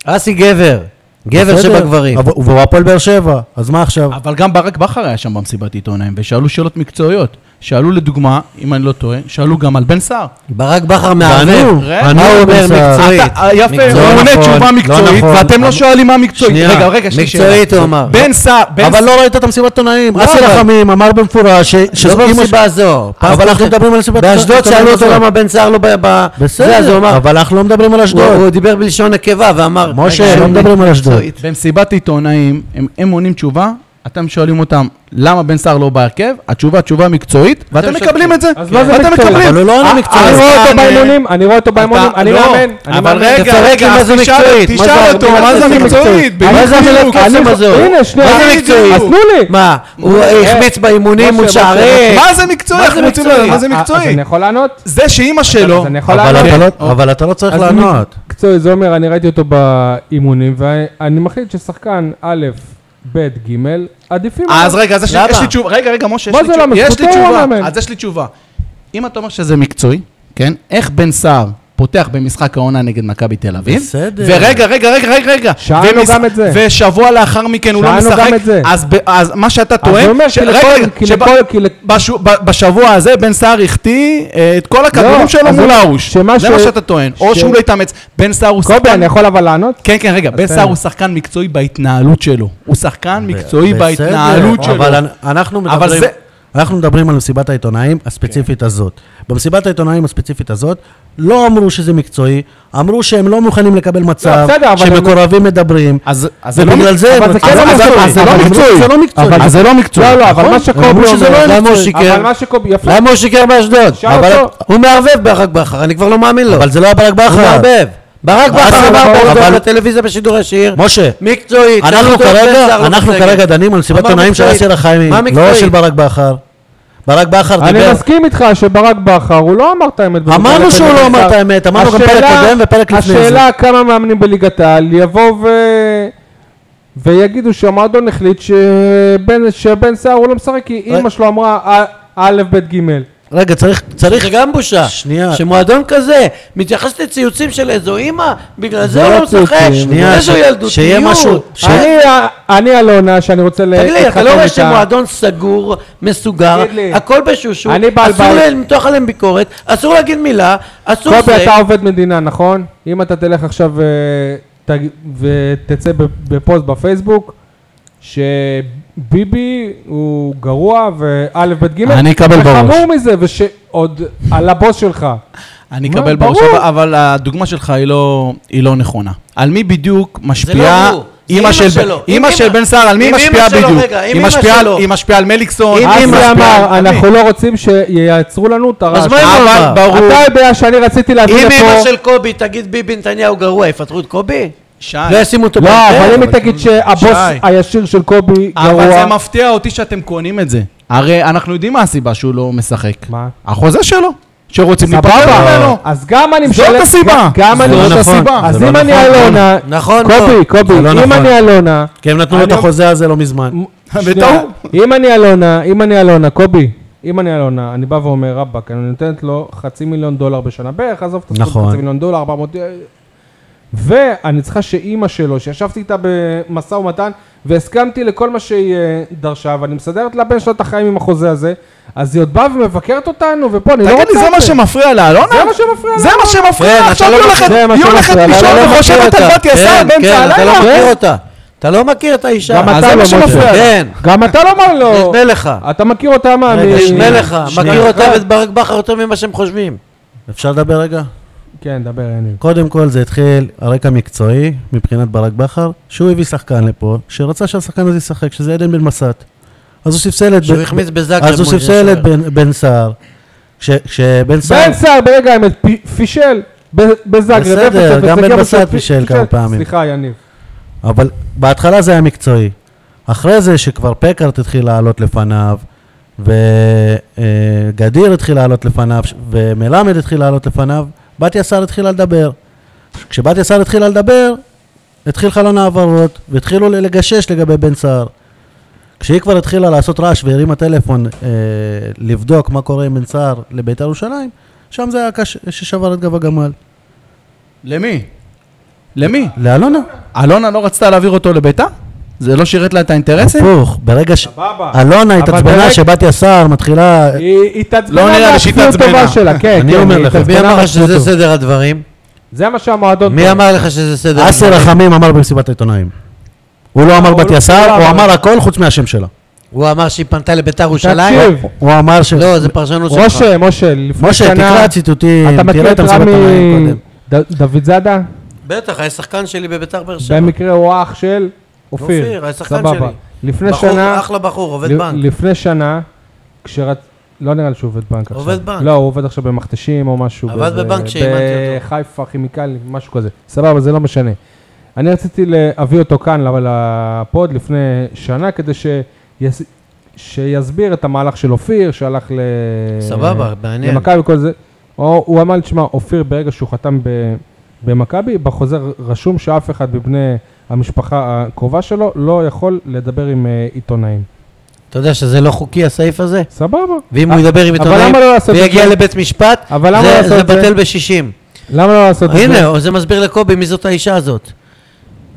Speaker 4: אסי גבר, גבר
Speaker 3: בסדר?
Speaker 4: שבגברים.
Speaker 3: אבל- והוא הפועל באר שבע, אז מה עכשיו?
Speaker 5: אבל גם ברק בכר היה שם במסיבת עיתונאים, ושאלו שאלות מקצועיות. שאלו לדוגמה, אם אני לא טועה, שאלו גם על בן סער.
Speaker 3: אה,
Speaker 4: ברק בכר
Speaker 3: וענו,
Speaker 4: מערבב.
Speaker 5: רגע,
Speaker 3: ענו
Speaker 4: מה הוא אומר
Speaker 3: בן סער.
Speaker 4: מקצועית?
Speaker 5: אתה- אה, יפה,
Speaker 4: מקצועית.
Speaker 5: הוא
Speaker 3: לא
Speaker 5: עונה
Speaker 3: נכון,
Speaker 5: תשובה
Speaker 3: לא
Speaker 5: מקצועית,
Speaker 3: נכון.
Speaker 5: ואתם לא שואלים מה מקצועית.
Speaker 4: שנייה,
Speaker 5: רגע, רגע, יש לי שאלה.
Speaker 4: מקצועית הוא אמר.
Speaker 5: בן סער, בן
Speaker 3: אבל
Speaker 5: סער,
Speaker 3: לא ראית את המסיבת עיתונאים. אסי
Speaker 4: אבל-
Speaker 3: רחמים אמר במפורש ש-
Speaker 4: לא
Speaker 3: שזו אמא
Speaker 4: במסיבה
Speaker 3: ש-
Speaker 4: הזו. פעם
Speaker 3: אבל אנחנו
Speaker 4: אחת-
Speaker 3: מדברים על מסיבת
Speaker 4: באשדוד שאלו אותו למה בן סער לא ב... ב- זה, אז הוא
Speaker 3: בסדר,
Speaker 4: אמר,
Speaker 3: אבל אנחנו לא מדברים על
Speaker 4: הוא
Speaker 3: אשדוד.
Speaker 4: הוא דיבר בלשון נקבה ואמר...
Speaker 3: משה,
Speaker 4: רגע,
Speaker 3: לא
Speaker 4: אני-
Speaker 3: מדברים על אשדוד.
Speaker 4: מקצועית.
Speaker 5: במסיבת עיתונאים, הם- הם עונים תשובה אתם שואלים אותם, למה בן סער לא בהרכב? התשובה, תשובה מקצועית, ואתם מקבלים את זה.
Speaker 1: אז מה זה
Speaker 5: ואתם
Speaker 1: מקצועי? אה,
Speaker 5: מקבלים. אה,
Speaker 4: אבל הוא לא עונה
Speaker 1: אני
Speaker 4: מקצועית.
Speaker 1: רואה אותו באימונים, אני רואה אותו באימונים, אני
Speaker 5: לא,
Speaker 1: מאמן. אני
Speaker 5: אבל
Speaker 1: מאמן.
Speaker 5: רגע,
Speaker 4: תפרק לי
Speaker 5: רגע,
Speaker 4: מה זה
Speaker 5: אז תשאל-
Speaker 4: מקצועית.
Speaker 5: תשאל אותו, מה זה מקצועית?
Speaker 4: מה זה
Speaker 5: בדיוק.
Speaker 4: המלך
Speaker 1: אני-
Speaker 4: קסם הזה?
Speaker 1: הנה, שנייה.
Speaker 4: מה זה מקצועי?
Speaker 1: אז תנו לי.
Speaker 4: מה, הוא
Speaker 3: אה,
Speaker 4: החמיץ באימונים מול
Speaker 1: משה,
Speaker 4: שערי?
Speaker 5: מה זה מקצועי? אנחנו רוצים לדעת מה זה
Speaker 1: אה, אז
Speaker 5: מקצועי.
Speaker 1: אני יכול לענות?
Speaker 5: זה שאימא שלו,
Speaker 1: אז אני יכול
Speaker 3: אבל
Speaker 1: לענות?
Speaker 3: אתה לא- אבל אתה לא צריך
Speaker 1: אז
Speaker 3: לענות.
Speaker 1: מקצועי, זה אומר, אני ראיתי אותו באימונים, ואני מחליט ששחקן א', ב', ג', עדיפים. עליו.
Speaker 5: אז רגע, אז יש לי-
Speaker 4: למה?
Speaker 5: יש לי תשובה, רגע, רגע, משה, יש
Speaker 1: מה
Speaker 5: לי
Speaker 1: זה לא
Speaker 5: תשובה.
Speaker 1: למה?
Speaker 5: יש לי
Speaker 1: זכותו
Speaker 5: תשובה,
Speaker 1: למאמן.
Speaker 5: אז יש לי תשובה. אם אתה אומר שזה מקצועי, כן, איך בן סער פותח במשחק העונה נגד מכבי תל אביב,
Speaker 3: בסדר.
Speaker 5: ורגע, רגע, רגע, רגע, רגע,
Speaker 1: שאלנו
Speaker 5: ומש-
Speaker 1: גם את זה.
Speaker 5: ושבוע לאחר מכן הוא לא
Speaker 1: שאלנו
Speaker 5: משחק,
Speaker 1: גם את זה.
Speaker 5: אז ב- אז מה שאתה טוען,
Speaker 1: אני אומר,
Speaker 5: ש-
Speaker 1: כי
Speaker 5: רגע,
Speaker 1: לכל-
Speaker 5: רגע,
Speaker 1: כי
Speaker 5: שב-
Speaker 1: לכל- כי לכ-
Speaker 5: בשו- ב- בשבוע הזה בן סער החטיא אה, את כל הכדורים
Speaker 1: לא,
Speaker 5: שלו
Speaker 1: אז
Speaker 5: מול
Speaker 1: הוא-
Speaker 5: ארוש,
Speaker 1: שמה
Speaker 5: זה
Speaker 1: ש-
Speaker 5: מה שאתה טוען, או
Speaker 1: ש-
Speaker 5: שהוא לא התאמץ, בן סער הוא
Speaker 1: קובי,
Speaker 5: שחקן,
Speaker 1: אני יכול אבל לענות?
Speaker 5: כן, כן, רגע, בן
Speaker 1: תן
Speaker 5: סער
Speaker 1: לי.
Speaker 5: הוא שחקן מקצועי בהתנהלות שלו, הוא שחקן מקצועי
Speaker 3: בסדר,
Speaker 5: בהתנהלות שלו.
Speaker 3: אבל אנ- אנחנו
Speaker 5: אבל
Speaker 3: מדברים...
Speaker 5: זה-
Speaker 3: אנחנו מדברים על מסיבת העיתונאים הספציפית הזאת. במסיבת העיתונאים הספציפית הזאת, לא אמרו שזה מקצועי, אמרו שהם לא מוכנים לקבל מצב,
Speaker 1: בסדר, אבל הם-
Speaker 3: שמקורבים מדברים,
Speaker 5: אז אז זה לא
Speaker 3: ובגלל זה...
Speaker 1: אבל זה כן לא מקצועי.
Speaker 3: זה לא
Speaker 1: אבל
Speaker 3: מקצועי. זה לא מקצועי.
Speaker 1: אבל
Speaker 6: אז זה לא מקצועי.
Speaker 1: לא, לא, אבל מה שקובי
Speaker 3: אמרו שזה לא
Speaker 1: אומר,
Speaker 4: למה
Speaker 1: אבל
Speaker 4: הוא שיקר?
Speaker 1: מה שקובי, יפה,
Speaker 4: למה הוא שיקר באשדוד?
Speaker 1: שאל
Speaker 4: אבל
Speaker 1: אותו.
Speaker 4: הוא מערבב ברק בכר, אני כבר לא מאמין לו.
Speaker 3: אבל זה לא היה ברק
Speaker 4: הוא
Speaker 3: בכר.
Speaker 4: מערבב. ברק בכר
Speaker 3: אבל-
Speaker 4: אמר
Speaker 3: אבל-
Speaker 4: באשדוד בטלוויזיה בשידור ישיר.
Speaker 3: משה,
Speaker 4: מקצועית.
Speaker 3: אנחנו
Speaker 4: צריך לבדוק בן סער
Speaker 3: כרגע,
Speaker 4: לא
Speaker 3: אנחנו
Speaker 4: בסגל.
Speaker 3: כרגע דנים על מסיבת
Speaker 4: אמר
Speaker 3: עיתונאים של
Speaker 4: מקצועית.
Speaker 3: אסיר החיימי,
Speaker 4: מה
Speaker 3: לא
Speaker 4: מקצועית?
Speaker 3: של ברק בכר. ברק בכר
Speaker 1: אני
Speaker 3: דיבר...
Speaker 1: מסכים איתך שברק בכר, הוא לא אמר את האמת. בנוגע
Speaker 3: אמרנו שהוא
Speaker 1: לפרק
Speaker 3: לא אמר
Speaker 1: אחד.
Speaker 3: את האמת, אמרנו גם
Speaker 1: השאלה-
Speaker 3: פרק קודם ופרק לפני זה.
Speaker 1: השאלה כמה מאמנים בליגת העל יבואו ו... ויגידו שהמועדון החליט שבן, שבן סער הוא לא משחק כי
Speaker 3: אה.
Speaker 1: אימא שלו אמרה "א- א', ב', ג'.
Speaker 3: רגע, צריך... צריך...
Speaker 4: זה גם בושה.
Speaker 3: שנייה.
Speaker 4: שמועדון כזה מתייחס לציוצים של איזו אימא, בגלל זה
Speaker 1: לא
Speaker 4: הוא לא
Speaker 1: ציוצים,
Speaker 4: משחק.
Speaker 3: שנייה,
Speaker 4: איזו
Speaker 3: ש-
Speaker 4: ילדותיות. אה,
Speaker 3: שיהיה משהו- ש-
Speaker 1: אני, ה- אני אלונה שאני רוצה
Speaker 4: תגיד לי, אתה
Speaker 1: להתחתן
Speaker 4: לא רואה
Speaker 1: איתה.
Speaker 4: שמועדון סגור, מסוגר,
Speaker 1: תגיד לי.
Speaker 4: הכל בשושו,
Speaker 1: אני בעל
Speaker 4: אסור
Speaker 1: בית.
Speaker 4: למתוח עליהם ביקורת, אסור להגיד מילה, אסור
Speaker 1: קובי,
Speaker 4: זה.
Speaker 1: אתה עובד מדינה, נכון? אם אתה תלך עכשיו אה, תג- ותצא ב- בפוסט בפייסבוק, שביבי הוא גרוע וא' ב' ג',
Speaker 5: אני אקבל
Speaker 1: וחמור
Speaker 5: בראש.
Speaker 1: מזה, ושעוד על הבוס שלך.
Speaker 5: אני
Speaker 1: מה,
Speaker 5: אקבל בראש,
Speaker 1: ברור.
Speaker 5: אבל- אבל הדוגמה שלך היא לא, היא לא נכונה. על מי בדיוק משפיעה
Speaker 4: הוא, זה
Speaker 5: אימא
Speaker 4: אימא
Speaker 5: של,
Speaker 4: שלו.
Speaker 5: אימא
Speaker 4: אם
Speaker 5: של
Speaker 4: אימא-
Speaker 5: בן סער, על מי היא
Speaker 4: אם אימא
Speaker 5: משפיעה
Speaker 4: שלו,
Speaker 5: בדיוק?
Speaker 4: רגע, אם
Speaker 5: היא
Speaker 4: אימא
Speaker 5: משפיעה על-
Speaker 4: שלו.
Speaker 5: היא משפיעה על מליקסון,
Speaker 4: אם
Speaker 5: היא
Speaker 1: אסי
Speaker 4: אימא
Speaker 5: משפיעה
Speaker 1: אמר,
Speaker 5: על- על מי?
Speaker 1: אנחנו לא רוצים שייצרו לנו את הרעש.
Speaker 4: אז מה אם הוא
Speaker 5: אבל
Speaker 4: אמר?
Speaker 5: ברור.
Speaker 1: אתה יודע שאני רציתי להביא
Speaker 4: אם
Speaker 1: לפה...
Speaker 4: אמא של קובי תגיד ביבי נתניהו גרוע, יפטרו את קובי?
Speaker 5: שי,
Speaker 4: לא ישימו אותו
Speaker 1: לא,
Speaker 4: בהרכב?
Speaker 1: אבל אם היא תגיד שהבוס
Speaker 5: שי.
Speaker 1: הישיר של קובי
Speaker 5: אה, אבל זה
Speaker 1: גרוע...
Speaker 5: מפתיע אותי שאתם קונים את זה. הרי אנחנו יודעים מה הסיבה שהוא לא משחק.
Speaker 1: מה?
Speaker 5: החוזה שלו, שרוצים להיפטר
Speaker 1: סבבה,
Speaker 5: ממנו.
Speaker 1: אז גם אני משלם...
Speaker 5: זאת הסיבה.
Speaker 1: גם
Speaker 5: זאת
Speaker 1: אני...
Speaker 5: לא הסיבה.
Speaker 1: אז
Speaker 3: זה
Speaker 1: אם
Speaker 3: לא
Speaker 1: אני
Speaker 3: נכון.
Speaker 1: אלונה...
Speaker 4: נכון,
Speaker 1: קובי,
Speaker 4: לא.
Speaker 1: קובי,
Speaker 3: זה לא
Speaker 1: אם
Speaker 3: נכון.
Speaker 1: אני אלונה...
Speaker 3: כי הם נתנו לו את
Speaker 1: אני-
Speaker 3: החוזה הזה לא מזמן.
Speaker 1: שנייה,
Speaker 5: בטעות.
Speaker 1: אם אני אלונה, אם אני אלונה, קובי, אם אני אלונה, אני בא ואומר, רבאק, אני נותנת לו חצי מיליון דולר בשנה בערך, עזוב את הסכום,
Speaker 3: נכון.
Speaker 1: חצי מיליון דולר, 400... אה, ואני צריכה שאימא שלו, שישבתי איתה במשא ומתן, והסכמתי לכל מה שהיא אה, דרשה, ואני מסדרת לבן שלה את החיים עם החוזה הזה, אז היא עוד באה ומבקרת אותנו, ופה אני לא רוצה
Speaker 5: תגיד
Speaker 1: את
Speaker 5: לי,
Speaker 1: זה.
Speaker 5: זה מה שמפריע לה, אלונה?
Speaker 1: זה מה שמפריע
Speaker 5: זה
Speaker 1: לה.
Speaker 5: מה שמפריע
Speaker 4: כן,
Speaker 5: לה.
Speaker 4: אתה
Speaker 5: עכשיו
Speaker 4: לא
Speaker 5: היא הולכת-
Speaker 1: זה מה
Speaker 5: היא הולכת
Speaker 1: שמפריע לה.
Speaker 5: לישון
Speaker 1: אתה לא
Speaker 5: וחושבת על בת יסר
Speaker 4: כן,
Speaker 5: באמצע
Speaker 4: כן, אתה לא
Speaker 5: הלילה.
Speaker 4: מכיר אותה. אתה לא מכיר את האישה.
Speaker 3: אה,
Speaker 1: גם אתה
Speaker 5: זה
Speaker 1: לא,
Speaker 5: מה
Speaker 1: משה.
Speaker 5: שמפריע.
Speaker 4: כן.
Speaker 1: גם אתה לא מה לא.
Speaker 4: נדמה לך.
Speaker 1: אתה מכיר אותה מה? מ- אה,
Speaker 4: נדמה לך.
Speaker 3: שנייה.
Speaker 4: אה, מכיר אותה ואת ברק בכר יותר ממה שהם חושבים.
Speaker 3: אפשר לדבר רגע?
Speaker 1: כן, דבר, יניב.
Speaker 3: קודם כל זה התחיל הרקע מקצועי מבחינת ברק בכר, שהוא הביא שחקן לפה, שרצה שהשחקן הזה ישחק, שזה עדן בן מסת. אז הוא ספסל את...
Speaker 4: שהוא
Speaker 3: בן-
Speaker 4: החמיץ בזק
Speaker 3: אז הוא
Speaker 4: למול
Speaker 3: ספסל את
Speaker 4: ישר.
Speaker 3: בן- בן סער. כש- כשבן סער...
Speaker 1: בן סער ברגע האמת פי- פישל ב- בזאגרב.
Speaker 3: בסדר,
Speaker 1: אפס אפס,
Speaker 3: גם
Speaker 1: זה
Speaker 3: בן
Speaker 1: בסוף
Speaker 3: בסט
Speaker 1: פי-
Speaker 3: פישל כמה פעמים.
Speaker 1: סליחה, יניב.
Speaker 3: אבל בהתחלה זה היה מקצועי. אחרי זה שכבר פקארט התחיל לעלות לפניו, וגדיר התחיל לעלות לפניו, ש- ומלמד התחיל לעלות לפניו, בתיה סער התחילה לדבר. כשבתיה סער התחילה לדבר, התחיל חלון העברות, והתחילו ל- לגשש לגבי בן סער. כשהיא כבר התחילה לעשות רעש והרימה טלפון אה, לבדוק מה קורה עם בן סער לבית"ר ירושלים, שם זה היה הקש ששבר את גב הגמל.
Speaker 5: למי? למי?
Speaker 3: לאלונה?
Speaker 5: אלונה לא רצתה להעביר אותו לביתה? זה לא שירת לה את האינטרסים?
Speaker 3: הפוך, ברגע ש...
Speaker 1: סבבה.
Speaker 3: אלונה
Speaker 1: אבל
Speaker 3: התעצבנה
Speaker 1: ברגע-
Speaker 3: שבתיה סער מתחילה...
Speaker 1: היא היא התעצבנה
Speaker 5: לא נראה לי שהיא
Speaker 1: מהצביעות
Speaker 5: התעצבנה.
Speaker 1: טובה שלה, כן,
Speaker 3: אני
Speaker 1: כן,
Speaker 3: אומר
Speaker 1: היא
Speaker 3: לך.
Speaker 1: התעצבנה
Speaker 4: מי אמר לך
Speaker 1: מהצביעות
Speaker 4: שזה
Speaker 1: טובה.
Speaker 4: סדר הדברים?
Speaker 1: זה מה שהמועדון...
Speaker 4: מי אמר לך שזה סדר
Speaker 3: אסי
Speaker 4: הדברים?
Speaker 3: רחמים אמר במסיבת העיתונאים. הוא לא אמר
Speaker 1: הוא לא-
Speaker 3: בתיה סער,
Speaker 1: הוא לא
Speaker 3: הוא
Speaker 1: אמר.
Speaker 3: אמר הכל חוץ מהשם שלה.
Speaker 4: הוא אמר שהיא פנתה לביתר ירושלים?
Speaker 1: תקשיב,
Speaker 3: הוא אמר ש...
Speaker 4: לא, זה פרשנות שלך.
Speaker 1: משה, משה, לפני
Speaker 3: משה, תקרא
Speaker 1: שנה...
Speaker 3: ציטוטים,
Speaker 1: אתה מכיר
Speaker 3: תראה
Speaker 1: את
Speaker 3: את המסיבת העיתונאים
Speaker 1: רמי
Speaker 3: קודם.
Speaker 1: ד- דוד זאדה?
Speaker 4: בטח, היה שחקן שלי בביתר באר שבע.
Speaker 1: במקרה הוא אח של אופיר.
Speaker 4: אופיר, השחקן
Speaker 1: סבבה.
Speaker 4: שלי.
Speaker 1: לפני
Speaker 4: בחור,
Speaker 1: שנה,
Speaker 4: אחלה בחור, עובד
Speaker 1: ל-
Speaker 4: בנק.
Speaker 1: לפני שנה, כשרצ... לא נראה לי שהוא עובד בנק עכשיו.
Speaker 4: עובד בנק.
Speaker 1: לא, הוא עובד עכשיו במכתשים או משהו.
Speaker 4: עבד
Speaker 1: באיזה-
Speaker 4: בבנק כשאימנתי אותו.
Speaker 1: בחיפה כימיקלים, משהו כזה. סבבה, זה לא משנה. אני רציתי להביא אותו כאן ל- לפוד לפני שנה, כדי ש... שיסביר את המהלך של אופיר, שהלך ל...
Speaker 4: סבבה, מעניין.
Speaker 1: למכבי וכל זה. או, הוא אמר לי, תשמע, אופיר, ברגע שהוא חתם ב, במכבי, בחוזר רשום שאף אחד מבני המשפחה הקרובה שלו לא יכול לדבר עם אה, עיתונאים.
Speaker 4: אתה יודע שזה לא חוקי הסעיף הזה?
Speaker 1: סבבה. אה,
Speaker 4: ואם הוא ידבר עם
Speaker 1: אבל
Speaker 4: עיתונאים
Speaker 1: למה לא לעשות את
Speaker 4: ויגיע
Speaker 1: זה?
Speaker 4: לבית משפט,
Speaker 1: אבל למה
Speaker 4: זה-
Speaker 1: לא לעשות
Speaker 4: זה
Speaker 1: את זה?
Speaker 4: בטל בשישים.
Speaker 1: למה לא לעשות את זה?
Speaker 4: הנה, זה מסביר לקובי מי זאת האישה הזאת.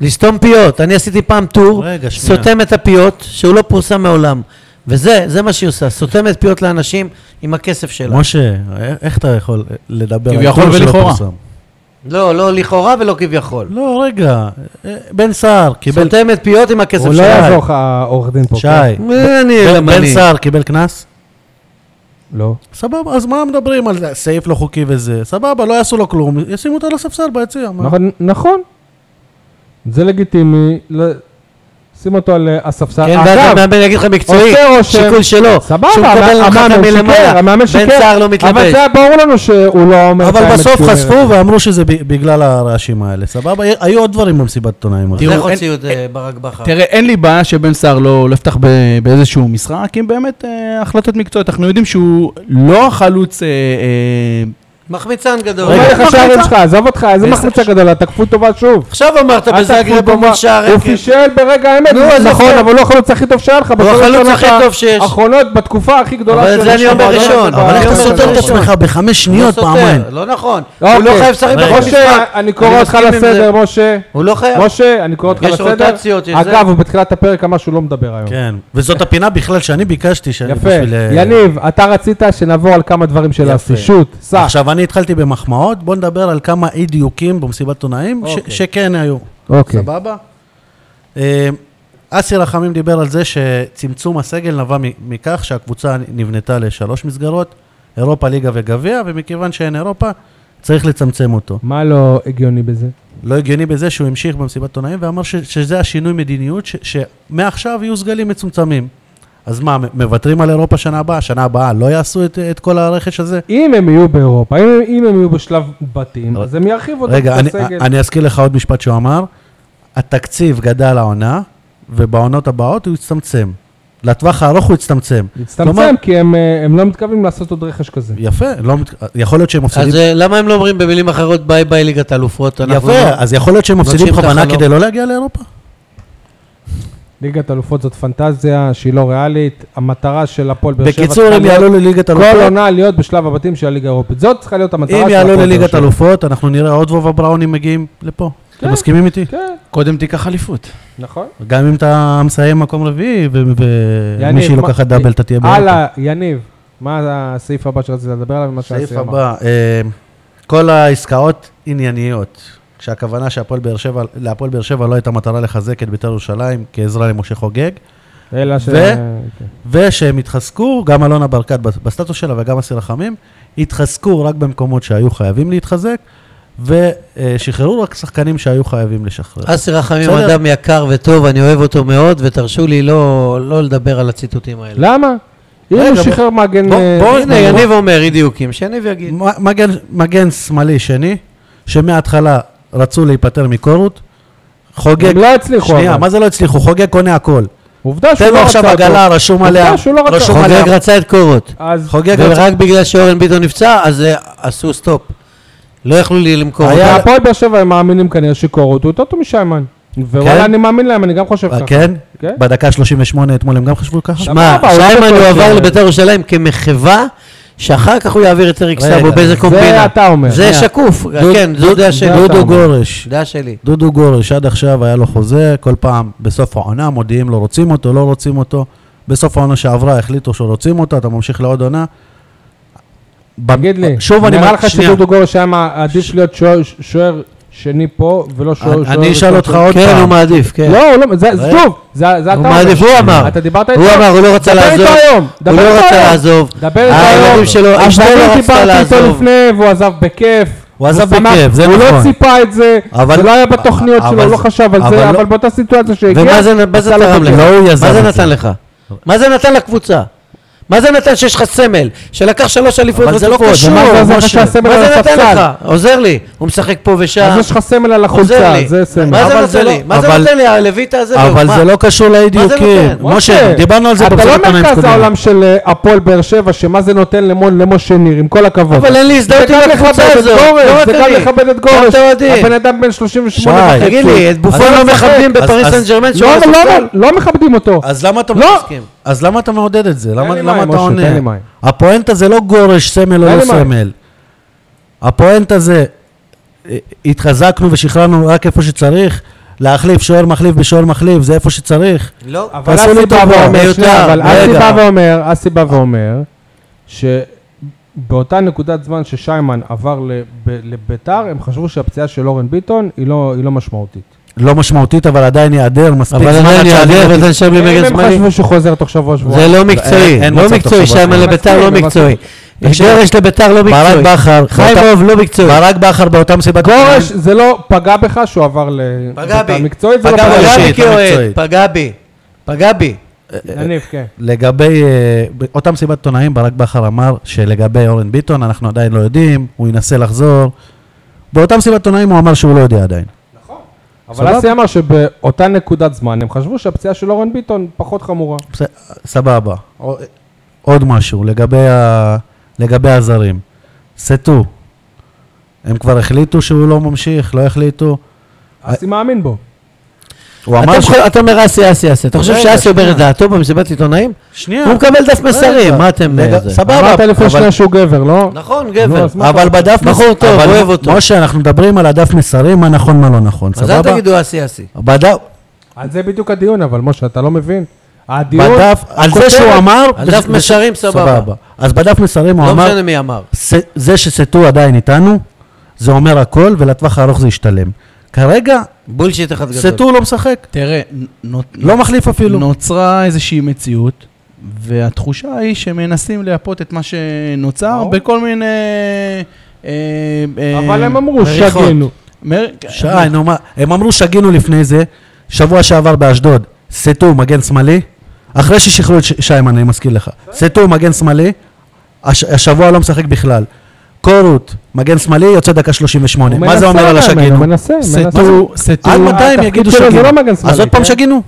Speaker 4: לסתום פיות. אני עשיתי פעם טור,
Speaker 3: רגע, שנייה.
Speaker 4: סותם את הפיות, שהוא לא פורסם מעולם. וזה, זה מה שהיא עושה, סותמת פיות לאנשים עם הכסף שלה.
Speaker 3: משה, איך- איך אתה יכול לדבר על
Speaker 5: כביכול
Speaker 3: טור שלא
Speaker 5: ולכאורה.
Speaker 3: פורסם?
Speaker 4: לא, לא לכאורה ולא כביכול.
Speaker 3: לא, רגע, אה, בן סער קיבל...
Speaker 4: סותמת פיות עם הכסף
Speaker 1: הוא לא
Speaker 4: שלה.
Speaker 1: יעזור לך, העורך דין פה.
Speaker 3: שי,
Speaker 1: כן?
Speaker 3: בן-
Speaker 4: אני
Speaker 3: בן
Speaker 4: אלמני.
Speaker 3: סער קיבל קנס?
Speaker 1: לא.
Speaker 3: סבבה, אז מה מדברים על זה? סעיף לא חוקי וזה? סבבה, לא יעשו לו כלום, ישימו אותו על הספסל ביציע. מה?
Speaker 1: נכון, נכון. זה לגיטימי. ל- שים אותו על אה, הספסל.
Speaker 4: כן, ואז
Speaker 1: אגב,
Speaker 4: המאמן יגיד לך מקצועי,
Speaker 1: עושה רושם.
Speaker 4: שיקול שלו.
Speaker 1: סבבה,
Speaker 4: שהוא
Speaker 1: אבל
Speaker 4: מקבל הנחה
Speaker 1: המאמן שיקר,
Speaker 4: מלמעלה.
Speaker 1: המאמן שיקר.
Speaker 4: בן סער לא
Speaker 1: אבל
Speaker 4: מתלבש.
Speaker 1: זה היה ברור לנו שהוא לא אומר... את
Speaker 3: אבל
Speaker 1: האמת
Speaker 3: בסוף
Speaker 1: שהוא אומר.
Speaker 3: חשפו ואמרו שזה ב- בגלל הרעשים האלה, סבבה? היו עוד דברים במסיבת עיתונאים. הרי.
Speaker 5: תראו,
Speaker 4: איך
Speaker 5: אין-
Speaker 4: הוציאו את אה, ברק בכר?
Speaker 5: תראה, אין לי בעיה שבן סער לא לא יפתח ב- באיזשהו משחק, אם באמת אה, החלטות מקצועיות. אנחנו יודעים שהוא לא החלוץ... אה, אה,
Speaker 4: מחמיצן גדול.
Speaker 1: אומר
Speaker 4: *laughs*
Speaker 1: לך שערים שלך, עזוב אותך, איזה מחמיצה גדולה, תקפו טובה שוב.
Speaker 4: עכשיו אמרת
Speaker 1: אל תקפו
Speaker 4: בזאגרב
Speaker 1: טובה.
Speaker 4: מול שער
Speaker 1: הוא
Speaker 4: רקב.
Speaker 1: פישל ברגע האמת,
Speaker 4: נו, אז
Speaker 1: נכון,
Speaker 4: יפה.
Speaker 1: אבל הוא החלוץ הכי טוב שהיה לך.
Speaker 4: הוא
Speaker 1: בשלוש
Speaker 4: החלוץ
Speaker 1: שנים
Speaker 4: הכי טוב שיש.
Speaker 1: האחרונות, בתקופה הכי גדולה
Speaker 4: אבל את
Speaker 1: של
Speaker 4: זה אני
Speaker 1: של
Speaker 4: אומר
Speaker 1: המועדון,
Speaker 4: ראשון,
Speaker 1: אבל
Speaker 3: אבל איך
Speaker 1: אני
Speaker 3: אתה
Speaker 1: אומר
Speaker 3: סותר את
Speaker 1: ראשון.
Speaker 3: עצמך בחמש
Speaker 4: לא
Speaker 3: שניות
Speaker 4: סותר,
Speaker 3: פעמיים?
Speaker 4: לא נכון. הוא
Speaker 1: אוקיי.
Speaker 4: לא חייב לשחק בכל
Speaker 1: משה,
Speaker 4: משחק.
Speaker 1: אני קורא אותך
Speaker 4: מסכים עם זה.
Speaker 1: לסדר, משה.
Speaker 4: הוא לא חייב.
Speaker 1: משה, אני קורא אותך
Speaker 4: יש
Speaker 1: לסדר.
Speaker 4: רוטציות, יש זה.
Speaker 1: אגב, הוא בתחילת הפרק אמר שהוא לא מדבר היום.
Speaker 3: כן, וזאת הפינה בכלל שאני ביקשתי, שאני
Speaker 1: יפה.
Speaker 3: בשביל... אה,
Speaker 1: יניב, אתה רצית שנעבור על כמה דברים של
Speaker 3: יפה.
Speaker 1: הסישות. סע.
Speaker 3: עכשיו, אני התחלתי במחמאות, בוא נדבר על כמה אי דיוקים במסיבת עיתונאים ש-
Speaker 1: אוקיי.
Speaker 3: שכן היו.
Speaker 1: אוקיי.
Speaker 3: סבבה? אה, אסי רחמים דיבר על זה שצמצום הסגל נבע מ- מכך שהקבוצה נבנתה לשלוש מסגרות, אירופה, ליגה וגביע, ומכיוון שאין אירופה, צריך לצמצם אותו.
Speaker 1: מה לא הגיוני בזה?
Speaker 3: לא הגיוני בזה שהוא המשיך במסיבת עיתונאים ואמר ש- שזה השינוי מדיניות, ש- שמעכשיו יהיו סגלים מצומצמים. אז מה, מ- מוותרים על אירופה שנה הבאה? שנה הבאה לא יעשו את, את כל הרכש הזה?
Speaker 1: אם הם יהיו באירופה, אם, אם הם יהיו בשלב בתים, אז הם ירחיבו אותם
Speaker 3: רגע,
Speaker 1: את
Speaker 3: אני,
Speaker 1: הסגל.
Speaker 3: אני אזכיר לך עוד משפט שהוא אמר, התקציב גדל העונה, ובעונות הבאות הוא יצטמצם. לטווח הארוך הוא יצטמצם. כלומר-
Speaker 1: הצטמצם, כי הם, אה, הם לא מתכוונים לעשות עוד רכש כזה.
Speaker 3: יפה, לא, מת- יכול להיות שהם מפסידים.
Speaker 4: אז אה, למה הם לא אומרים במילים אחרות ביי ביי ליגת האלופות? אנחנו
Speaker 3: יפה,
Speaker 4: לא-
Speaker 3: אז יכול להיות שהם מפסידים
Speaker 4: נוטשים את
Speaker 3: בכוונה
Speaker 4: החלום.
Speaker 3: כדי לא להגיע לאירופה?
Speaker 1: ליגת אלופות זאת פנטזיה שהיא לא ריאלית. המטרה של הפועל באר שבע
Speaker 3: בקיצור,
Speaker 1: צריכה
Speaker 3: הם
Speaker 1: להיות
Speaker 3: יעלו לליגת
Speaker 1: כל
Speaker 3: אלופות.
Speaker 1: עונה להיות בשלב הבתים של הליגה האירופית. זאת צריכה להיות המטרה של
Speaker 3: אם
Speaker 1: הפועל
Speaker 3: יעלו
Speaker 1: באר
Speaker 3: לליגת
Speaker 1: שבע.
Speaker 3: אלופות, אנחנו נראה עוד וובה בראונים מגיעים לפה. אתם מסכימים איתי?
Speaker 1: כן,
Speaker 5: קודם תיקח אליפות.
Speaker 1: נכון.
Speaker 3: גם אם אתה מסיים מקום רביעי, ו- ו-
Speaker 1: יניב,
Speaker 3: ומישהי
Speaker 1: מה-
Speaker 3: לוקחת דאבל, אתה תהיה באירופה.
Speaker 1: הלאה, יניב, מה הסעיף הבא שרצית לדבר עליו? מה
Speaker 3: הסעיף
Speaker 1: שהאסי אמר?
Speaker 3: הבא, אה, כל העסקאות ענייניות, כשהכוונה שהפועל באר שבע, להפועל באר שבע לא הייתה מטרה לחזק את בית"ר ירושלים כעזרה למשה חוגג,
Speaker 1: אלא ש... כן.
Speaker 3: ו- ושהם התחזקו, גם אלונה ברקת בס- בסטטוס שלה וגם אסיר רחמים, התחזקו רק במקומות שהיו חייבים להתחזק, ושחררו רק שחקנים שהיו חייבים לשחרר.
Speaker 4: אסי רחמים
Speaker 3: בסדר.
Speaker 4: אדם יקר וטוב, אני אוהב אותו מאוד, ותרשו לי לא לא לדבר על הציטוטים האלה.
Speaker 1: למה? אם
Speaker 3: רגע,
Speaker 1: הוא
Speaker 3: בוא-
Speaker 1: שחרר מגן...
Speaker 3: בוא-
Speaker 1: אה,
Speaker 3: בוא-
Speaker 4: הנה, יניב אומר אי דיוקים, שיניב יגיד.
Speaker 3: מ- מגן, מגן שמאלי שני, שמההתחלה רצו להיפטר מקורות, חוגג...
Speaker 1: הם לא הצליחו,
Speaker 3: שנייה,
Speaker 1: אבל.
Speaker 3: מה זה לא הצליחו? חוגג קונה הכל.
Speaker 1: עובדה שהוא
Speaker 3: תן לו
Speaker 1: לא
Speaker 3: עכשיו
Speaker 1: רצה אותו.
Speaker 3: עגלה, רשום
Speaker 1: עובדה
Speaker 3: עליה,
Speaker 1: שהוא לא רצה
Speaker 3: רשום
Speaker 1: אותו.
Speaker 3: עליה,
Speaker 4: חוגג רצה את קורות.
Speaker 1: אז
Speaker 3: חוגג רצה,
Speaker 4: ורק בגלל שאורן ביטון נפצע, אז אה, עשו סטופ. לא יכלו לי למכור
Speaker 3: היה-
Speaker 4: אותה.
Speaker 1: והפועל באר שבע הם מאמינים כנראה שקורות הוא יותר טוב משיימן.
Speaker 3: כן?
Speaker 1: ווואלה אני מאמין להם, אני גם חושב ככה.
Speaker 3: כן?
Speaker 1: כן.
Speaker 3: בדקה 38 אתמול הם גם חשבו ככה?
Speaker 4: שמע,
Speaker 1: סבבה, הוא לא
Speaker 4: שיימן
Speaker 1: בטוח
Speaker 4: הועבר
Speaker 1: ש-
Speaker 4: לבית"ר ירושלים כמחווה, שאחר כך הוא יעביר את אריק
Speaker 3: רגע,
Speaker 4: סאבו באיזה
Speaker 1: זה
Speaker 4: קומבינה.
Speaker 1: אתה אומר.
Speaker 4: זה
Speaker 1: שנייה.
Speaker 4: שקוף, כן, זו דעה שלי.
Speaker 1: אתה
Speaker 3: דודו
Speaker 1: אומר.
Speaker 3: גורש,
Speaker 4: דעה שלי.
Speaker 3: דודו גורש עד עכשיו היה לו חוזה, כל פעם בסוף העונה מודיעים לו רוצים אותו, לא רוצים אותו. בסוף העונה שעברה החליטו שרוצים אותו, אתה ממשיך לעוד עונה. ב-
Speaker 1: תגיד לי,
Speaker 3: שוב אני
Speaker 1: נראה
Speaker 3: אומר-
Speaker 1: לך
Speaker 3: שנייה.
Speaker 1: שדודו גורש היה מע- עדיף להיות שוער- שוער שני פה ולא שוער...
Speaker 3: אני-
Speaker 1: שוער
Speaker 3: אני אשאל
Speaker 1: ראשון
Speaker 3: אותך
Speaker 1: שני?
Speaker 3: עוד
Speaker 4: כן, הוא
Speaker 3: פעם.
Speaker 4: מעדיף, כן.
Speaker 1: לא, הוא לא, זה
Speaker 3: רגע.
Speaker 1: שוב, זה זה אתה
Speaker 4: הוא
Speaker 1: אומר.
Speaker 4: מעדיף, הוא אמר.
Speaker 1: אתה דיברת איתו?
Speaker 4: הוא אמר, הוא לא רצה
Speaker 1: דבר איתו
Speaker 4: לעזוב.
Speaker 1: היום,
Speaker 4: הוא
Speaker 1: דבר
Speaker 4: לא
Speaker 1: איתו
Speaker 4: רצה
Speaker 1: היום. אה,
Speaker 4: לעזוב.
Speaker 1: דבר איתו
Speaker 4: הילדים
Speaker 1: היום.
Speaker 4: שלו,
Speaker 1: אבל
Speaker 4: אשתו
Speaker 1: אני
Speaker 4: לא רצתה
Speaker 1: דיברתי איתו
Speaker 4: לעזוב.
Speaker 1: לפני והוא עזב בכיף.
Speaker 4: הוא עזב
Speaker 1: שמח-
Speaker 4: בכאב, זה
Speaker 1: הוא לא
Speaker 4: נכון.
Speaker 1: ציפה את זה,
Speaker 4: אבל-
Speaker 1: זה לא היה בתוכניות
Speaker 4: אבל-
Speaker 1: שלו, הוא לא חשב על
Speaker 4: אבל
Speaker 1: זה,
Speaker 4: לא-
Speaker 1: אבל באותה סיטואציה שהגיע,
Speaker 4: ומה זה מה זה
Speaker 1: עשה לו
Speaker 4: תרם
Speaker 1: את לא,
Speaker 4: לך? לא
Speaker 1: זה.
Speaker 4: מה זה נתן לך? מה זה נתן לקבוצה? מה זה נתן שיש לך סמל, שלקח שלוש אליפויות
Speaker 1: אבל זה לא
Speaker 4: רצופות?
Speaker 1: קשור, ומה זה עזר לך
Speaker 4: משה?
Speaker 1: שהסמל
Speaker 4: מה
Speaker 1: על
Speaker 4: זה נתן
Speaker 1: הספסל?
Speaker 4: לך? עוזר לי, הוא משחק פה ושם.
Speaker 1: אז יש לך סמל על
Speaker 4: עוזר
Speaker 1: החולצה,
Speaker 4: לי.
Speaker 1: זה סמל.
Speaker 4: מה זה
Speaker 3: אבל
Speaker 4: נותן
Speaker 3: זה
Speaker 4: לי?
Speaker 3: לא-
Speaker 4: מה זה
Speaker 3: אבל-
Speaker 4: נותן לי? הלויטה הזה?
Speaker 3: אבל
Speaker 4: מה?
Speaker 3: זה לא קשור לאי-דיוקים.
Speaker 4: נותן?
Speaker 3: משה, דיברנו על זה
Speaker 1: אתה לא
Speaker 3: במסיבת עיתונאים
Speaker 1: מרכז
Speaker 3: קודמת.
Speaker 1: העולם של אה, הפועל באר שבע, שמה זה נותן למון למשה ניר, עם כל הכבוד.
Speaker 4: אבל אין לי הזדהות עם
Speaker 1: זה גם
Speaker 4: הקבוצה
Speaker 1: לכבד את
Speaker 4: הזאת. לא
Speaker 1: גורש, זה
Speaker 4: נותן
Speaker 1: גם
Speaker 4: לי. לא,
Speaker 1: לכבד את
Speaker 4: גם
Speaker 1: גורש.
Speaker 4: את האוהדים.
Speaker 1: הבן אדם בן 38
Speaker 3: שי,
Speaker 1: וחצי.
Speaker 4: תגיד לי, את בופון
Speaker 1: אז
Speaker 4: לא
Speaker 1: משחק.
Speaker 4: מכבדים
Speaker 3: אז-
Speaker 4: בפריס
Speaker 3: אז-
Speaker 4: סן ג'רמן
Speaker 1: לא,
Speaker 4: שהוא על
Speaker 1: אבל לא,
Speaker 4: הספסל?
Speaker 1: לא מכבדים אותו.
Speaker 3: אז למה אתה
Speaker 1: לא.
Speaker 3: מסכים? אז למה אתה מעודד את זה? למה
Speaker 1: לי
Speaker 3: למה
Speaker 1: מים,
Speaker 3: אתה
Speaker 1: משה, תן לי
Speaker 3: עונה?
Speaker 1: מים.
Speaker 3: הפואנטה זה לא גורש סמל או
Speaker 1: תן
Speaker 3: לא
Speaker 1: לי מים.
Speaker 3: סמל. הפואנטה זה אה, התחזקנו ושחררנו רק איפה שצריך, להחליף שוער מחליף בשוער מחליף, זה איפה שצריך.
Speaker 4: לא.
Speaker 1: אבל
Speaker 3: תעשו
Speaker 1: אסי
Speaker 3: לי
Speaker 1: בא
Speaker 3: טובה,
Speaker 1: ואומר,
Speaker 3: מיותר,
Speaker 1: שנייה, אבל אסי
Speaker 3: רגע.
Speaker 1: בא ואומר, אסי בא ואומר, שבאותה נקודת זמן ששיימן עבר לב- לביתר, הם חשבו שהפציעה של אורן ביטון היא לא היא לא משמעותית.
Speaker 3: לא משמעותית, אבל עדיין ייעדר מספיק
Speaker 4: אבל
Speaker 3: זמן
Speaker 4: עדיין
Speaker 3: עד שהדרך
Speaker 4: יעדר ונתן שם
Speaker 1: אם
Speaker 4: למגן
Speaker 1: הם
Speaker 4: זמני.
Speaker 1: חשבו שהוא חוזר תוך שבוע
Speaker 4: זה
Speaker 1: שבועיים.
Speaker 4: לא מקצועי,
Speaker 3: אין
Speaker 4: לא
Speaker 3: מצב
Speaker 4: מקצועי,
Speaker 3: תוך שבוע.
Speaker 4: שיימן לביתר לא
Speaker 1: מסכים,
Speaker 4: מקשיב, מקצועי.
Speaker 1: מסכים.
Speaker 4: גורש לביתר לא
Speaker 3: ברק
Speaker 4: מקצועי.
Speaker 3: בכר,
Speaker 4: חיימוב לא מקצועי.
Speaker 3: ברק בכר באותה מסיבת
Speaker 1: גורש,
Speaker 3: עיתונאים.
Speaker 1: זה לא פגע בך שהוא עבר ל-
Speaker 4: פגע בי.
Speaker 1: מקצועית, זה לא
Speaker 4: פגע
Speaker 1: פגע
Speaker 3: אישית,
Speaker 4: בי
Speaker 3: לא
Speaker 4: כאוהד,
Speaker 3: מקצועית.
Speaker 4: פגע בי. פגע בי.
Speaker 1: יניב, כן.
Speaker 3: לגבי אה, אותה מסיבת עיתונאים, ברק בכר אמר שלגבי אורן ביטון, אנחנו עדיין לא יודעים, הוא ינסה לחזור. באותה מסיבת עיתונאים הוא אמר שהוא לא יודע עדיין.
Speaker 1: אבל
Speaker 3: סבבה.
Speaker 1: אסי אמר שבאותה נקודת זמן הם חשבו שהפציעה של אורן ביטון פחות חמורה.
Speaker 3: בס- סבבה. עוד משהו, לגבי, ה... לגבי הזרים. סטו. הם כבר החליטו שהוא לא ממשיך, לא החליטו. אה,
Speaker 1: אסי מאמין בו.
Speaker 3: הוא
Speaker 4: אתה
Speaker 3: אמר ש...
Speaker 4: חו- אתה אומר אסי, אסי, אסי. אתה חושב
Speaker 3: רגע,
Speaker 4: שאסי אומר
Speaker 3: שנייה.
Speaker 4: את דעתו במסיבת עיתונאים?
Speaker 3: שנייה.
Speaker 4: הוא מקבל דף מסרים,
Speaker 3: רגע.
Speaker 4: מה אתם...
Speaker 3: רגע,
Speaker 4: אה, זה?
Speaker 3: סבבה,
Speaker 1: אמרת לפני
Speaker 3: אבל-
Speaker 1: שנייה שהוא גבר, לא?
Speaker 4: נכון, גבר.
Speaker 1: נו, אז מה?
Speaker 3: אבל בדף... מס-
Speaker 4: בחור טוב,
Speaker 3: אבל-
Speaker 4: אוהב אותו.
Speaker 3: משה, אנחנו מדברים על הדף מסרים, מה נכון, מה לא נכון,
Speaker 4: אז אל
Speaker 3: סבבה?
Speaker 4: תגידו אסי, אסי.
Speaker 3: בדף...
Speaker 1: על זה בדיוק הדיון, אבל משה, אתה לא מבין. הדיון...
Speaker 3: בדף... על זה
Speaker 1: הכותרת-
Speaker 3: שהוא אמר...
Speaker 4: על דף
Speaker 3: בש-
Speaker 4: מסרים, סבבה.
Speaker 3: אז בדף מסרים הוא
Speaker 4: לא
Speaker 3: אמר...
Speaker 4: משנה מי אמר.
Speaker 3: ס- זה שסטו עדיין איתנו, זה אומר הכל, ולטווח הארוך זה ישתלם. כרגע,
Speaker 4: בולשיט אחד גדול.
Speaker 3: סטו לא משחק.
Speaker 5: תראה, נות-
Speaker 3: לא מחליף אפילו.
Speaker 5: נוצרה איזושהי מציאות, והתחושה היא שמנסים לייפות את מה שנוצר
Speaker 1: ברור.
Speaker 5: בכל מיני... אה, אה,
Speaker 1: אבל הם אמרו,
Speaker 5: מריחות.
Speaker 1: שגינו.
Speaker 5: מר-
Speaker 3: שי, נו מה, הם אמרו שגינו לפני זה, שבוע שעבר באשדוד, סטו מגן שמאלי, אחרי ששחררו את ש- שיימן, אני מזכיר לך, סטו מגן שמאלי, הש- השבוע לא משחק בכלל. קורות, מגן שמאלי, יוצא דקה 38,
Speaker 1: הוא
Speaker 3: מה זה
Speaker 1: מנסה
Speaker 3: אומר על
Speaker 1: גם,
Speaker 3: השגינו?
Speaker 1: הוא מנסה, מנסה.
Speaker 5: סטו, סטו,
Speaker 3: עד מתי הם
Speaker 1: התפקיד
Speaker 3: יגידו
Speaker 1: שלו זה
Speaker 3: שגינו?
Speaker 1: לא מגן
Speaker 3: אז
Speaker 1: שמאלי,
Speaker 3: עוד פעם
Speaker 1: כן?
Speaker 3: שגינו?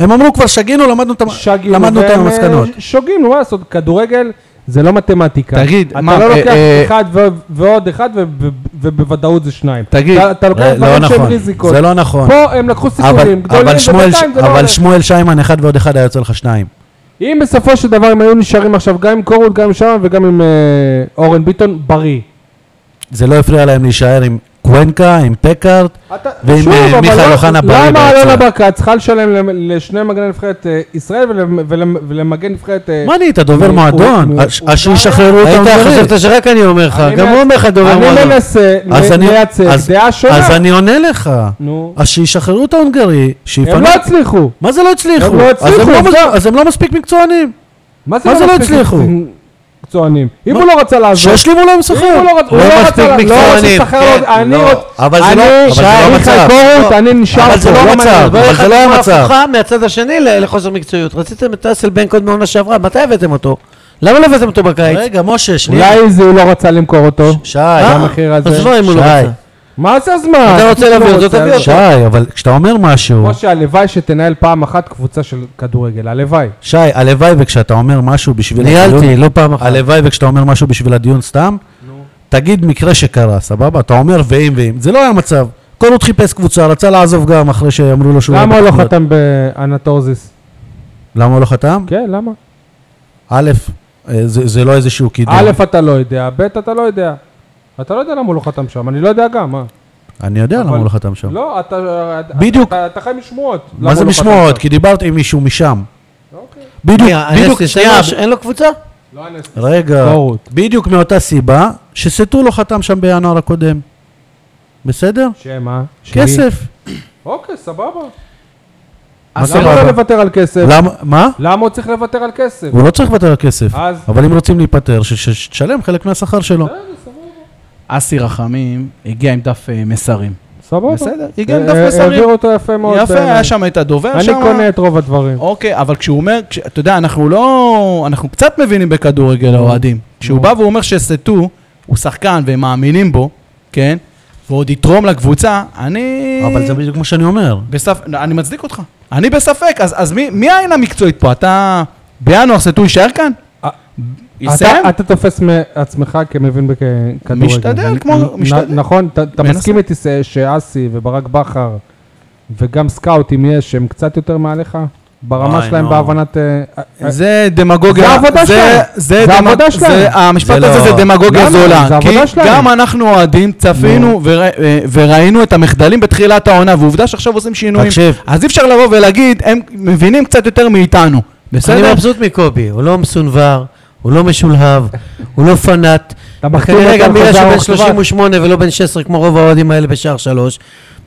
Speaker 3: הם אמרו כבר שגינו, למדנו את המ-
Speaker 1: שגינו
Speaker 3: למדנו את
Speaker 1: והם,
Speaker 3: המסקנות.
Speaker 1: אה, שוגים, מה לעשות, כדורגל זה לא מתמטיקה.
Speaker 5: תגיד,
Speaker 1: אתה
Speaker 5: מה,
Speaker 1: לא
Speaker 5: אה,
Speaker 1: לוקח
Speaker 5: אה,
Speaker 1: אחד ו- ועוד אחד ו- ו- ובוודאות זה שניים.
Speaker 5: תגיד,
Speaker 1: אתה- אתה לוקח
Speaker 3: אה,
Speaker 1: דברים
Speaker 3: לא
Speaker 1: שהם
Speaker 3: נכון,
Speaker 1: ריזיקות.
Speaker 3: זה לא נכון.
Speaker 1: פה הם לקחו סיכונים
Speaker 3: אבל-
Speaker 1: גדולים,
Speaker 3: אבל שמואל-
Speaker 1: ובינתיים זה לא
Speaker 3: אבל
Speaker 1: הולך.
Speaker 3: שמואל שיימן, אחד ועוד אחד היה יוצא לך שניים.
Speaker 1: אם בסופו של דבר הם היו נשארים עכשיו גם עם קורות, גם עם שם וגם עם אה, אורן ביטון, בריא.
Speaker 3: זה לא הפריע להם להישאר עם קוונקה, עם פקארט,
Speaker 1: אתה-
Speaker 3: ואם,
Speaker 1: שוב,
Speaker 3: אה,
Speaker 1: אבל
Speaker 3: מיכאל
Speaker 1: לא-
Speaker 3: אוחנה בריא
Speaker 1: למה
Speaker 3: ביציע?
Speaker 1: אלונה ברקת צריכה לשלם למ- לשני מגני נבחרת אה, ישראל ול- ול- ולמגן נבחרת... אה,
Speaker 3: מה נהיית, דובר
Speaker 1: הוא-
Speaker 3: מועדון? אה,
Speaker 1: הוא-
Speaker 3: אז-
Speaker 1: הוא- אה,
Speaker 3: אז שישחררו אותם.
Speaker 4: היית
Speaker 3: דברים.
Speaker 4: חשבת שרק אני אומר לך,
Speaker 1: אני
Speaker 4: גם
Speaker 1: מנס-
Speaker 4: הוא אומר לך דובר
Speaker 1: אני
Speaker 4: מועדון.
Speaker 1: מנסה
Speaker 3: אה, אז
Speaker 1: ל-
Speaker 3: אני-
Speaker 1: לייצג
Speaker 3: אז-
Speaker 1: דעה
Speaker 3: אז
Speaker 1: שונה.
Speaker 3: אני עונה לך.
Speaker 1: נו.
Speaker 3: אז שישחררו את ההונגרי,
Speaker 1: הם
Speaker 3: שיפנו...
Speaker 1: לא הצליחו.
Speaker 3: מה זה לא הצליחו?
Speaker 1: הם לא
Speaker 3: אז הם
Speaker 1: הצליחו,
Speaker 3: לא מס-
Speaker 1: עובדה.
Speaker 3: אז הם לא מספיק מקצוענים. מה זה לא
Speaker 1: מספיק
Speaker 3: הצליחו?
Speaker 1: מקצוענים. אם
Speaker 3: מה-
Speaker 1: הוא לא רצה לעזור...
Speaker 3: שישלימו להם
Speaker 1: אם
Speaker 3: שכר.
Speaker 1: הוא לא רצ- הוא לא
Speaker 4: לא
Speaker 1: רצה...
Speaker 4: מספיק
Speaker 1: לא רצה
Speaker 4: מקצוענים,
Speaker 1: לשחרר
Speaker 4: כן,
Speaker 1: לו... אני
Speaker 3: לא.
Speaker 1: רוצ...
Speaker 3: אבל זה לא-
Speaker 1: אני,
Speaker 3: אבל זה לא
Speaker 1: מיכאל
Speaker 3: המצב.
Speaker 1: קורות, אני נשאר פה.
Speaker 3: אבל זה לא המצב,
Speaker 1: מעניין.
Speaker 3: אבל זה לא היה המצב.
Speaker 4: הפוכה מהצד השני ל- לחוסר מקצועיות. רציתם את אסלבנק עוד מעונה שעברה, מתי הבאתם אותו? למה לא הבאתם אותו בקיץ?
Speaker 3: רגע, משה, שנייה.
Speaker 1: אולי זה הוא לא רצה למכור אותו.
Speaker 3: שי,
Speaker 4: אה,
Speaker 3: למה-
Speaker 1: המחיר הזה?
Speaker 4: עזבו אם הוא לא
Speaker 3: שי.
Speaker 4: רצה.
Speaker 1: מה זה הזמן?
Speaker 3: אה,
Speaker 4: אתה רוצה להביא אותו, תביא אותו.
Speaker 3: לא שי, אבל כשאתה אומר משהו,
Speaker 1: משה, הלוואי שתנהל פעם אחת קבוצה של כדורגל, הלוואי.
Speaker 3: שי, הלוואי וכשאתה אומר משהו בשביל
Speaker 4: ניהלתי, לא פעם אחת.
Speaker 3: הלוואי וכשאתה אומר משהו בשביל הדיון סתם, תגיד מקרה שקרה, סבבה? אתה אומר ואם ואם. זה לא היה מצב. כל עוד חיפש קבוצה, רצה לעזוב גם אחרי שאמרו לו שהוא...
Speaker 1: למה הוא לא
Speaker 3: בתוכניות.
Speaker 1: חתם באנטורזיס?
Speaker 3: למה הוא לא חתם?
Speaker 1: כן, למה?
Speaker 3: א', אה, זה זה לא איזשהו קידום.
Speaker 1: א', אתה לא יודע, ב', אתה לא יודע. אתה לא יודע למה הוא לא חתם שם, אני לא יודע גם, מה?
Speaker 3: אני יודע למה
Speaker 1: אבל-
Speaker 3: הוא לא חתם שם.
Speaker 1: לא, אתה... אתה-
Speaker 3: בדיוק.
Speaker 1: אתה אתה חי משמועות. למה
Speaker 3: מה זה
Speaker 1: הוא לא חתם
Speaker 3: משמועות?
Speaker 1: שם.
Speaker 3: כי דיברת עם מישהו משם.
Speaker 1: אוקיי.
Speaker 3: בדיוק,
Speaker 4: מי,
Speaker 3: בדיוק,
Speaker 4: אנס
Speaker 3: שנייה.
Speaker 4: ניסן, אין לו קבוצה?
Speaker 1: לא היה נס.
Speaker 3: רגע,
Speaker 1: טעות.
Speaker 3: בדיוק מאותה סיבה שסטו לא חתם שם בינואר הקודם. בסדר?
Speaker 1: שמה? שלי.
Speaker 3: כסף.
Speaker 1: אה? אוקיי, סבבה.
Speaker 3: מה
Speaker 1: למה הוא לא
Speaker 3: סבבה?
Speaker 1: לוותר על כסף?
Speaker 3: למה? מה?
Speaker 1: למה הוא צריך לוותר על כסף?
Speaker 3: הוא לא צריך לוותר על כסף.
Speaker 1: אז?
Speaker 3: אבל אם רוצים להיפטר, ש- ש- שתשלם חלק מהשכר שלו.
Speaker 1: בסדר, סבבה.
Speaker 5: אסי רחמים הגיע עם דף אה, מסרים.
Speaker 1: סבבה.
Speaker 5: בסדר, הגיע עם דף
Speaker 1: אה,
Speaker 5: מסרים.
Speaker 1: העביר אותו יפה מאוד.
Speaker 5: יפה,
Speaker 1: בעיניי.
Speaker 5: היה שם את הדובר שם.
Speaker 1: אני קונה את רוב הדברים.
Speaker 5: אוקיי, אבל כשהוא אומר, כש- אתה יודע, אנחנו לא... אנחנו קצת מבינים בכדורגל האוהדים. כשהוא בא ואומר שסטו הוא שחקן והם מאמינים בו, כן? ועוד יתרום לקבוצה, אני...
Speaker 3: אבל זה בדיוק מה שאני אומר.
Speaker 5: בספ... אני מצדיק אותך. אני בספק, אז, אז מי, מי העין המקצועית פה? אתה בינואר סטו יישאר כאן?
Speaker 1: אה,
Speaker 5: יסיים?
Speaker 1: אתה- אתה תופס מעצמך כמבין בכדורגל.
Speaker 5: משתדל, כמו- משתדל.
Speaker 1: נכון, אתה- אתה
Speaker 5: מנסה.
Speaker 1: מסכים איתי ש- שאסי וברק בכר וגם סקאוטים יש, הם קצת יותר מעליך? ברמה
Speaker 3: וואי,
Speaker 1: שלהם
Speaker 3: נו.
Speaker 1: בהבנת... אה, אה,
Speaker 5: זה דמגוגיה.
Speaker 1: זה העבודה שלהם. זה
Speaker 5: זה דמ-
Speaker 1: העבודה שלהם.
Speaker 5: זה- המשפט
Speaker 3: זה
Speaker 5: הזה
Speaker 3: לא-
Speaker 5: זה דמגוגיה
Speaker 1: למה? זה
Speaker 5: זולה. כי
Speaker 1: העבודה שלהם. לא.
Speaker 5: גם אנחנו אוהדים צפינו ורא- אה, וראינו את המחדלים בתחילת העונה, ועובדה שעכשיו עושים שינויים.
Speaker 3: תקשיב.
Speaker 5: אז אי אפשר לבוא ולהגיד, הם מבינים קצת יותר מאיתנו.
Speaker 4: אני
Speaker 3: לא
Speaker 5: בסדר?
Speaker 4: מבסוט מקובי, הוא לא מסונבר, הוא לא משולהב, הוא לא פנאט.
Speaker 1: אתה מחתים
Speaker 4: וכנראה
Speaker 1: אותו
Speaker 4: גם
Speaker 1: על
Speaker 4: בגלל
Speaker 1: חוזה
Speaker 4: שהוא בן
Speaker 1: ארוך טווח.
Speaker 4: 38 ולא בן 16 כמו רוב האוהדים האלה בשער שלוש,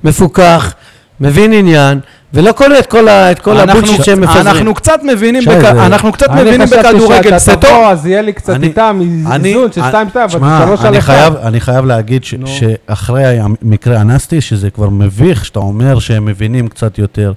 Speaker 4: מפוקח, מבין עניין, ולא קונה את כל ה- את כל
Speaker 5: אנחנו-
Speaker 4: הבולשיט שהם מפזרים.
Speaker 5: אנחנו קצת מבינים
Speaker 3: שי,
Speaker 5: בכ-
Speaker 3: זה-
Speaker 5: אנחנו קצת
Speaker 1: אני
Speaker 5: מבינים
Speaker 1: חשבתי
Speaker 5: בכדורגל.
Speaker 1: שאתה
Speaker 5: סטו,
Speaker 1: תבוא, אז יהיה לי קצת
Speaker 3: אני-
Speaker 1: איתם, איזון של 2-2, אבל זה 3
Speaker 3: שמע,
Speaker 1: על 1.
Speaker 3: אני חייב- אני חייב להגיד ש- שאחרי המקרה הנסטי, שזה כבר מביך שאתה אומר שהם מבינים קצת יותר.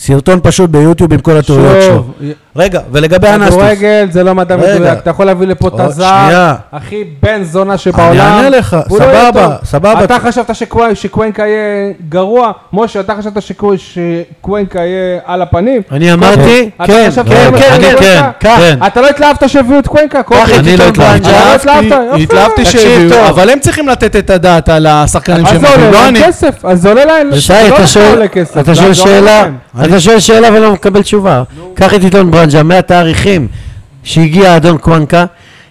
Speaker 3: סרטון פשוט ביוטיוב עם כל הטעויות שלו.
Speaker 1: שוב, אה,
Speaker 3: רגע, ולגבי הנסטי,
Speaker 1: כדורגל זה לא מדע
Speaker 3: רגע.
Speaker 1: מדויק, אתה יכול להביא לפה את
Speaker 3: עוד
Speaker 1: הזר,
Speaker 3: שנייה.
Speaker 1: הכי בן זונה שבעולם.
Speaker 3: אענה לך,
Speaker 1: הוא לא יהיה
Speaker 3: סבבה,
Speaker 1: טוב.
Speaker 3: סבבה.
Speaker 1: אתה חשבת שקו- שקוונקה יהיה גרוע, משה, אתה חשבת שקו- שקוונקה יהיה על הפנים?
Speaker 4: אני אמרתי,
Speaker 1: אתה
Speaker 4: כן,
Speaker 1: חשבת
Speaker 4: כן,
Speaker 1: שקוונקה-
Speaker 4: כן, כן,
Speaker 1: קח.
Speaker 4: כן.
Speaker 1: אתה לא התלהבת שהביאו את קוונקה, קובי.
Speaker 4: את
Speaker 1: אתה
Speaker 5: לא
Speaker 1: לא
Speaker 4: עיתון
Speaker 1: התלהבת,
Speaker 4: בנג'ה.
Speaker 1: יפה.
Speaker 5: התלהבתי
Speaker 1: תקשיב
Speaker 5: שהביאו,
Speaker 1: טוב.
Speaker 5: אבל הם צריכים לתת את הדעת על השחקנים
Speaker 1: אז
Speaker 5: שהם
Speaker 1: זה
Speaker 5: מביאים,
Speaker 1: עולה
Speaker 5: לא אני.
Speaker 1: להם כסף, אז זה עולה להם,
Speaker 4: שי,
Speaker 1: זה לא
Speaker 4: אתה
Speaker 1: לך
Speaker 4: שואל,
Speaker 1: עולה כסף, זה
Speaker 4: אתה שואל
Speaker 1: עולה
Speaker 4: שאלה,
Speaker 1: לכם.
Speaker 4: אתה שואל שאלה ולא מקבל תשובה. קח את עיתון ברנז'ה מהתאריכים שהגיע האדון קוונקה,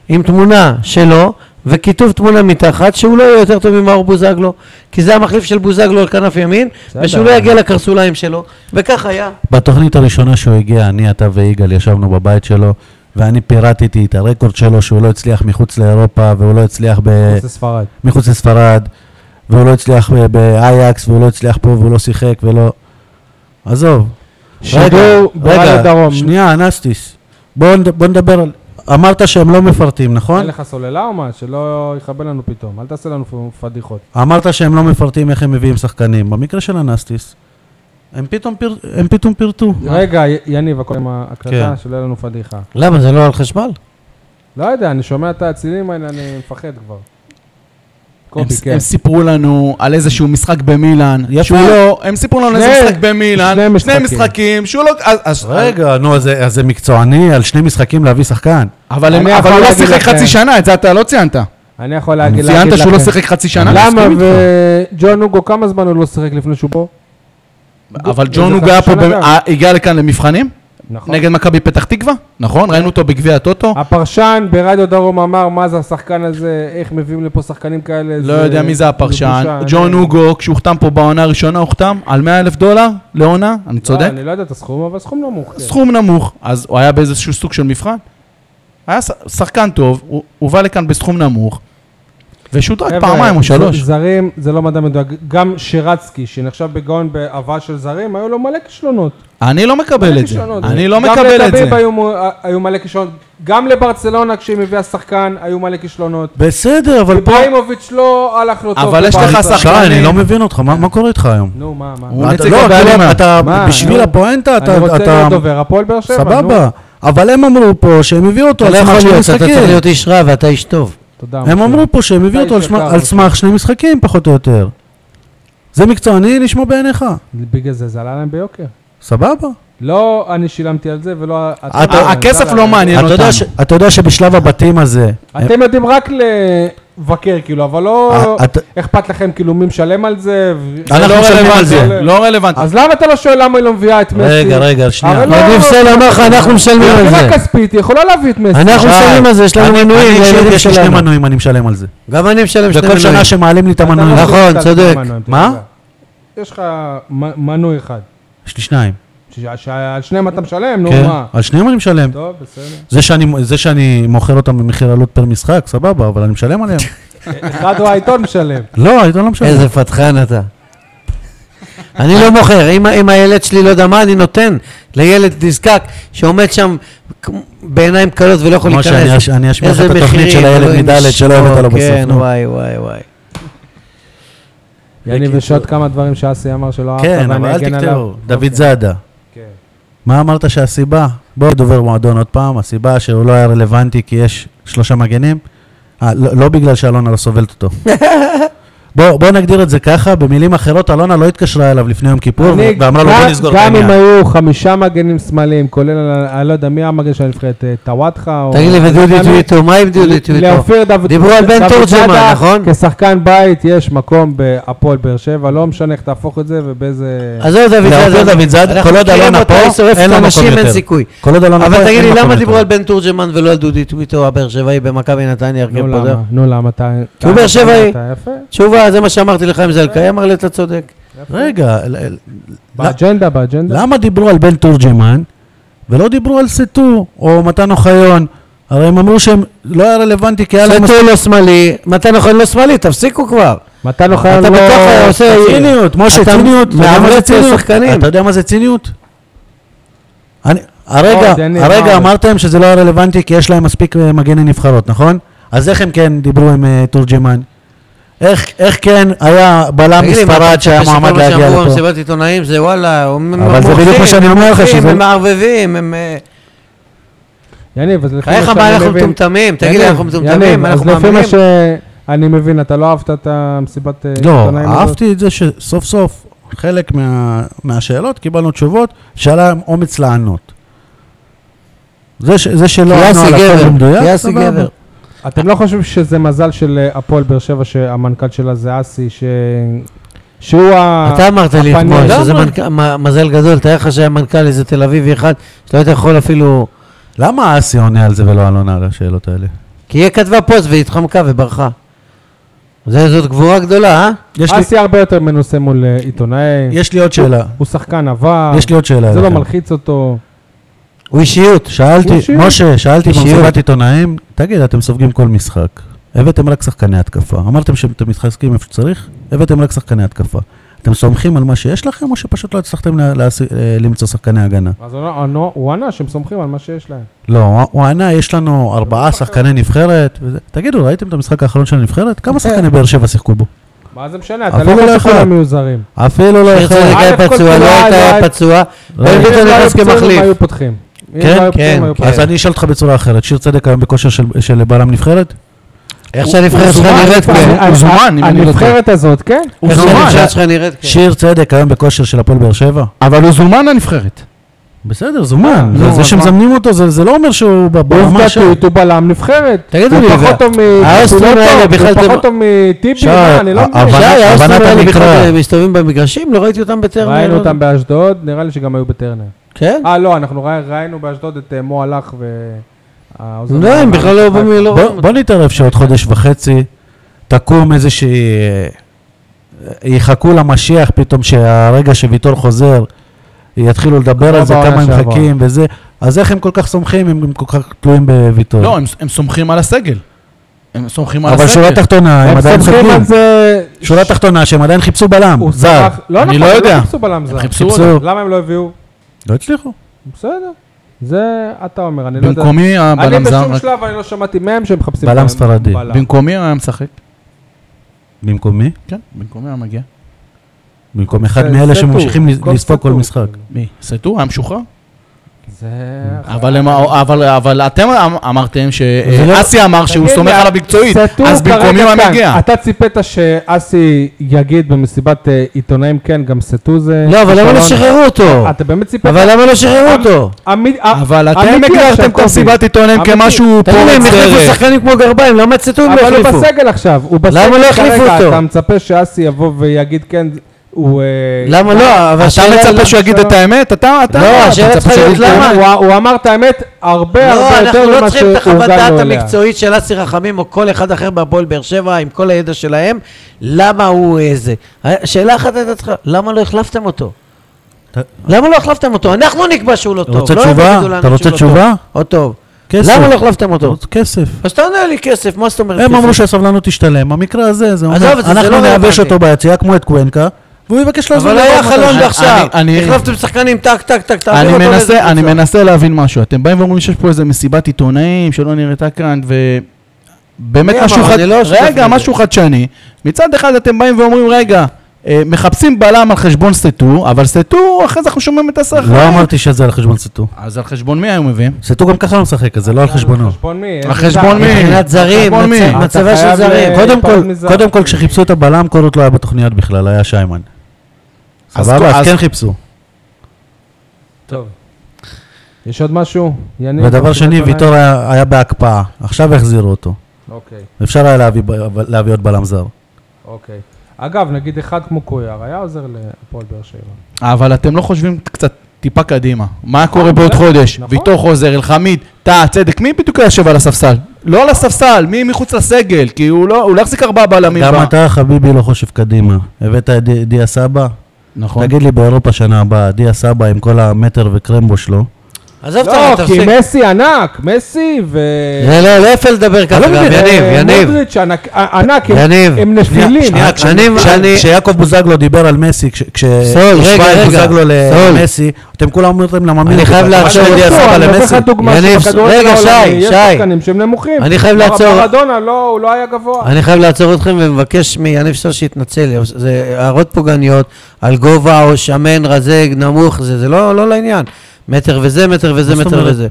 Speaker 4: עם תמונה שלו, וכיתוב תמונה מתחת, שהוא לא יהיה יותר טוב ממאור בוזגלו, כי זה המחליף של בוזגלו על כנף ימין, ושהוא לא יגיע לקרסוליים שלו, וכך היה.
Speaker 3: בתוכנית הראשונה שהוא הגיע, אני, אתה ויגאל ישבנו בבית שלו, ואני פירטתי את הרקורד שלו שהוא לא הצליח מחוץ לאירופה, והוא לא הצליח ב...
Speaker 1: זה ספרד.
Speaker 3: מחוץ לספרד, והוא לא הצליח ב- באייקס, והוא לא הצליח פה, והוא לא שיחק, ולא... עזוב.
Speaker 1: שידור ברדיו דרום.
Speaker 3: שנייה, אנסטיס. בוא, נד- בוא נדבר על... אמרת שהם לא מפרטים,
Speaker 4: אה?
Speaker 3: נכון?
Speaker 1: אין לך סוללה או מה? שלא יכבה לנו פתאום, אל תעשה לנו פ- פדיחות.
Speaker 3: אמרת שהם לא מפרטים איך הם מביאים שחקנים. במקרה של אנסטיס, הם פתאום, פיר... הם פתאום פירטו.
Speaker 4: אה?
Speaker 1: רגע, י- יניב, הכל עם ההקלטה,
Speaker 3: כן.
Speaker 1: שלא יהיה לנו פדיחה.
Speaker 4: למה, זה לא על חשמל?
Speaker 1: לא יודע, אני שומע את הצלילים האלה, אני מפחד כבר.
Speaker 5: הם-
Speaker 1: קובי, כן.
Speaker 5: הם סיפרו לנו על איזשהו משחק במילאן,
Speaker 3: יפה.
Speaker 5: שהוא לא, הם סיפרו לנו על איזה
Speaker 1: שני-
Speaker 5: משחק במילאן,
Speaker 1: שני
Speaker 5: שני
Speaker 1: משחקים.
Speaker 5: משחקים, שהוא לא, אז- אז-
Speaker 3: רגע, נו, אז זה- אז זה מקצועני על שני משחקים להביא שחקן.
Speaker 5: אבל הם-
Speaker 1: אני
Speaker 5: אבל
Speaker 1: יכול
Speaker 5: הוא לא
Speaker 1: להגיד
Speaker 5: שיחק
Speaker 1: לכם-
Speaker 5: חצי שנה, את זה אתה לא ציינת.
Speaker 1: אני יכול להגיד להגיד לכם.
Speaker 5: ציינת שהוא לא שיחק חצי שנה, אני
Speaker 1: למה?
Speaker 5: מסכים איתך.
Speaker 1: וג'ון אוגו, כמה זמן הוא לא שיחק לפני שהוא פה?
Speaker 5: אבל
Speaker 1: זה
Speaker 5: ג'ון
Speaker 1: חצי
Speaker 5: הוגה היה פה,
Speaker 1: שנה
Speaker 5: במ-
Speaker 1: גם.
Speaker 5: אה, הגיע לכאן למבחנים,
Speaker 1: נכון.
Speaker 5: נגד מכבי פתח תקווה, נכון? ראינו אותו בגביע הטוטו,
Speaker 1: הפרשן ברדיו דרום אמר, מה זה השחקן הזה, איך מביאים לפה שחקנים כאלה?
Speaker 5: לא יודע מי זה הפרשן.
Speaker 1: בושה,
Speaker 5: ג'ון
Speaker 1: אני-
Speaker 5: הוגו, כשהוחתם פה בעונה הראשונה, הוחתם על 100 אלף דולר לעונה, אני
Speaker 1: לא,
Speaker 5: צודק?
Speaker 1: אני לא יודע את הסכום, אבל סכום נמוך. כן.
Speaker 5: סכום נמוך, אז הוא היה באיזשהו סוג של מבחן. היה ש- שחקן טוב, הוא- הוא בא לכאן בסכום נמוך, ושודרג
Speaker 1: חבר'ה,
Speaker 5: פעמיים או
Speaker 1: ז-
Speaker 5: שלוש.
Speaker 1: זרים זה לא מדע מדויק. גם שרצקי, שנחשב בגאון בהבאה של זרים, היו לו מלא כישלונות.
Speaker 5: אני לא מקבל
Speaker 1: מלא
Speaker 5: את זה,
Speaker 1: כישלונות.
Speaker 5: אני לא מקבל את
Speaker 1: גם
Speaker 5: זה.
Speaker 1: לדביב היו מו- היו מלא כישלונות. גם לברצלונה, כשהיא מביאה שחקן, היו מלא כישלונות.
Speaker 3: בסדר, אבל פה...
Speaker 1: איברהימוביץ' לא הלך לו טוב.
Speaker 5: אבל יש
Speaker 1: בברצה.
Speaker 5: לך שחקן-
Speaker 3: שי, אני לא מבין אותך, מה מה קורה איתך היום?
Speaker 1: נו, מה, מה?
Speaker 5: הוא
Speaker 3: אתה-
Speaker 5: נציג
Speaker 3: לא,
Speaker 5: הבעלים
Speaker 3: כאילו,
Speaker 5: היום.
Speaker 3: אתה,
Speaker 1: מה,
Speaker 3: בשביל
Speaker 1: נו.
Speaker 3: הפואנטה, אתה...
Speaker 1: אני רוצה
Speaker 3: אתה-
Speaker 1: להיות דובר הפועל באר שבע, נו.
Speaker 3: סבבה, אבל הם אמרו פה שהם הביאו
Speaker 4: אתה
Speaker 3: אותו על
Speaker 4: לא
Speaker 3: סמך
Speaker 4: יכול
Speaker 3: שני
Speaker 4: להיות, אתה צריך
Speaker 3: משחקים.
Speaker 4: להיות איש רע ואתה איש טוב.
Speaker 1: תודה.
Speaker 3: הם
Speaker 1: משה.
Speaker 3: אמרו פה שהם הביאו
Speaker 1: אתה
Speaker 3: אותו על
Speaker 1: איש
Speaker 3: שמ-
Speaker 1: יקר,
Speaker 3: על
Speaker 1: משה.
Speaker 3: סמך שני משחקים, פחות או יותר. זה מקצועני לשמו בעיניך,
Speaker 1: בגלל זה זה עלה להם ביוקר.
Speaker 3: סבבה.
Speaker 1: לא אני שילמתי על זה ולא... אתם-
Speaker 3: אתה-
Speaker 1: זה
Speaker 5: הכסף
Speaker 1: עלה
Speaker 5: לא
Speaker 1: להם.
Speaker 5: מעניין. אין
Speaker 3: אתה
Speaker 5: אותנו.
Speaker 3: יודע ש- אתה יודע שבשלב הבתים הזה, הם-
Speaker 1: אתם יודעים רק לבקר, כאילו, אבל לא
Speaker 3: אה, אתה-
Speaker 1: אכפת לכם, כאילו, מי משלם על זה. ו-
Speaker 5: זה
Speaker 3: אנחנו
Speaker 5: לא
Speaker 3: משלמים על
Speaker 5: רלוונטי,
Speaker 3: זה.
Speaker 5: לא רלוונטי.
Speaker 1: אז למה אתה לא שואל למה היא לא מביאה את מסי?
Speaker 3: רגע, רגע, שנייה.
Speaker 1: הרי לא-
Speaker 4: יניב סול אמר לך, אנחנו משלמים על
Speaker 1: מבחינה
Speaker 4: זה.
Speaker 1: כספית היא יכולה להביא לא, את מסי.
Speaker 4: אנחנו
Speaker 3: שי,
Speaker 4: משלמים על זה, יש לנו
Speaker 3: אני-
Speaker 4: מנויים,
Speaker 3: אני,
Speaker 4: לילדים
Speaker 3: שוב, יש לי שני
Speaker 4: שלנו.
Speaker 3: מנויים, אני משלם על זה.
Speaker 4: גם אני משלם שני
Speaker 3: וכל
Speaker 4: מנויים.
Speaker 3: שנה שמעלים לי את
Speaker 1: אתה לא
Speaker 3: המנויים.
Speaker 1: מבין
Speaker 4: נכון,
Speaker 1: את
Speaker 4: צודק.
Speaker 1: המנויים, אתה
Speaker 3: מה?
Speaker 1: יודע. יש לך מ- מנוי אחד.
Speaker 3: יש לי שניים.
Speaker 1: ש- שעל שניהם אתה משלם, נו,
Speaker 3: כן,
Speaker 1: מה?
Speaker 3: על שניהם אני משלם.
Speaker 1: טוב, בסדר.
Speaker 3: זה שאני- זה שאני מוכר אותם במחיר עלות פר משחק, סבבה, אבל אני
Speaker 4: *laughs*
Speaker 3: משלם עליהם.
Speaker 1: אחד הוא העיתון
Speaker 3: *laughs*
Speaker 1: משלם.
Speaker 3: לא, העיתון לא משלם.
Speaker 4: איזה פתחן אתה. אני לא מוכר, אם, אם הילד שלי לא יודע מה, אני נותן לילד נזקק שעומד שם כמו- בעיניים כלות ולא יכול
Speaker 3: כמו
Speaker 4: להיכנס.
Speaker 3: שאני אש- אני אשמיע לך
Speaker 4: איזה
Speaker 3: את התוכנית
Speaker 4: מחירים,
Speaker 3: של הילד
Speaker 4: אלוהים
Speaker 3: מד' שלא הבאת לו
Speaker 4: ישמור,
Speaker 3: בסוף,
Speaker 4: כן,
Speaker 3: נו.
Speaker 4: וואי, וואי, וואי.
Speaker 1: יניב, יש עוד כמה דברים שאסי אמר שלא אהבת,
Speaker 3: *laughs* כן, אבל
Speaker 1: ואני
Speaker 3: אל
Speaker 1: אגן עליו. אוקיי.
Speaker 3: תקטעו. אוקיי. דוד זאדה.
Speaker 1: כן.
Speaker 3: מה אמרת שהסיבה? בוא דובר מועדון עוד פעם, הסיבה שהוא לא היה רלוונטי כי יש שלושה מגנים? אה, לא, לא בגלל שאלונה לא סובלת
Speaker 4: *laughs*
Speaker 3: אותו. בוא, בוא נגדיר את זה ככה, במילים אחרות, אלונה לא התקשרה אליו לפני יום כיפור
Speaker 1: אני-
Speaker 3: ו- ואמרה לו
Speaker 1: גם-
Speaker 3: בוא נסגור את
Speaker 1: גם אם
Speaker 3: העניין.
Speaker 1: היו חמישה מגנים שמאליים, כולל, ה- אני לא יודע, מי המגן של הנבחרת? אה, טוואטחה? או-
Speaker 4: תגיד לי, ודודי טוויטו, מה עם דודי טוויטו?
Speaker 1: לאופיר דוד...
Speaker 4: דיברו על בן
Speaker 1: דוד
Speaker 4: תורג'מן,
Speaker 1: זאדה,
Speaker 4: נכון?
Speaker 1: כשחקן בית יש מקום בהפועל באר שבע, לא משנה איך תהפוך את זה ובאיזה...
Speaker 4: עזוב דוד
Speaker 3: לאופיר
Speaker 4: זאדה,
Speaker 3: דוד זאדה,
Speaker 4: אנחנו
Speaker 3: כל עוד
Speaker 4: מכירים
Speaker 3: אלונה
Speaker 4: אותו,
Speaker 3: פה,
Speaker 4: היא שורפת
Speaker 3: אין לה מקום
Speaker 4: אנשים, אין
Speaker 3: יותר.
Speaker 4: סיכוי.
Speaker 3: כל עוד אלונה פה,
Speaker 4: אבל תגיד
Speaker 3: אין
Speaker 4: לי,
Speaker 3: מקום
Speaker 4: למה
Speaker 3: יותר.
Speaker 4: דיברו על בן תורג'מן ולא על דודי טוויטו, הבאר שבעי במכבי נתניה, הרכב
Speaker 1: נו
Speaker 4: פותח?
Speaker 1: למה? נו למה? אתה...
Speaker 4: כי הוא באר שבעי.
Speaker 1: אתה יפה.
Speaker 4: תשובה, זה מה שאמרתי לך עם זלקאי, אמר לי, אתה צודק.
Speaker 3: רגע, ל- ל-
Speaker 4: לא.
Speaker 1: באג'נדה, באג'נדה.
Speaker 3: למה דיברו על בן תורג'מן ולא דיברו על סטו או מתן אוחיון? הרי הם אמרו שהם לא היה רלוונטי כי היה להם...
Speaker 4: סטו לא שמאלי, מתן אוחיון לא שמאלי, תפסיקו כבר.
Speaker 1: מתן אוחיון
Speaker 4: אתה
Speaker 1: לא...
Speaker 4: בתוך עושה...
Speaker 3: ציניות, משה,
Speaker 4: אתה
Speaker 3: ציניות. אתה יודע מה זה
Speaker 4: מאמץ
Speaker 3: ציניות?
Speaker 4: לשחקנים.
Speaker 3: אתה יודע מה זה ציניות? אני-
Speaker 4: לא,
Speaker 3: הרגע,
Speaker 1: עוד, אין לי מה
Speaker 3: הרגע
Speaker 1: עוד.
Speaker 3: אמרתם שזה לא היה רלוונטי כי יש להם מספיק אה, מגני נבחרות, נכון? אז איך הם כן דיברו עם אה, תורג'מן? איך איך כן היה בלם
Speaker 4: תגיד לי, מה,
Speaker 3: מספרד
Speaker 4: אתה
Speaker 3: שהיה
Speaker 4: חושב
Speaker 3: מועמד
Speaker 4: שכל מה
Speaker 3: להגיע
Speaker 4: שאמרו
Speaker 3: לפה?
Speaker 4: במסיבת עיתונאים זה וואלה, הם הם
Speaker 3: אבל זה בדיוק
Speaker 4: מורחים,
Speaker 3: מה שאני אומר לך,
Speaker 4: הם
Speaker 3: שזה-
Speaker 4: הם מערבבים, הם... אה,
Speaker 1: יניב, אז לפי מה
Speaker 4: חייך, מה
Speaker 1: שאני
Speaker 4: אנחנו
Speaker 1: מבין-
Speaker 4: מטומטמים? תגיד לי,
Speaker 1: יניב,
Speaker 4: אנחנו
Speaker 1: יניב,
Speaker 4: מטומטמים? אנחנו
Speaker 1: אז לפי
Speaker 4: מאמינים?
Speaker 1: מה שאני מבין, אתה לא אהבת את המסיבת אה,
Speaker 3: לא,
Speaker 1: עיתונאים הזאת?
Speaker 3: אהבתי את זה שסוף סוף חלק מה, מהשאלות קיבלנו תשובות שהיה להם אומץ לענות. זה, ש, זה שלא ענו
Speaker 4: יאסי
Speaker 3: על הכל
Speaker 4: גבר,
Speaker 3: במדויק,
Speaker 4: יאסי
Speaker 3: סבבה.
Speaker 4: גבר.
Speaker 1: אתם לא חושבים שזה מזל של אה, הפועל באר שבע שהמנכ"ל שלה זה אסי, ש... שהוא ה...
Speaker 4: אתה אמרת לי
Speaker 1: הפנים.
Speaker 4: אתמול
Speaker 1: למה?
Speaker 4: שזה מנכ- מ- מזל גדול, תאר לך שהיה מנכ"ל איזה תל אביבי אחד, שלא היית יכול אפילו...
Speaker 3: למה אסי עונה על זה ולא אלונה על השאלות האלה?
Speaker 4: כי היא כתבה פוסט והיא התחמקה וברחה. זה- זאת גבורה גדולה, אה?
Speaker 3: יש לי,
Speaker 1: אסי הרבה יותר מנוסה מול אה, עיתונאים,
Speaker 3: יש לי עוד שאלה,
Speaker 1: הוא שחקן עבר,
Speaker 3: יש לי עוד שאלה. כן.
Speaker 1: זה לא
Speaker 3: אליכם.
Speaker 1: מלחיץ אותו.
Speaker 4: הוא אישיות.
Speaker 3: שאלתי,
Speaker 1: אישיות.
Speaker 3: משה, שאלתי
Speaker 4: אישיות.
Speaker 3: במסיבת עיתונאים, תגיד, אתם סופגים כל משחק. הבאתם רק שחקני התקפה. אמרתם שאתם מתחזקים איפה שצריך, הבאתם רק שחקני התקפה. אתם סומכים על מה שיש לכם, או שפשוט לא הצלחתם לה- להשיג- אה, למצוא שחקני הגנה?
Speaker 1: אז הוא לא- הוא- הוא ענה שהם סומכים על מה שיש להם.
Speaker 3: לא, הוא- הוא ענה, יש לנו ארבעה שחקני נבחרת. וזה- תגידו, ראיתם את המשחק האחרון של הנבחרת? כמה שחקני באר שבע שיחקו בו?
Speaker 1: מה זה משנה, אתה לא
Speaker 3: אפילו לא
Speaker 1: חושב
Speaker 3: אחד.
Speaker 1: שכולם יהיו זרים.
Speaker 3: אפילו לא
Speaker 4: הרצל
Speaker 3: אחד.
Speaker 4: היה
Speaker 1: א', כל
Speaker 4: פצוע, לא
Speaker 1: כולם
Speaker 4: היה
Speaker 1: היה-
Speaker 4: פצוע. אה, בן
Speaker 1: אם
Speaker 4: ביטון
Speaker 1: לא היו
Speaker 4: נכנס
Speaker 1: פצועים,
Speaker 4: כמחליף.
Speaker 1: הם היו פותחים. אם
Speaker 3: כן,
Speaker 1: לא היו פצועים,
Speaker 4: כן,
Speaker 1: היו
Speaker 4: כן.
Speaker 1: פותחים.
Speaker 3: אז אני אשאל אותך בצורה אחרת, שיר צדק היום בכושר של- של בלם נבחרת?
Speaker 4: איך שהנבחרת שלך נראית, כן.
Speaker 5: הוא זומן, אם אני לא
Speaker 1: אה,
Speaker 5: טועה.
Speaker 1: הנבחרת הזאת, כן?
Speaker 5: הוא
Speaker 4: איך
Speaker 5: זומן,
Speaker 4: שהנבחרת שלך נראית, כן.
Speaker 3: שיר צדק היום בכושר של הפועל באר שבע?
Speaker 5: אבל הוא זומן לנבחרת.
Speaker 3: בסדר, זומן. זה-
Speaker 5: נו,
Speaker 3: זה
Speaker 5: אז
Speaker 3: שמזמנים אותו, זה זה לא אומר שהוא בבמה שם.
Speaker 1: עובדתית הוא בלם נבחרת.
Speaker 4: תגידו לי,
Speaker 1: הוא פחות
Speaker 4: אבל-
Speaker 1: טוב מ-
Speaker 3: אה,
Speaker 4: האוסטרים
Speaker 1: הוא לא
Speaker 4: האלה
Speaker 1: טוב,
Speaker 4: בכלל
Speaker 1: הוא
Speaker 4: זה-
Speaker 1: פחות טוב מטיבי,
Speaker 3: שי,
Speaker 1: מה, אני לא
Speaker 3: ה-
Speaker 1: מבין.
Speaker 3: הבנת-
Speaker 4: שי, האוסטרים
Speaker 3: הבנת
Speaker 4: האלה
Speaker 3: המקרא.
Speaker 4: בכלל מסתובבים במגרשים? לא ראיתי אותם בטרנר.
Speaker 1: ראינו
Speaker 4: לא-
Speaker 1: אותם באשדוד, נראה לי שגם היו בטרנר.
Speaker 4: כן?
Speaker 1: אה, לא, אנחנו רא- ראינו באשדוד את אה, מו הלך ו... אה, העוזר
Speaker 4: לא, הם
Speaker 1: שלנו.
Speaker 4: בכלל לא במי- לא
Speaker 3: בוא-
Speaker 4: רואים אותם.
Speaker 3: בוא נתערב שעוד חודש וחצי תקום איזושהי... אה, יחכו למשיח פתאום, שהרגע שוויטור חוזר, יתחילו לדבר
Speaker 1: כמו
Speaker 3: על זה,
Speaker 1: לא בעונה
Speaker 3: כמה הם
Speaker 1: שעברה.
Speaker 3: מחכים וזה. אז איך הם כל כך סומכים אם הם כל כך תלויים בוויטור?
Speaker 5: לא, הם- הם סומכים על הסגל. הם סומכים על הסגל.
Speaker 3: אבל שורה תחתונה, הם
Speaker 1: הם
Speaker 3: עדיין
Speaker 1: סומכים על
Speaker 3: מחכים.
Speaker 1: זה...
Speaker 3: שורה תחתונה, שהם עדיין חיפשו בלם,
Speaker 1: הוא
Speaker 3: זר.
Speaker 1: שכח- לא
Speaker 5: אני
Speaker 1: נכון,
Speaker 5: לא
Speaker 1: הם
Speaker 5: יודע.
Speaker 1: לא חיפשו בלם זר.
Speaker 5: חיפשו אותו.
Speaker 3: חיפשו,
Speaker 1: למה הם לא הביאו?
Speaker 3: לא הצליחו.
Speaker 1: בסדר. זה אתה אומר, אני לא יודע.
Speaker 5: במקומי
Speaker 1: אני
Speaker 5: הבלם זר,
Speaker 1: בשום שלב אני לא שמעתי מהם שהם מחפשים
Speaker 3: בלם ספרדי.
Speaker 1: בלם.
Speaker 5: במקומי היה משחק.
Speaker 3: במקום מי?
Speaker 5: כן, במקומי היה מגיע.
Speaker 3: במקום אחד
Speaker 1: זה-
Speaker 3: מאלה
Speaker 1: זה
Speaker 3: שממשיכים
Speaker 1: טור,
Speaker 3: לס-
Speaker 1: במקום
Speaker 3: לספוג כל
Speaker 1: סטור.
Speaker 3: משחק.
Speaker 5: מי? סטו היה משוחרר?
Speaker 1: זה...
Speaker 5: אבל הם- אבל- אבל אתם אמ- אמרתם
Speaker 1: לא-
Speaker 5: שאסי אמר שהוא
Speaker 1: תגיד
Speaker 5: סומך
Speaker 1: לי,
Speaker 5: עליו מקצועית,
Speaker 1: סתום
Speaker 5: אז במקומי
Speaker 1: כרגע
Speaker 5: הוא היה
Speaker 1: כאן.
Speaker 5: מגיע.
Speaker 1: אתה ציפית שאסי יגיד במסיבת אה, עיתונאים כן, גם סטו זה...
Speaker 4: לא, אבל למה לא
Speaker 1: כישלון"?
Speaker 4: שחררו אותו?
Speaker 1: אתה באמת אמ, ציפית?
Speaker 4: אבל למה לא שחררו אותו?
Speaker 1: עמי- ע-
Speaker 5: אבל אתם
Speaker 1: אמיתי עכשיו,
Speaker 5: הגדרתם את
Speaker 1: קובי.
Speaker 5: מסיבת עיתונאים
Speaker 1: אמיתי.
Speaker 5: כמשהו
Speaker 4: תגיד לי, הם
Speaker 5: פורץ
Speaker 4: החליפו
Speaker 5: דרך.
Speaker 4: שחקנים כמו גרביים, למה את סטון לא
Speaker 1: אבל הוא
Speaker 4: החליפו?
Speaker 1: בסגל עכשיו, הוא בסגל
Speaker 4: למה לא החליפו
Speaker 1: כרגע,
Speaker 4: אותו?
Speaker 1: אתה מצפה שאסי יבוא ויגיד כן, הוא... אה,
Speaker 4: למה לא? אבל
Speaker 5: אתה
Speaker 4: השאלה
Speaker 5: מצפה
Speaker 4: למה-
Speaker 5: שהוא יגיד את האמת? אתה, אתה,
Speaker 4: לא,
Speaker 5: אתה
Speaker 4: השאלה
Speaker 5: מצפה
Speaker 4: צריכה
Speaker 5: שהוא
Speaker 4: להיות
Speaker 5: יגיד את האמת?
Speaker 4: למה?
Speaker 1: הוא- הוא אמר את האמת הרבה
Speaker 4: לא,
Speaker 1: הרבה יותר
Speaker 4: אנחנו לא
Speaker 1: ממה
Speaker 4: צריכים את החוות דעת
Speaker 1: שהורגלנו אליה.
Speaker 4: המקצועית של אסי רחמים או כל אחד אחר בהפועל באר שבע עם כל הידע שלהם, למה הוא איזה. שאלה אחת הייתה צריכה, למה לא החלפתם אותו?
Speaker 3: אתה-
Speaker 4: למה לא החלפתם אותו? אנחנו נקבע שהוא לא טוב.
Speaker 3: רוצה
Speaker 4: לא
Speaker 3: תשובה?
Speaker 4: יגידו לנו
Speaker 3: אתה רוצה
Speaker 4: שהוא לא
Speaker 3: תשובה?
Speaker 4: טוב. או טוב.
Speaker 3: כסף.
Speaker 4: למה לא החלפתם אותו?
Speaker 3: כסף.
Speaker 4: אז אתה עונה לי כסף, מה זאת אומרת?
Speaker 3: הם
Speaker 4: כסף?
Speaker 3: אמרו שהסבלנות תשתלם, המקרה הזה, זה אומר,
Speaker 4: עזוב, זה- זה לא
Speaker 3: אנחנו נאבש
Speaker 4: רלוונטי.
Speaker 3: אותו ביציאה כמו את קוונקה, והוא יבקש לעזוב.
Speaker 4: אבל היה
Speaker 3: לעבור מתי.
Speaker 4: חלון
Speaker 5: אני-
Speaker 4: עכשיו.
Speaker 5: אני-
Speaker 4: החלפתם שחקנים, טק, טק, טק, תעביר אותו
Speaker 5: אני
Speaker 4: לאיזה
Speaker 5: מנסה, אני
Speaker 4: קבוצה.
Speaker 5: מנסה להבין משהו. אתם באים ואומרים שיש פה איזה מסיבת עיתונאים שלא נראתה כאן, ו... באמת
Speaker 4: מי
Speaker 5: משהו
Speaker 4: אמר?
Speaker 5: חד...
Speaker 4: אני לא אשתף
Speaker 5: רגע,
Speaker 4: בזה.
Speaker 5: משהו חדשני. מצד אחד אתם באים ואומרים, רגע, אה, מחפשים בלם על חשבון סטו, אבל סטו, אחרי זה אנחנו שומעים את הסרחיים.
Speaker 3: לא אמרתי שזה על חשבון סטו.
Speaker 5: אז על חשבון מי היו מביאים?
Speaker 3: סטו גם ככה לא משחק, אז זה לא על חשבונו.
Speaker 1: על חשבון מי?
Speaker 5: על חשבון מי?
Speaker 4: מבחינת זרים,
Speaker 5: חשבון מי?
Speaker 4: מצב-
Speaker 5: אתה
Speaker 4: מצבה
Speaker 1: חייב
Speaker 4: של זרים.
Speaker 1: ל-
Speaker 3: קודם כל,
Speaker 1: פעם מזרחי.
Speaker 3: קודם כל, כשחיפשו את הבלם, כל עוד לא היה בתוכניות בכלל, היה שיימן.
Speaker 5: אז
Speaker 3: סבבה,
Speaker 5: כל-
Speaker 3: אז
Speaker 5: אז-
Speaker 3: כן חיפשו.
Speaker 1: טוב. יש עוד משהו? יניב?
Speaker 3: ודבר
Speaker 1: משהו
Speaker 3: שני,
Speaker 1: עיתונאי?
Speaker 3: ויטור היה היה בהקפאה, עכשיו החזירו אותו.
Speaker 1: אוקיי,
Speaker 3: אפשר היה להביא ב- להביא עוד בלם זר.
Speaker 1: אוקיי. אגב, נגיד אחד כמו קויאר היה עוזר להפועל באר שבע.
Speaker 5: אבל אתם לא חושבים קצת טיפה קדימה. מה
Speaker 4: אה,
Speaker 5: קורה בעוד
Speaker 1: אולי,
Speaker 5: חודש?
Speaker 1: נכון.
Speaker 5: ויטור חוזר, אלחמיד, טאה, צדק, מי בדיוק יושב על הספסל? לא על הספסל, מי מחוץ לסגל? כי הוא לא, הוא לא יחזיק ארבעה בלמים.
Speaker 3: גם
Speaker 5: ב-
Speaker 3: אתה, חביבי, לא חושב קדימה. הבאת את ד- דיה סבא?
Speaker 5: נכון.
Speaker 3: תגיד לי, באירופה שנה הבאה, דיה סבא עם כל המטר וקרמבו שלו.
Speaker 4: עזוב
Speaker 1: לא,
Speaker 4: אותנו,
Speaker 1: כי
Speaker 4: תפסיק.
Speaker 1: מסי ענק, מסי ו...
Speaker 4: לא, לא, לא יפה לדבר ככה
Speaker 1: אני לא
Speaker 4: גם,
Speaker 1: מבין,
Speaker 4: יניב,
Speaker 1: אה,
Speaker 4: יניב.
Speaker 1: מודריץ' ענק, ענק, הם-
Speaker 4: יניב.
Speaker 1: הם נפילים.
Speaker 4: שנייה,
Speaker 1: אה,
Speaker 4: אני-
Speaker 3: כש-
Speaker 4: אני-
Speaker 3: כשיעקב בוזגלו דיבר על מסי, כש-
Speaker 4: סול, רגע,
Speaker 3: כשהשווה את
Speaker 4: רגע.
Speaker 3: בוזגלו
Speaker 4: סול.
Speaker 3: למסי, אתם כולם אומרים להם למאמין.
Speaker 4: אני חייב
Speaker 3: אבל
Speaker 4: לעצור
Speaker 3: אתה
Speaker 1: אבל
Speaker 4: את
Speaker 3: משווה
Speaker 4: דיה
Speaker 3: את
Speaker 1: בטוח,
Speaker 4: סבא
Speaker 1: אני נותן
Speaker 4: למסי.
Speaker 1: לך דוגמה
Speaker 4: יניב,
Speaker 1: שבכדורגל
Speaker 4: רגע, שי,
Speaker 1: העולמי יש
Speaker 4: שי.
Speaker 1: שחקנים שהם נמוכים.
Speaker 4: אני חייב לעצור.
Speaker 1: מרדונה לא, הוא לא היה גבוה.
Speaker 4: אני חייב לעצור אתכם ומבקש מיניב סול שיתנצל, זה הערות פוגעניות על גובה או שמן, רזה, נמוך, זה, זה לא, לא לעניין. מטר וזה, מטר וזה,
Speaker 3: מה זאת
Speaker 4: מטר
Speaker 3: אומרת?
Speaker 4: וזה.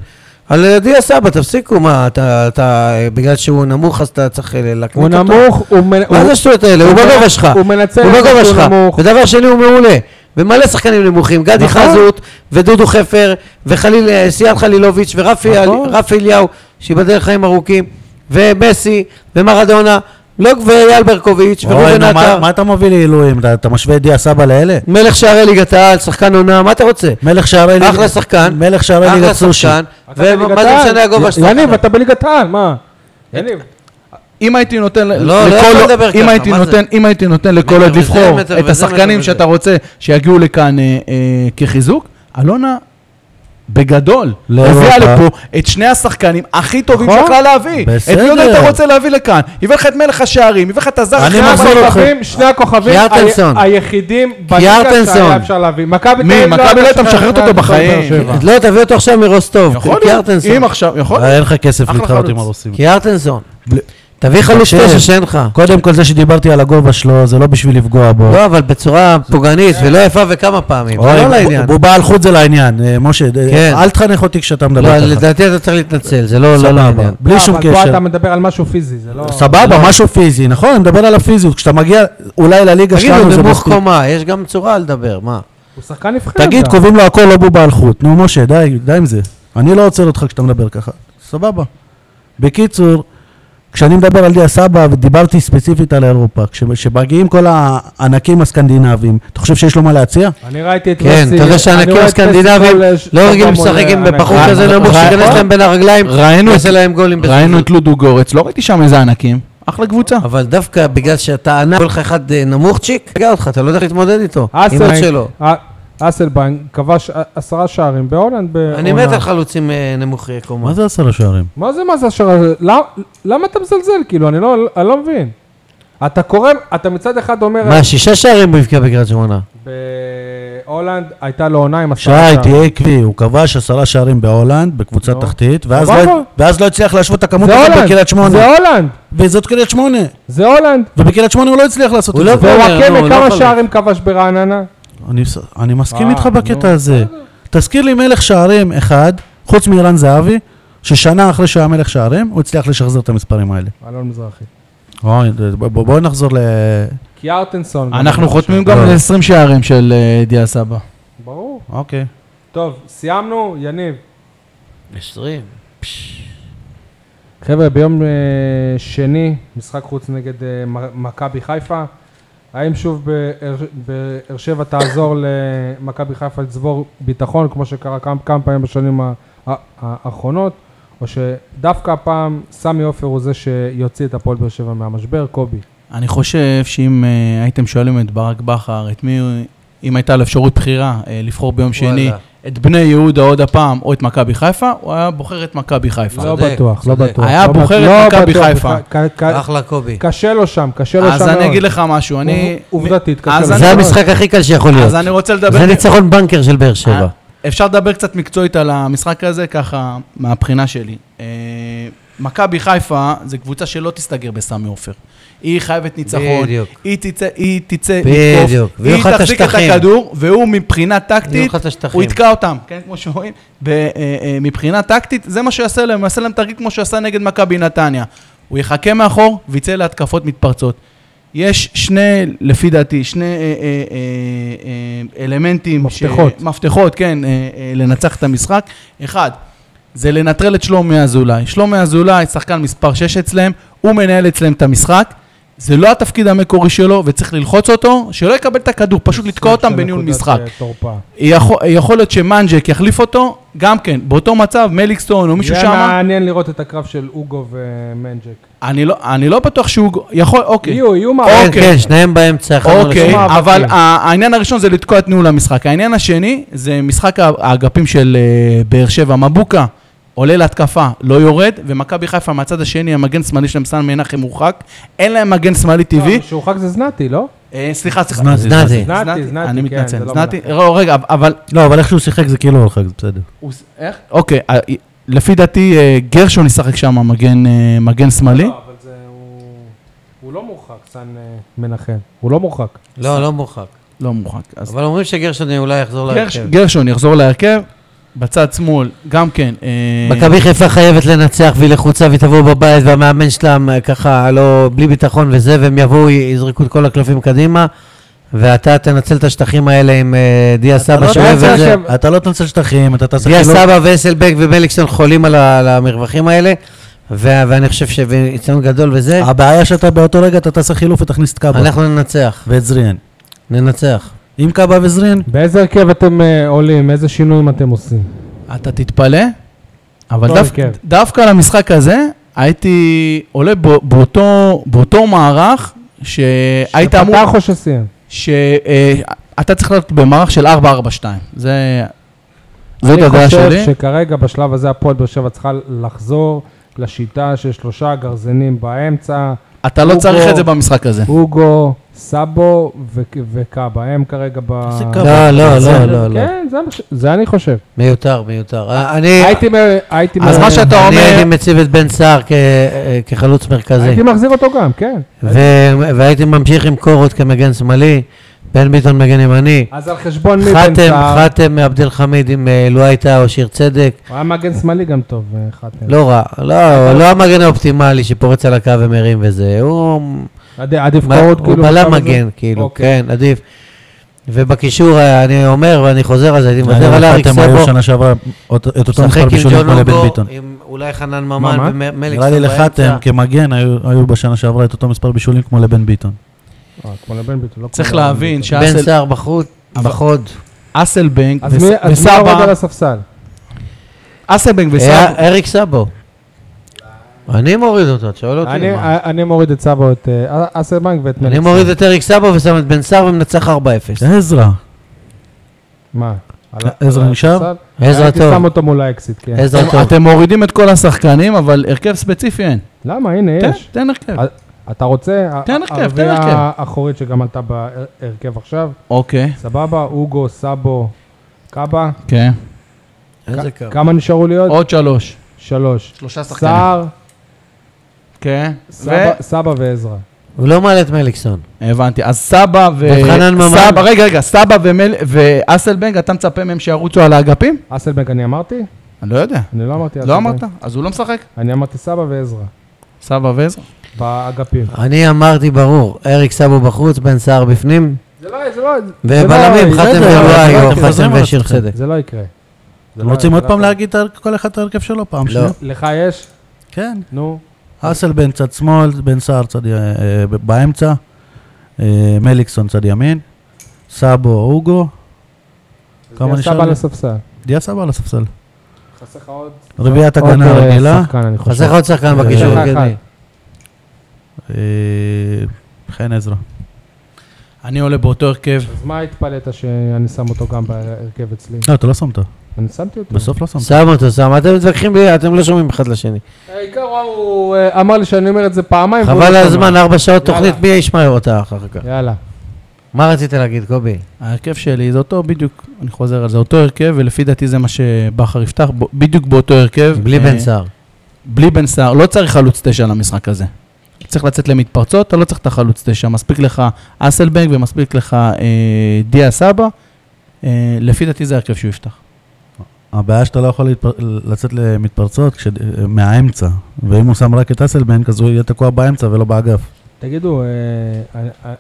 Speaker 4: על דיה סבא, תפסיקו, מה, אתה, אתה, בגלל שהוא נמוך אז אתה צריך אה, להקניט
Speaker 1: הוא
Speaker 4: אותו?
Speaker 1: נמוך, הוא מנ-
Speaker 4: מה
Speaker 1: הוא-
Speaker 4: זה השטויות האלה? הוא
Speaker 1: הוא
Speaker 4: בגובה
Speaker 1: מנ-
Speaker 4: שלך.
Speaker 1: הוא מנצל
Speaker 4: הוא
Speaker 1: את זה
Speaker 4: בגובה
Speaker 1: שהוא
Speaker 4: שלך.
Speaker 1: נמוך.
Speaker 4: ודבר שני, הוא מעולה. ומלא שחקנים נמוכים, גדי
Speaker 1: נכון.
Speaker 4: חזות, ודודו חפר, וחליל, אה, סיאן חלילוביץ', ורפי אל-
Speaker 1: נכון.
Speaker 4: רפי אליהו, שייבדל לחיים ארוכים, ומסי, ומרדונה, לא, ואייל ברקוביץ',
Speaker 3: אוי,
Speaker 4: וראובן
Speaker 3: נו,
Speaker 4: עטר,
Speaker 3: מה- מה אתה מביא לי עילויים? אתה- אתה משווה את דיה סבא לאלה?
Speaker 4: מלך שערי ליגת העל, שחקן עונה, מה אתה רוצה?
Speaker 3: מלך שערי ליגת...
Speaker 4: אחלה שחקן.
Speaker 3: מלך שערי
Speaker 4: אחלה
Speaker 3: ליגת סושי.
Speaker 4: שחקן,
Speaker 1: אתה
Speaker 4: ומה
Speaker 1: בליגת
Speaker 4: זה
Speaker 1: העל.
Speaker 4: משנה הגובה שלך?
Speaker 1: יניב, אתה בליגת העל, מה? יניב.
Speaker 5: אם הייתי נותן ל-
Speaker 4: לא, לא יכול לדבר
Speaker 5: אם
Speaker 4: ככה,
Speaker 5: הייתי
Speaker 4: מה זה?
Speaker 5: נותן, אם הייתי נותן לכל
Speaker 4: מטר
Speaker 5: עוד
Speaker 4: וזה,
Speaker 5: לבחור
Speaker 4: מטר
Speaker 5: את
Speaker 4: וזה, מטר
Speaker 5: השחקנים
Speaker 4: וזה.
Speaker 5: שאתה רוצה שיגיעו לכאן אה, אה, כחיזוק, אלונה בגדול
Speaker 3: לאירופה.
Speaker 5: הביאה לפה את שני השחקנים הכי טובים
Speaker 1: נכון.
Speaker 5: שיכולה להביא. את
Speaker 3: בסדר.
Speaker 5: מי עוד היית רוצה להביא לכאן? הביא לך את מלך השערים, הביא לך את הזר הכי
Speaker 1: שני
Speaker 5: ארבע-
Speaker 3: מחזיר אותך.
Speaker 1: הכוכבים, שני הכוכבים
Speaker 4: קיארטנסון.
Speaker 1: ה- היחידים בליגה
Speaker 4: קיארטנסון.
Speaker 1: שהיה אפשר להביא. מכבי
Speaker 5: מי?
Speaker 1: תל אביב
Speaker 5: מכבי לא הייתה
Speaker 1: משחררת
Speaker 5: משחררת
Speaker 1: את
Speaker 5: אותו
Speaker 1: הפועל באר
Speaker 5: בחיים.
Speaker 1: אה,
Speaker 3: *laughs*
Speaker 1: שבע.
Speaker 4: לא, תביא אותו עכשיו מרוסטוב,
Speaker 5: יכול להיות,
Speaker 4: קיארטנסון.
Speaker 5: אם עכשיו, יכול
Speaker 3: אה, אין לך כסף
Speaker 5: נכון, אחלה
Speaker 3: להתחרות עם
Speaker 5: חלוץ.
Speaker 3: הרוסים.
Speaker 4: קיארטנסון. תביא חלוץ
Speaker 3: תקשיב.
Speaker 4: תשע שאין לך.
Speaker 3: קודם כל זה שדיברתי על הגובה שלו, זה לא בשביל לפגוע בו.
Speaker 4: לא, אבל בצורה פוגענית ולא יפה וכמה פעמים. זה
Speaker 3: אוי,
Speaker 4: לא
Speaker 3: ב-
Speaker 4: לעניין.
Speaker 3: בובה על חוט זה לעניין. אה, משה, אה,
Speaker 4: כן.
Speaker 3: אל תחנך אותי כשאתה מדבר
Speaker 4: לא,
Speaker 3: ככה.
Speaker 4: לדעתי אתה צריך להתנצל, זה לא לא
Speaker 3: סבבה.
Speaker 4: לעניין.
Speaker 3: בלי
Speaker 1: לא,
Speaker 3: שום
Speaker 1: אבל פה
Speaker 3: קשר.
Speaker 1: אתה מדבר על משהו פיזי, זה לא...
Speaker 3: סבבה, משהו פיזי, נכון? אני מדבר על הפיזיות. כשאתה מגיע אולי לליגה שלנו
Speaker 4: תגידו,
Speaker 3: זה
Speaker 4: נמוך
Speaker 3: מספיק.
Speaker 4: קומה, יש גם צורה לדבר, מה?
Speaker 1: הוא שחקן נבחרת. אה.
Speaker 3: תגיד,
Speaker 1: גם.
Speaker 3: קובעים לו הכל לא בובה על חוט. נו, משה, די, די עם זה. אני לא עוצר אותך כשאתה מדבר ככה. סבבה. בקיצור, כשאני מדבר על דיה סבא, ודיברתי ספציפית על אירופה, כש- כשמגיעים כל הענקים הסקנדינבים, אתה חושב שיש לו מה להציע?
Speaker 1: אני ראיתי את
Speaker 4: כן, אתה יודע שהענקים הסקנדינבים לא רגילים לשחק עם בחור
Speaker 5: ענק.
Speaker 4: כזה לא- נמוך
Speaker 5: רע-
Speaker 4: שיכנס
Speaker 5: רע-
Speaker 4: להם בין הרגליים,
Speaker 5: ראינו
Speaker 4: ויעשה
Speaker 5: את-
Speaker 4: להם גולים
Speaker 5: ראינו
Speaker 4: בזמן.
Speaker 5: את לודו גורץ, לא ראיתי שם איזה ענקים. אחלה קבוצה.
Speaker 4: אבל דווקא בגלל שאתה ענק, כל לך אחד אה, נמוך צ'יק, תגע אותך, אתה לא יודע איך להתמודד איתו. עם עוד שלו.
Speaker 1: אסלבנק כבש ע- עשרה שערים בהולנד בעונה.
Speaker 4: אני מת על חלוצים אה, נמוכי קומה.
Speaker 3: מה זה עשרה שערים?
Speaker 1: מה זה מה זה השער? למה, למה אתה מזלזל? כאילו, אני לא, אני לא מבין. אתה קורא, אתה מצד אחד אומר...
Speaker 4: מה, שישה שערים הוא הבקיע בקריית שמונה.
Speaker 1: בהולנד הייתה לו עונה עם
Speaker 3: שי,
Speaker 1: עשרה שערים.
Speaker 3: תהיה עקבי, הוא כבש עשרה שערים בהולנד, בקבוצה
Speaker 1: נו.
Speaker 3: תחתית, ואז
Speaker 1: סבבה.
Speaker 3: לא- ואז לא הצליח להשוות את הכמות
Speaker 1: זה
Speaker 3: הזאת בקריית
Speaker 1: הולנד,
Speaker 3: שמונה.
Speaker 1: זה הולנד,
Speaker 3: וזאת קריית שמונה.
Speaker 1: זה הולנד.
Speaker 3: ובקריית שמונה הוא לא הצליח לעשות
Speaker 4: הוא
Speaker 3: את
Speaker 4: לא
Speaker 3: זה.
Speaker 4: בסדר, נו,
Speaker 1: ווואקמה
Speaker 4: לא
Speaker 1: כמה
Speaker 4: חלק.
Speaker 1: שערים כבש ברעננה?
Speaker 3: אני, ס- אני מסכים
Speaker 1: אה,
Speaker 3: איתך בקטע
Speaker 1: נו,
Speaker 3: הזה. תזכיר לי מלך שערים אחד, חוץ מערן זהבי, ששנה אחרי שהוא היה מלך שערים, הוא הצליח לשחזר את המספרים האלה.
Speaker 1: אלון מזרחי.
Speaker 3: אוי, בואו בוא נחזור ל...
Speaker 1: קיארטנסון. גם
Speaker 5: אנחנו
Speaker 1: כבש.
Speaker 5: חותמים גם
Speaker 3: לא.
Speaker 5: ל-20 שערים של אה, דיה סבא.
Speaker 1: ברור.
Speaker 3: אוקיי.
Speaker 1: טוב, סיימנו, יניב.
Speaker 4: עשרים.
Speaker 1: חבר'ה, ביום אה, שני, משחק חוץ נגד אה, מ- מכבי חיפה. האם שוב באר- באר שבע תעזור למכבי חיפה לצבור ביטחון, כמו שקרה כמה, כמה פעמים בשנים ה- ה- האחרונות, או שדווקא הפעם סמי עופר הוא זה שיוציא את הפועל באר שבע מהמשבר? קובי.
Speaker 5: אני חושב שאם אה, הייתם שואלים את ברק בכר, את מי, הוא- אם הייתה לו אפשרות בחירה אה, לבחור ביום שני,
Speaker 4: וואלה.
Speaker 5: את בני יהודה עוד הפעם, או את מכבי חיפה, הוא היה בוחר את מכבי חיפה.
Speaker 1: לא
Speaker 4: צודק,
Speaker 1: בטוח, לא
Speaker 4: צודק.
Speaker 1: בטוח.
Speaker 5: היה
Speaker 1: לא בט-
Speaker 5: בוחר את
Speaker 1: לא
Speaker 5: מכבי
Speaker 1: בטוח,
Speaker 5: חיפה.
Speaker 1: בכלל. ק- ק-
Speaker 4: אחלה קובי.
Speaker 3: אוקיי.
Speaker 1: קשה לו שם, קשה לו שם
Speaker 5: אז
Speaker 1: מאוד.
Speaker 5: אני אגיד לך משהו, אני...
Speaker 1: עובד- עובדתית, קשה
Speaker 5: אז
Speaker 1: לו.
Speaker 5: אני-
Speaker 4: זה המשחק הכי קל שיכול להיות.
Speaker 5: אז אני רוצה לדבר...
Speaker 4: זה ניצחון בנקר של באר שבע.
Speaker 5: אה, אפשר לדבר קצת מקצועית על המשחק הזה, ככה, מהבחינה שלי. אה, מכבי חיפה זה קבוצה שלא תסתגר בסמי עופר. היא חייבת ניצחון.
Speaker 4: בדיוק.
Speaker 5: היא תצא, היא תצא,
Speaker 4: בדיוק.
Speaker 5: לתקוף,
Speaker 4: והוא יאכל
Speaker 5: היא
Speaker 4: את
Speaker 5: תחזיק את
Speaker 4: השטחים.
Speaker 5: הכדור, והוא מבחינה טקטית,
Speaker 4: יאכל את השטחים.
Speaker 5: הוא יתקע אותם, כן, כמו שרואים. ומבחינה טקטית, זה מה שיעשה להם, הוא יעשה להם תרגיל כמו שעשה נגד מכבי נתניה. הוא יחכה מאחור ויצא להתקפות מתפרצות. יש שני, לפי דעתי, שני אה, אה, אה, אה, אלמנטים...
Speaker 1: מפתחות.
Speaker 5: ש... מפתחות, כן, אה, אה, לנצח את המשחק. אחד, זה לנטרל את שלומי אזולאי. שלומי אזולאי, שחקן מספר 6 אצלם, הוא מנהל אצלם את המשחק. זה לא התפקיד המקורי שלו, ותצריך ללחוץ אותו, שלא יקבל את הכדור, פשוט לתקוע אותם בניהול
Speaker 1: נקודת,
Speaker 5: משחק.
Speaker 1: אה, תורפה.
Speaker 5: יכול, יכול להיות שמנג'ק יחליף אותו, גם כן, באותו מצב, מליקסטון או מישהו
Speaker 1: זה
Speaker 5: שם,
Speaker 1: היה מעניין לראות את הקרב של אוגו ומנג'ק.
Speaker 5: אני, לא, אני לא בטוח שהוא יכול, אוקיי.
Speaker 1: יהיו, כן. יהיו
Speaker 5: אוקיי.
Speaker 1: מאבקים.
Speaker 4: כן, כן, שניהם באמצע. אחד מול
Speaker 5: אוקיי,
Speaker 4: השני.
Speaker 1: לשמוע
Speaker 5: אבל
Speaker 1: מאבקים.
Speaker 5: ה- העניין הראשון זה לתקוע את ניהול המשחק. העניין השני זה משחק ה- האגפים של אה, באר שבע. מבוקה עולה להתקפה, לא יורד, ומכבי חיפה מהצד השני, המגן שמאלי שלהם, סן מנחם מורחק. אין להם מגן שמאלי טבעי.
Speaker 1: לא, שהורחק זה זנתי, לא?
Speaker 5: אה, סליחה, סליחה.
Speaker 3: זנתי,
Speaker 4: זנתי.
Speaker 1: זנתי, זנתי,
Speaker 5: אני
Speaker 1: כן,
Speaker 5: מתנצל.
Speaker 1: זה לא
Speaker 5: זנתי,
Speaker 1: מנחם.
Speaker 5: לא, רגע, אבל...
Speaker 3: לא, אבל איך שהוא שיחק זה כאילו הולך, זה בסדר.
Speaker 5: הוא ס- איך? אוקיי, אה, לפי דעתי אה, גרשון ישחק שם, מגן, אה, מגן שמאלי.
Speaker 1: לא, אבל זה... הוא- הוא לא מורחק, סן אה, מנחם. הוא לא מורחק.
Speaker 4: לא, לא מורחק.
Speaker 5: לא מורחק. אז
Speaker 4: אבל אומרים שגרשון אולי יחזור
Speaker 5: גרש-
Speaker 4: להרכב.
Speaker 5: גרשון יחזור להרכב, בצד שמאל, גם כן. אה,
Speaker 4: מכבי חיפה חייבת לנצח והיא לחוצה והיא תבוא בבית והמאמן שלהם אה, ככה לא בלי ביטחון וזה והם יבואו י- יזרקו את כל הקלפים קדימה ואתה תנצל את השטחים האלה עם אה, דיה סבא
Speaker 3: לא
Speaker 4: שאוהב
Speaker 1: תנצל
Speaker 4: את זה.
Speaker 1: עכשיו-
Speaker 3: אתה לא תנצל שטחים, אתה תעשה
Speaker 4: דיה
Speaker 3: חילוף.
Speaker 4: סבא ואסלבק ומליקסון חולים על ה- על המרווחים האלה ו- ואני חושב שניסיון גדול וזה,
Speaker 3: הבעיה שאתה באותו רגע אתה תעשה חילוף ותכניס את קאבה
Speaker 4: אנחנו ננצח,
Speaker 3: ואת זריאן.
Speaker 4: ננצח.
Speaker 3: עם קאבה וזריאן,
Speaker 1: באיזה הרכב אתם אה, עולים? איזה שינויים אתם עושים?
Speaker 5: אתה תתפלא, אבל
Speaker 1: לא
Speaker 5: דו,
Speaker 1: הרכב.
Speaker 5: דווקא על המשחק הזה, הייתי עולה ב, באותו, באותו מערך שהיית אמור,
Speaker 1: שפתח או שסיים?
Speaker 5: שאתה צריך להיות במערך של 4-4-2. זה... זאת הדעה
Speaker 1: אני
Speaker 5: שלי.
Speaker 1: חושב שכרגע בשלב הזה הפועל באר שבע צריכה לחזור לשיטה של שלושה גרזנים באמצע,
Speaker 5: אתה לא
Speaker 1: הוא
Speaker 5: צריך
Speaker 1: פה.
Speaker 5: את זה במשחק הזה.
Speaker 1: אוגו, סאבו ו- וקאבה, הם כרגע ב...
Speaker 3: זה קאבה.
Speaker 4: לא, לא, לא, לא, לא.
Speaker 1: כן, זה מה ש- זה אני חושב.
Speaker 4: מיותר, מיותר. אה, אני
Speaker 1: הייתי... מ- הייתי
Speaker 5: אז
Speaker 1: מ-
Speaker 5: מה שאתה
Speaker 4: אה, אני
Speaker 5: אומר-
Speaker 4: הייתי מציב את בן סער כ- אה, כחלוץ מרכזי.
Speaker 1: הייתי מחזיר אותו גם, כן.
Speaker 4: ו- והייתי ממשיך עם קורות כמגן שמאלי, בן ביטון מגן ימני,
Speaker 1: אז על חשבון מי בן
Speaker 4: חתם,
Speaker 1: סער?
Speaker 4: חתם עבד אל חמיד עם אה, לו הייתה או שיר צדק,
Speaker 1: הוא היה מגן שמאלי גם טוב, אה, חתם.
Speaker 4: לא רע, לא, לא המגן האופטימלי שפורץ על הקו ומרים וזה, הוא,
Speaker 1: עד- עדיף
Speaker 4: מה-
Speaker 1: קורות
Speaker 4: הוא
Speaker 1: כאילו.
Speaker 4: בלם
Speaker 1: בשלב הזה?
Speaker 4: מגן, כאילו,
Speaker 1: אוקיי.
Speaker 4: כן, עדיף. ובקישור אה, אני אומר ואני חוזר על זה, הייתי מוותר על אריק
Speaker 3: אתם היו
Speaker 4: סבו,
Speaker 3: שנה שעברה אותו- את אותו
Speaker 4: משחק
Speaker 3: מספר
Speaker 4: עם
Speaker 3: בישולים
Speaker 4: ג'ון
Speaker 3: כמו לבן
Speaker 4: לונגו,
Speaker 3: ביטון.
Speaker 4: עם אולי חנן
Speaker 1: מה, מה?
Speaker 4: ממן ומליקסון
Speaker 3: נראה לי לחתם כמגן היו היו בשנה שעברה את אותו מספר בישולים כמו לבן ביטון.
Speaker 1: אה, כמו לבן ביטון, לא
Speaker 5: צריך
Speaker 1: כמו לבן
Speaker 5: להבין
Speaker 1: ביטון.
Speaker 4: בן
Speaker 5: שאסל
Speaker 4: סער בחוץ,
Speaker 5: אבל-
Speaker 4: בחוד.
Speaker 5: אסלבנק
Speaker 1: אז מי-
Speaker 5: וס-
Speaker 1: אז מי יורד על
Speaker 5: וסבא,
Speaker 1: הספסל?
Speaker 5: אסלבנק וסבא,
Speaker 4: אה, אריק סבו. אני מוריד אותו, אתה שואל אותי?
Speaker 1: אני- אה,
Speaker 4: מה?
Speaker 1: אני מוריד את סבא, את אה, אסלבנק ואת
Speaker 4: אני
Speaker 1: מליקסון.
Speaker 4: מוריד את אריק סבו ושם את בן סער ומנצח 4-0.
Speaker 3: עזרא,
Speaker 1: מה? על ה-
Speaker 3: עזרא
Speaker 1: על
Speaker 3: נשאר?
Speaker 1: הספסל?
Speaker 4: עזרא
Speaker 1: הייתי שם
Speaker 4: טוב,
Speaker 1: אותו מול האקסיט, כן.
Speaker 4: עזרא
Speaker 5: אתם-
Speaker 4: טוב.
Speaker 5: אתם מורידים את כל השחקנים, אבל הרכב ספציפי אין.
Speaker 1: למה? הנה,
Speaker 5: תן-
Speaker 1: יש.
Speaker 5: כן, תן הרכב.
Speaker 1: אז- אתה רוצה? ה-
Speaker 5: תן הרכב, תן
Speaker 1: הרביעייה
Speaker 5: הרכב.
Speaker 1: האחורית שגם עלתה בהרכב עכשיו,
Speaker 5: אוקיי,
Speaker 1: סבבה, אוגו, סאבו, קאבה.
Speaker 5: כן.
Speaker 4: איזה
Speaker 1: כ-
Speaker 4: קו.
Speaker 1: כמה נשארו לי עוד?
Speaker 5: עוד שלוש.
Speaker 1: שלוש.
Speaker 5: שלושה
Speaker 1: סער,
Speaker 5: כן. ו-
Speaker 1: סבא- סבא ועזרא.
Speaker 4: הוא לא מעלה את מליקסון.
Speaker 5: הבנתי, אז סבא ו...
Speaker 4: וחנן ממן.
Speaker 5: סבא, רגע, רגע, סבא ומל... ואסלבנג, אתה מצפה מהם שירוצו על האגפים?
Speaker 1: אסלבנק אני אמרתי?
Speaker 5: אני לא יודע.
Speaker 1: אני לא אמרתי
Speaker 5: לא
Speaker 1: אסלבנק.
Speaker 5: אמרת? אז הוא לא משחק?
Speaker 1: אני אמרתי סבא ועזרא,
Speaker 5: סבא ועזרא.
Speaker 1: באגפים.
Speaker 4: אני אמרתי ברור, אריק סבו בחוץ, בן סער בפנים,
Speaker 1: זה לא, זה לא...
Speaker 4: ובלמים,
Speaker 1: זה לא-
Speaker 4: חתם
Speaker 1: זה לא-
Speaker 4: ואולי,
Speaker 3: לא-
Speaker 4: או
Speaker 3: אתם
Speaker 4: חתם
Speaker 3: חוזרים על
Speaker 4: ושיר
Speaker 3: עצמכם.
Speaker 4: צדק.
Speaker 1: זה לא יקרה. זה
Speaker 3: אתם
Speaker 1: לא-
Speaker 3: רוצים
Speaker 1: זה
Speaker 3: עוד
Speaker 1: לא-
Speaker 3: פעם להגיד את ה- כל אחד את ההרכב שלו פעם
Speaker 4: לא.
Speaker 3: שנייה?
Speaker 1: לך יש?
Speaker 3: כן.
Speaker 1: נו.
Speaker 3: אסלבן צד שמאל, בן סער צד י- אה, ב- באמצע, אה, מליקסון צד ימין, סאבו אוגו, כמה
Speaker 1: זה
Speaker 3: נשאר
Speaker 1: סבא
Speaker 3: לי?
Speaker 1: על הספסל.
Speaker 3: דיה סבא על הספסל.
Speaker 1: חסר לך עוד...
Speaker 3: רביעיית
Speaker 1: עוד,
Speaker 3: הגנה
Speaker 1: אה,
Speaker 3: רגילה,
Speaker 1: שחקן, אני חושב.
Speaker 4: חסר לך עוד שחקן
Speaker 3: אה,
Speaker 4: בקישור
Speaker 1: שחקן
Speaker 4: הגני.
Speaker 1: אחד.
Speaker 3: אה, חן עזרא.
Speaker 5: אני עולה באותו הרכב.
Speaker 1: אז מה התפלאת שאני שם אותו גם בהרכב אצלי?
Speaker 3: לא, אתה לא שמת,
Speaker 1: אני שמתי אותו.
Speaker 3: בסוף לא שמת.
Speaker 4: שם אותו, שם, אתם מתווכחים בלי, אתם לא שומעים אחד לשני.
Speaker 1: העיקר הוא אה, אמר לי שאני אומר את זה פעמיים. והוא
Speaker 4: חבל
Speaker 1: לא
Speaker 4: על
Speaker 1: שמע.
Speaker 4: הזמן, ארבע שעות
Speaker 1: יאללה.
Speaker 4: תוכנית, מי ישמע אותה אחר כך?
Speaker 1: יאללה.
Speaker 4: מה רצית להגיד, קובי?
Speaker 5: ההרכב שלי זה אותו, בדיוק, אני חוזר על זה, אותו הרכב, ולפי דעתי זה מה שבכר יפתח, ב- בדיוק באותו הרכב.
Speaker 4: בלי
Speaker 5: אה,
Speaker 4: בן סער.
Speaker 5: בלי בן סער. לא צריך חלוץ תשע למשחק הזה. צריך לצאת למתפרצות, אתה לא צריך את החלוץ תשע, מספיק לך אסלבנק ומספיק לך אה, דיה סבא. אה, לפי דעתי זה ההרכב שהוא יפתח.
Speaker 3: הבעיה שאתה לא יכול להתפר... לצאת למתפרצות כש... מהאמצע, ואם הוא שם רק את אסלבנק, אז הוא יהיה תקוע באמצע ולא באגף.
Speaker 1: תגידו, אה, אני- אה,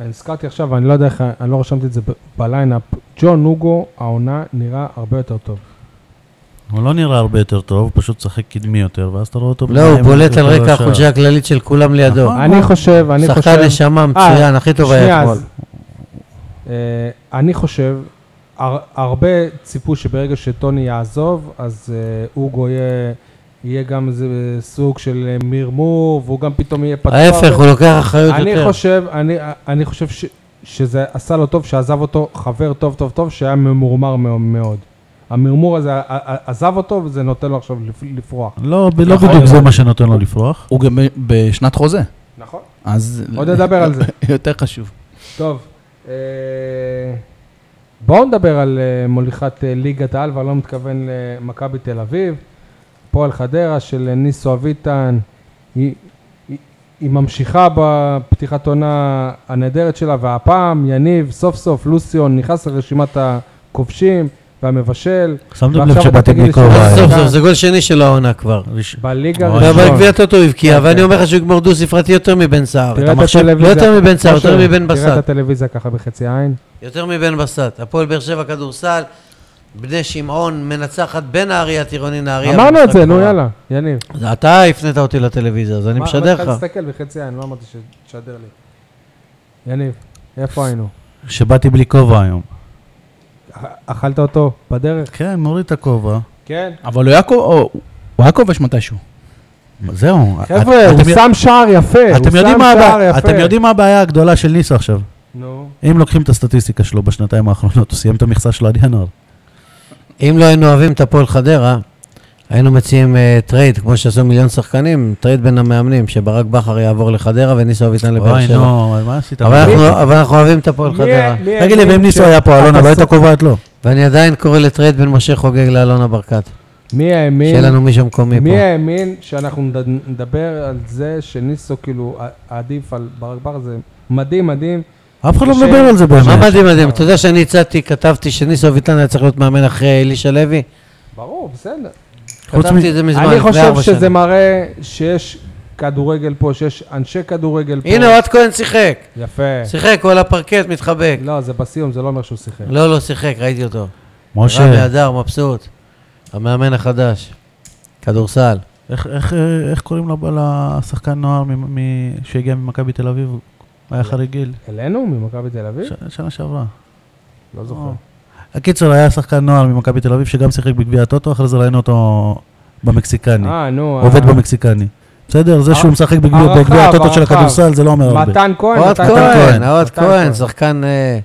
Speaker 1: אני הזכרתי עכשיו, אני לא יודע איך, אני לא רשמתי את זה ב- בליינאפ, ג'ון נוגו, העונה נראה הרבה יותר טוב.
Speaker 3: הוא לא נראה הרבה יותר טוב, הוא פשוט צחק קדמי יותר, ואז אתה רואה אותו...
Speaker 4: לא, הוא
Speaker 3: ביניים
Speaker 4: בולט
Speaker 3: יותר
Speaker 4: על רקע
Speaker 3: לשער.
Speaker 4: החולשה הכללית של כולם לידו.
Speaker 3: נכון.
Speaker 1: אני חושב, אני חושב... אה,
Speaker 4: שחקן נשמה מצוין, הכי טוב היה
Speaker 1: שנייה,
Speaker 4: אתמול.
Speaker 1: אז, אה, אני חושב, הר, הרבה ציפו שברגע שטוני יעזוב, אז אה, אוגו יהיה, יהיה גם איזה סוג של אה, מרמור, והוא גם פתאום יהיה פתוח.
Speaker 4: ההפך, הוא לוקח אחריות
Speaker 1: אני
Speaker 4: יותר.
Speaker 1: חושב, אני, אני חושב ש, שזה עשה לו טוב, שעזב אותו חבר טוב טוב טוב, שהיה ממורמר מאו- מאוד. המרמור הזה ע- ע- עזב אותו, וזה נותן לו עכשיו לפ- לפרוח.
Speaker 3: לא, ב- לא
Speaker 5: יכול
Speaker 3: בדיוק
Speaker 5: להיות.
Speaker 3: זה מה שנותן לו לפרוח.
Speaker 5: הוא גם ב- בשנת חוזה,
Speaker 1: נכון.
Speaker 5: אז...
Speaker 1: עוד נדבר על זה.
Speaker 5: *laughs* יותר חשוב.
Speaker 1: טוב, אה, בואו נדבר על אה, מוליכת אה, ליגת העל, ואני לא מתכוון למכבי תל אביב. פועל חדרה של אה, ניסו אביטן, היא, היא, היא ממשיכה בפתיחת עונה הנהדרת שלה, והפעם יניב סוף סוף לוסיון נכנס לרשימת הכובשים והמבשל
Speaker 3: שמתם לב
Speaker 1: ועכשיו אתה
Speaker 3: שבאתי
Speaker 1: תגיד לי שזה-
Speaker 3: בלי כובע.
Speaker 4: אז
Speaker 1: אה,
Speaker 4: סוף
Speaker 1: אה.
Speaker 4: סוף, זה גול שני של העונה כבר. לא,
Speaker 1: בליגה
Speaker 3: אוי,
Speaker 4: אבל
Speaker 1: הראשונה.
Speaker 4: גביע הטוטו הבקיע, ואני אומר לך שהוא יגמור דו ספרתי יותר מבן סער.
Speaker 1: אוקיי. תראה
Speaker 4: אתה
Speaker 1: את
Speaker 4: מחשב- לא
Speaker 1: הטלוויזיה.
Speaker 4: יותר מבן סער, יותר
Speaker 1: משה,
Speaker 4: מבן
Speaker 1: תראה
Speaker 4: בסט.
Speaker 1: את הטלוויזיה ככה בחצי עין.
Speaker 4: יותר מבן בסט. הפועל באר שבע כדורסל, בני שמעון מנצחת בנהריה, טירוני נהריה.
Speaker 1: אמרנו את
Speaker 4: במשחק
Speaker 1: זה, נו
Speaker 4: נורא.
Speaker 1: יאללה, יניב.
Speaker 4: אתה הפנית אותי לטלוויזיה, אז אני
Speaker 1: מה-
Speaker 4: משדר
Speaker 1: אמרתי
Speaker 4: לך.
Speaker 1: תסתכל בחצי עין, לא אמרתי שתשדר לי. יניב, איפה היינו?
Speaker 3: שבאתי בלי כובע היום.
Speaker 1: אכ- אכלת אותו בדרך?
Speaker 3: כן, מוריד את הכובע.
Speaker 1: כן.
Speaker 5: אבל הוא היה כו- הוא- הוא היה כובש מתישהו.
Speaker 3: זהו.
Speaker 1: חבר'ה,
Speaker 3: את-
Speaker 1: הוא
Speaker 3: אתם י-
Speaker 1: שם שער יפה. הוא
Speaker 3: אתם יודעים
Speaker 1: שם
Speaker 3: מה
Speaker 1: שער
Speaker 3: הבעיה-
Speaker 1: יפה.
Speaker 3: אתם יודעים מה הבעיה הגדולה של ניסו עכשיו?
Speaker 1: נו.
Speaker 3: אם לוקחים את הסטטיסטיקה שלו בשנתיים האחרונות, הוא סיים את המכסה שלו עד ינואר.
Speaker 4: אם לא היינו אוהבים את הפועל חדרה, היינו מציעים אה, טרייד, כמו שעשו מיליון שחקנים, טרייד בין המאמנים, שברק בכר יעבור לחדרה וניסו אביטן לבאר
Speaker 3: אוי,
Speaker 4: שבע.
Speaker 3: נו, מה עשית?
Speaker 4: אבל אנחנו- לא- אבל אנחנו אוהבים את הפועל
Speaker 1: מי-
Speaker 4: חדרה.
Speaker 1: מי-
Speaker 3: תגיד לי,
Speaker 1: מי-
Speaker 3: ואם ניסו היה פה, אלונה, לא הייתה קובעת לו?
Speaker 4: ואני עדיין קורא לטרייד בין משה חוגג לאלונה ברקת.
Speaker 1: מי האמין?
Speaker 4: שיהיה לנו מישהו מקומי
Speaker 1: מי
Speaker 4: פה.
Speaker 1: האמין שאנחנו נד- נדבר על זה שניסו כאילו ע- עדיף על ברק בר זה מדהים מדהים.
Speaker 3: אף אחד לא
Speaker 1: קשה.
Speaker 3: מדבר על זה
Speaker 4: מה
Speaker 3: באמת.
Speaker 4: מדהים מדהים, אתה יודע שאני הצעתי, כתבתי שניסו אביטן היה צריך להיות מאמן אחרי אלישע לוי?
Speaker 1: ברור, בסדר.
Speaker 3: חוץ מ-
Speaker 4: כתבתי את זה מזמן,
Speaker 1: אני
Speaker 4: לפני
Speaker 1: חושב
Speaker 4: ארבע
Speaker 1: שזה
Speaker 4: שנים.
Speaker 1: מראה שיש כדורגל פה, שיש אנשי כדורגל פה.
Speaker 4: הנה, אוהד כהן שיחק.
Speaker 1: יפה.
Speaker 4: שיחק, הוא על הפרקט, מתחבק.
Speaker 1: לא, זה בסיום, זה לא אומר שהוא שיחק.
Speaker 4: לא, לא שיחק, ראיתי אותו. רמי
Speaker 3: משה,
Speaker 4: אדר, מבסוט. המאמן החדש. כדורסל.
Speaker 3: איך- איך- אה, איך קוראים לב- לשחקן נוער מ- מ- שהגיע ממכבי תל אביב?
Speaker 1: לא.
Speaker 3: היה חריג גיל,
Speaker 1: אלינו? ממכבי תל אביב?
Speaker 3: ש- שנה שעברה.
Speaker 1: לא זוכר.
Speaker 3: הקיצור, היה שחקן נוער ממכבי תל אביב שגם שיחק בגביע הטוטו, אחרי זה ראינו אותו במקסיקני.
Speaker 1: אה, אה, נו.
Speaker 3: עובד
Speaker 1: ה-
Speaker 3: במקסיקני. בסדר, זה שהוא משחק בגביע-
Speaker 1: הרחב,
Speaker 3: בגביע הטוטו של
Speaker 1: הרחב.
Speaker 3: הכדורסל זה לא אומר הרבה.
Speaker 1: מתן כהן.
Speaker 4: אוהד
Speaker 1: מתן
Speaker 4: כהן, אוהד
Speaker 1: מתן
Speaker 4: כהן, שחקן אה,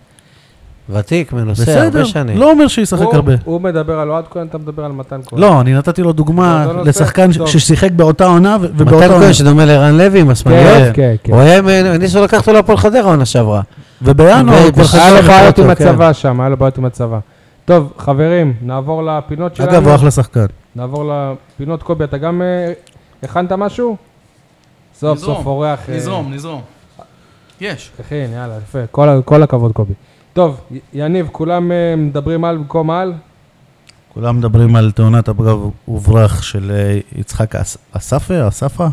Speaker 4: ותיק, מנוסה,
Speaker 3: בסדר,
Speaker 4: הרבה
Speaker 1: אה,
Speaker 4: שנים.
Speaker 3: לא אומר שהוא ישחק
Speaker 1: הוא-
Speaker 3: הרבה.
Speaker 1: הוא מדבר על אוהד כהן, אתה מדבר על מתן כהן.
Speaker 3: לא, אני נתתי לו דוגמה
Speaker 1: אה. לא, לא, לא,
Speaker 3: לשחקן ש-
Speaker 1: טוב.
Speaker 3: ששיחק באותה עונה ו- ובאותה
Speaker 4: מתן
Speaker 3: עונה.
Speaker 4: כהן שדומה לערן לוי עם השמאליות.
Speaker 1: כן, כן, כן.
Speaker 4: הוא היה, עם- ניסו לקחת אותו להפועל חדרה עונה שעברה.
Speaker 3: ובינואר הוא כבר
Speaker 4: ובשנה
Speaker 1: היה
Speaker 3: חזר
Speaker 1: לו בעיות
Speaker 3: לטוטו,
Speaker 1: עם
Speaker 3: כן.
Speaker 1: הצבא שם, היה לו בעיות עם הצבא. טוב, חברים, נעבור לפינות שלנו.
Speaker 3: אגב, הוא אחלה שחקן.
Speaker 1: נעבור לפינות. קובי, אתה גם אה, הכנת משהו? סוף
Speaker 5: נזרום,
Speaker 1: סוף אורח. אה,
Speaker 5: נזרום, נזרום. יש.
Speaker 1: תכין, יאללה, יפה. כל ה- כל הכבוד, קובי. טוב, י- יניב, כולם אה, מדברים על במקום על?
Speaker 3: כולם מדברים על תאונת הפגב וברח של אה, יצחק אס- אספה, אספה.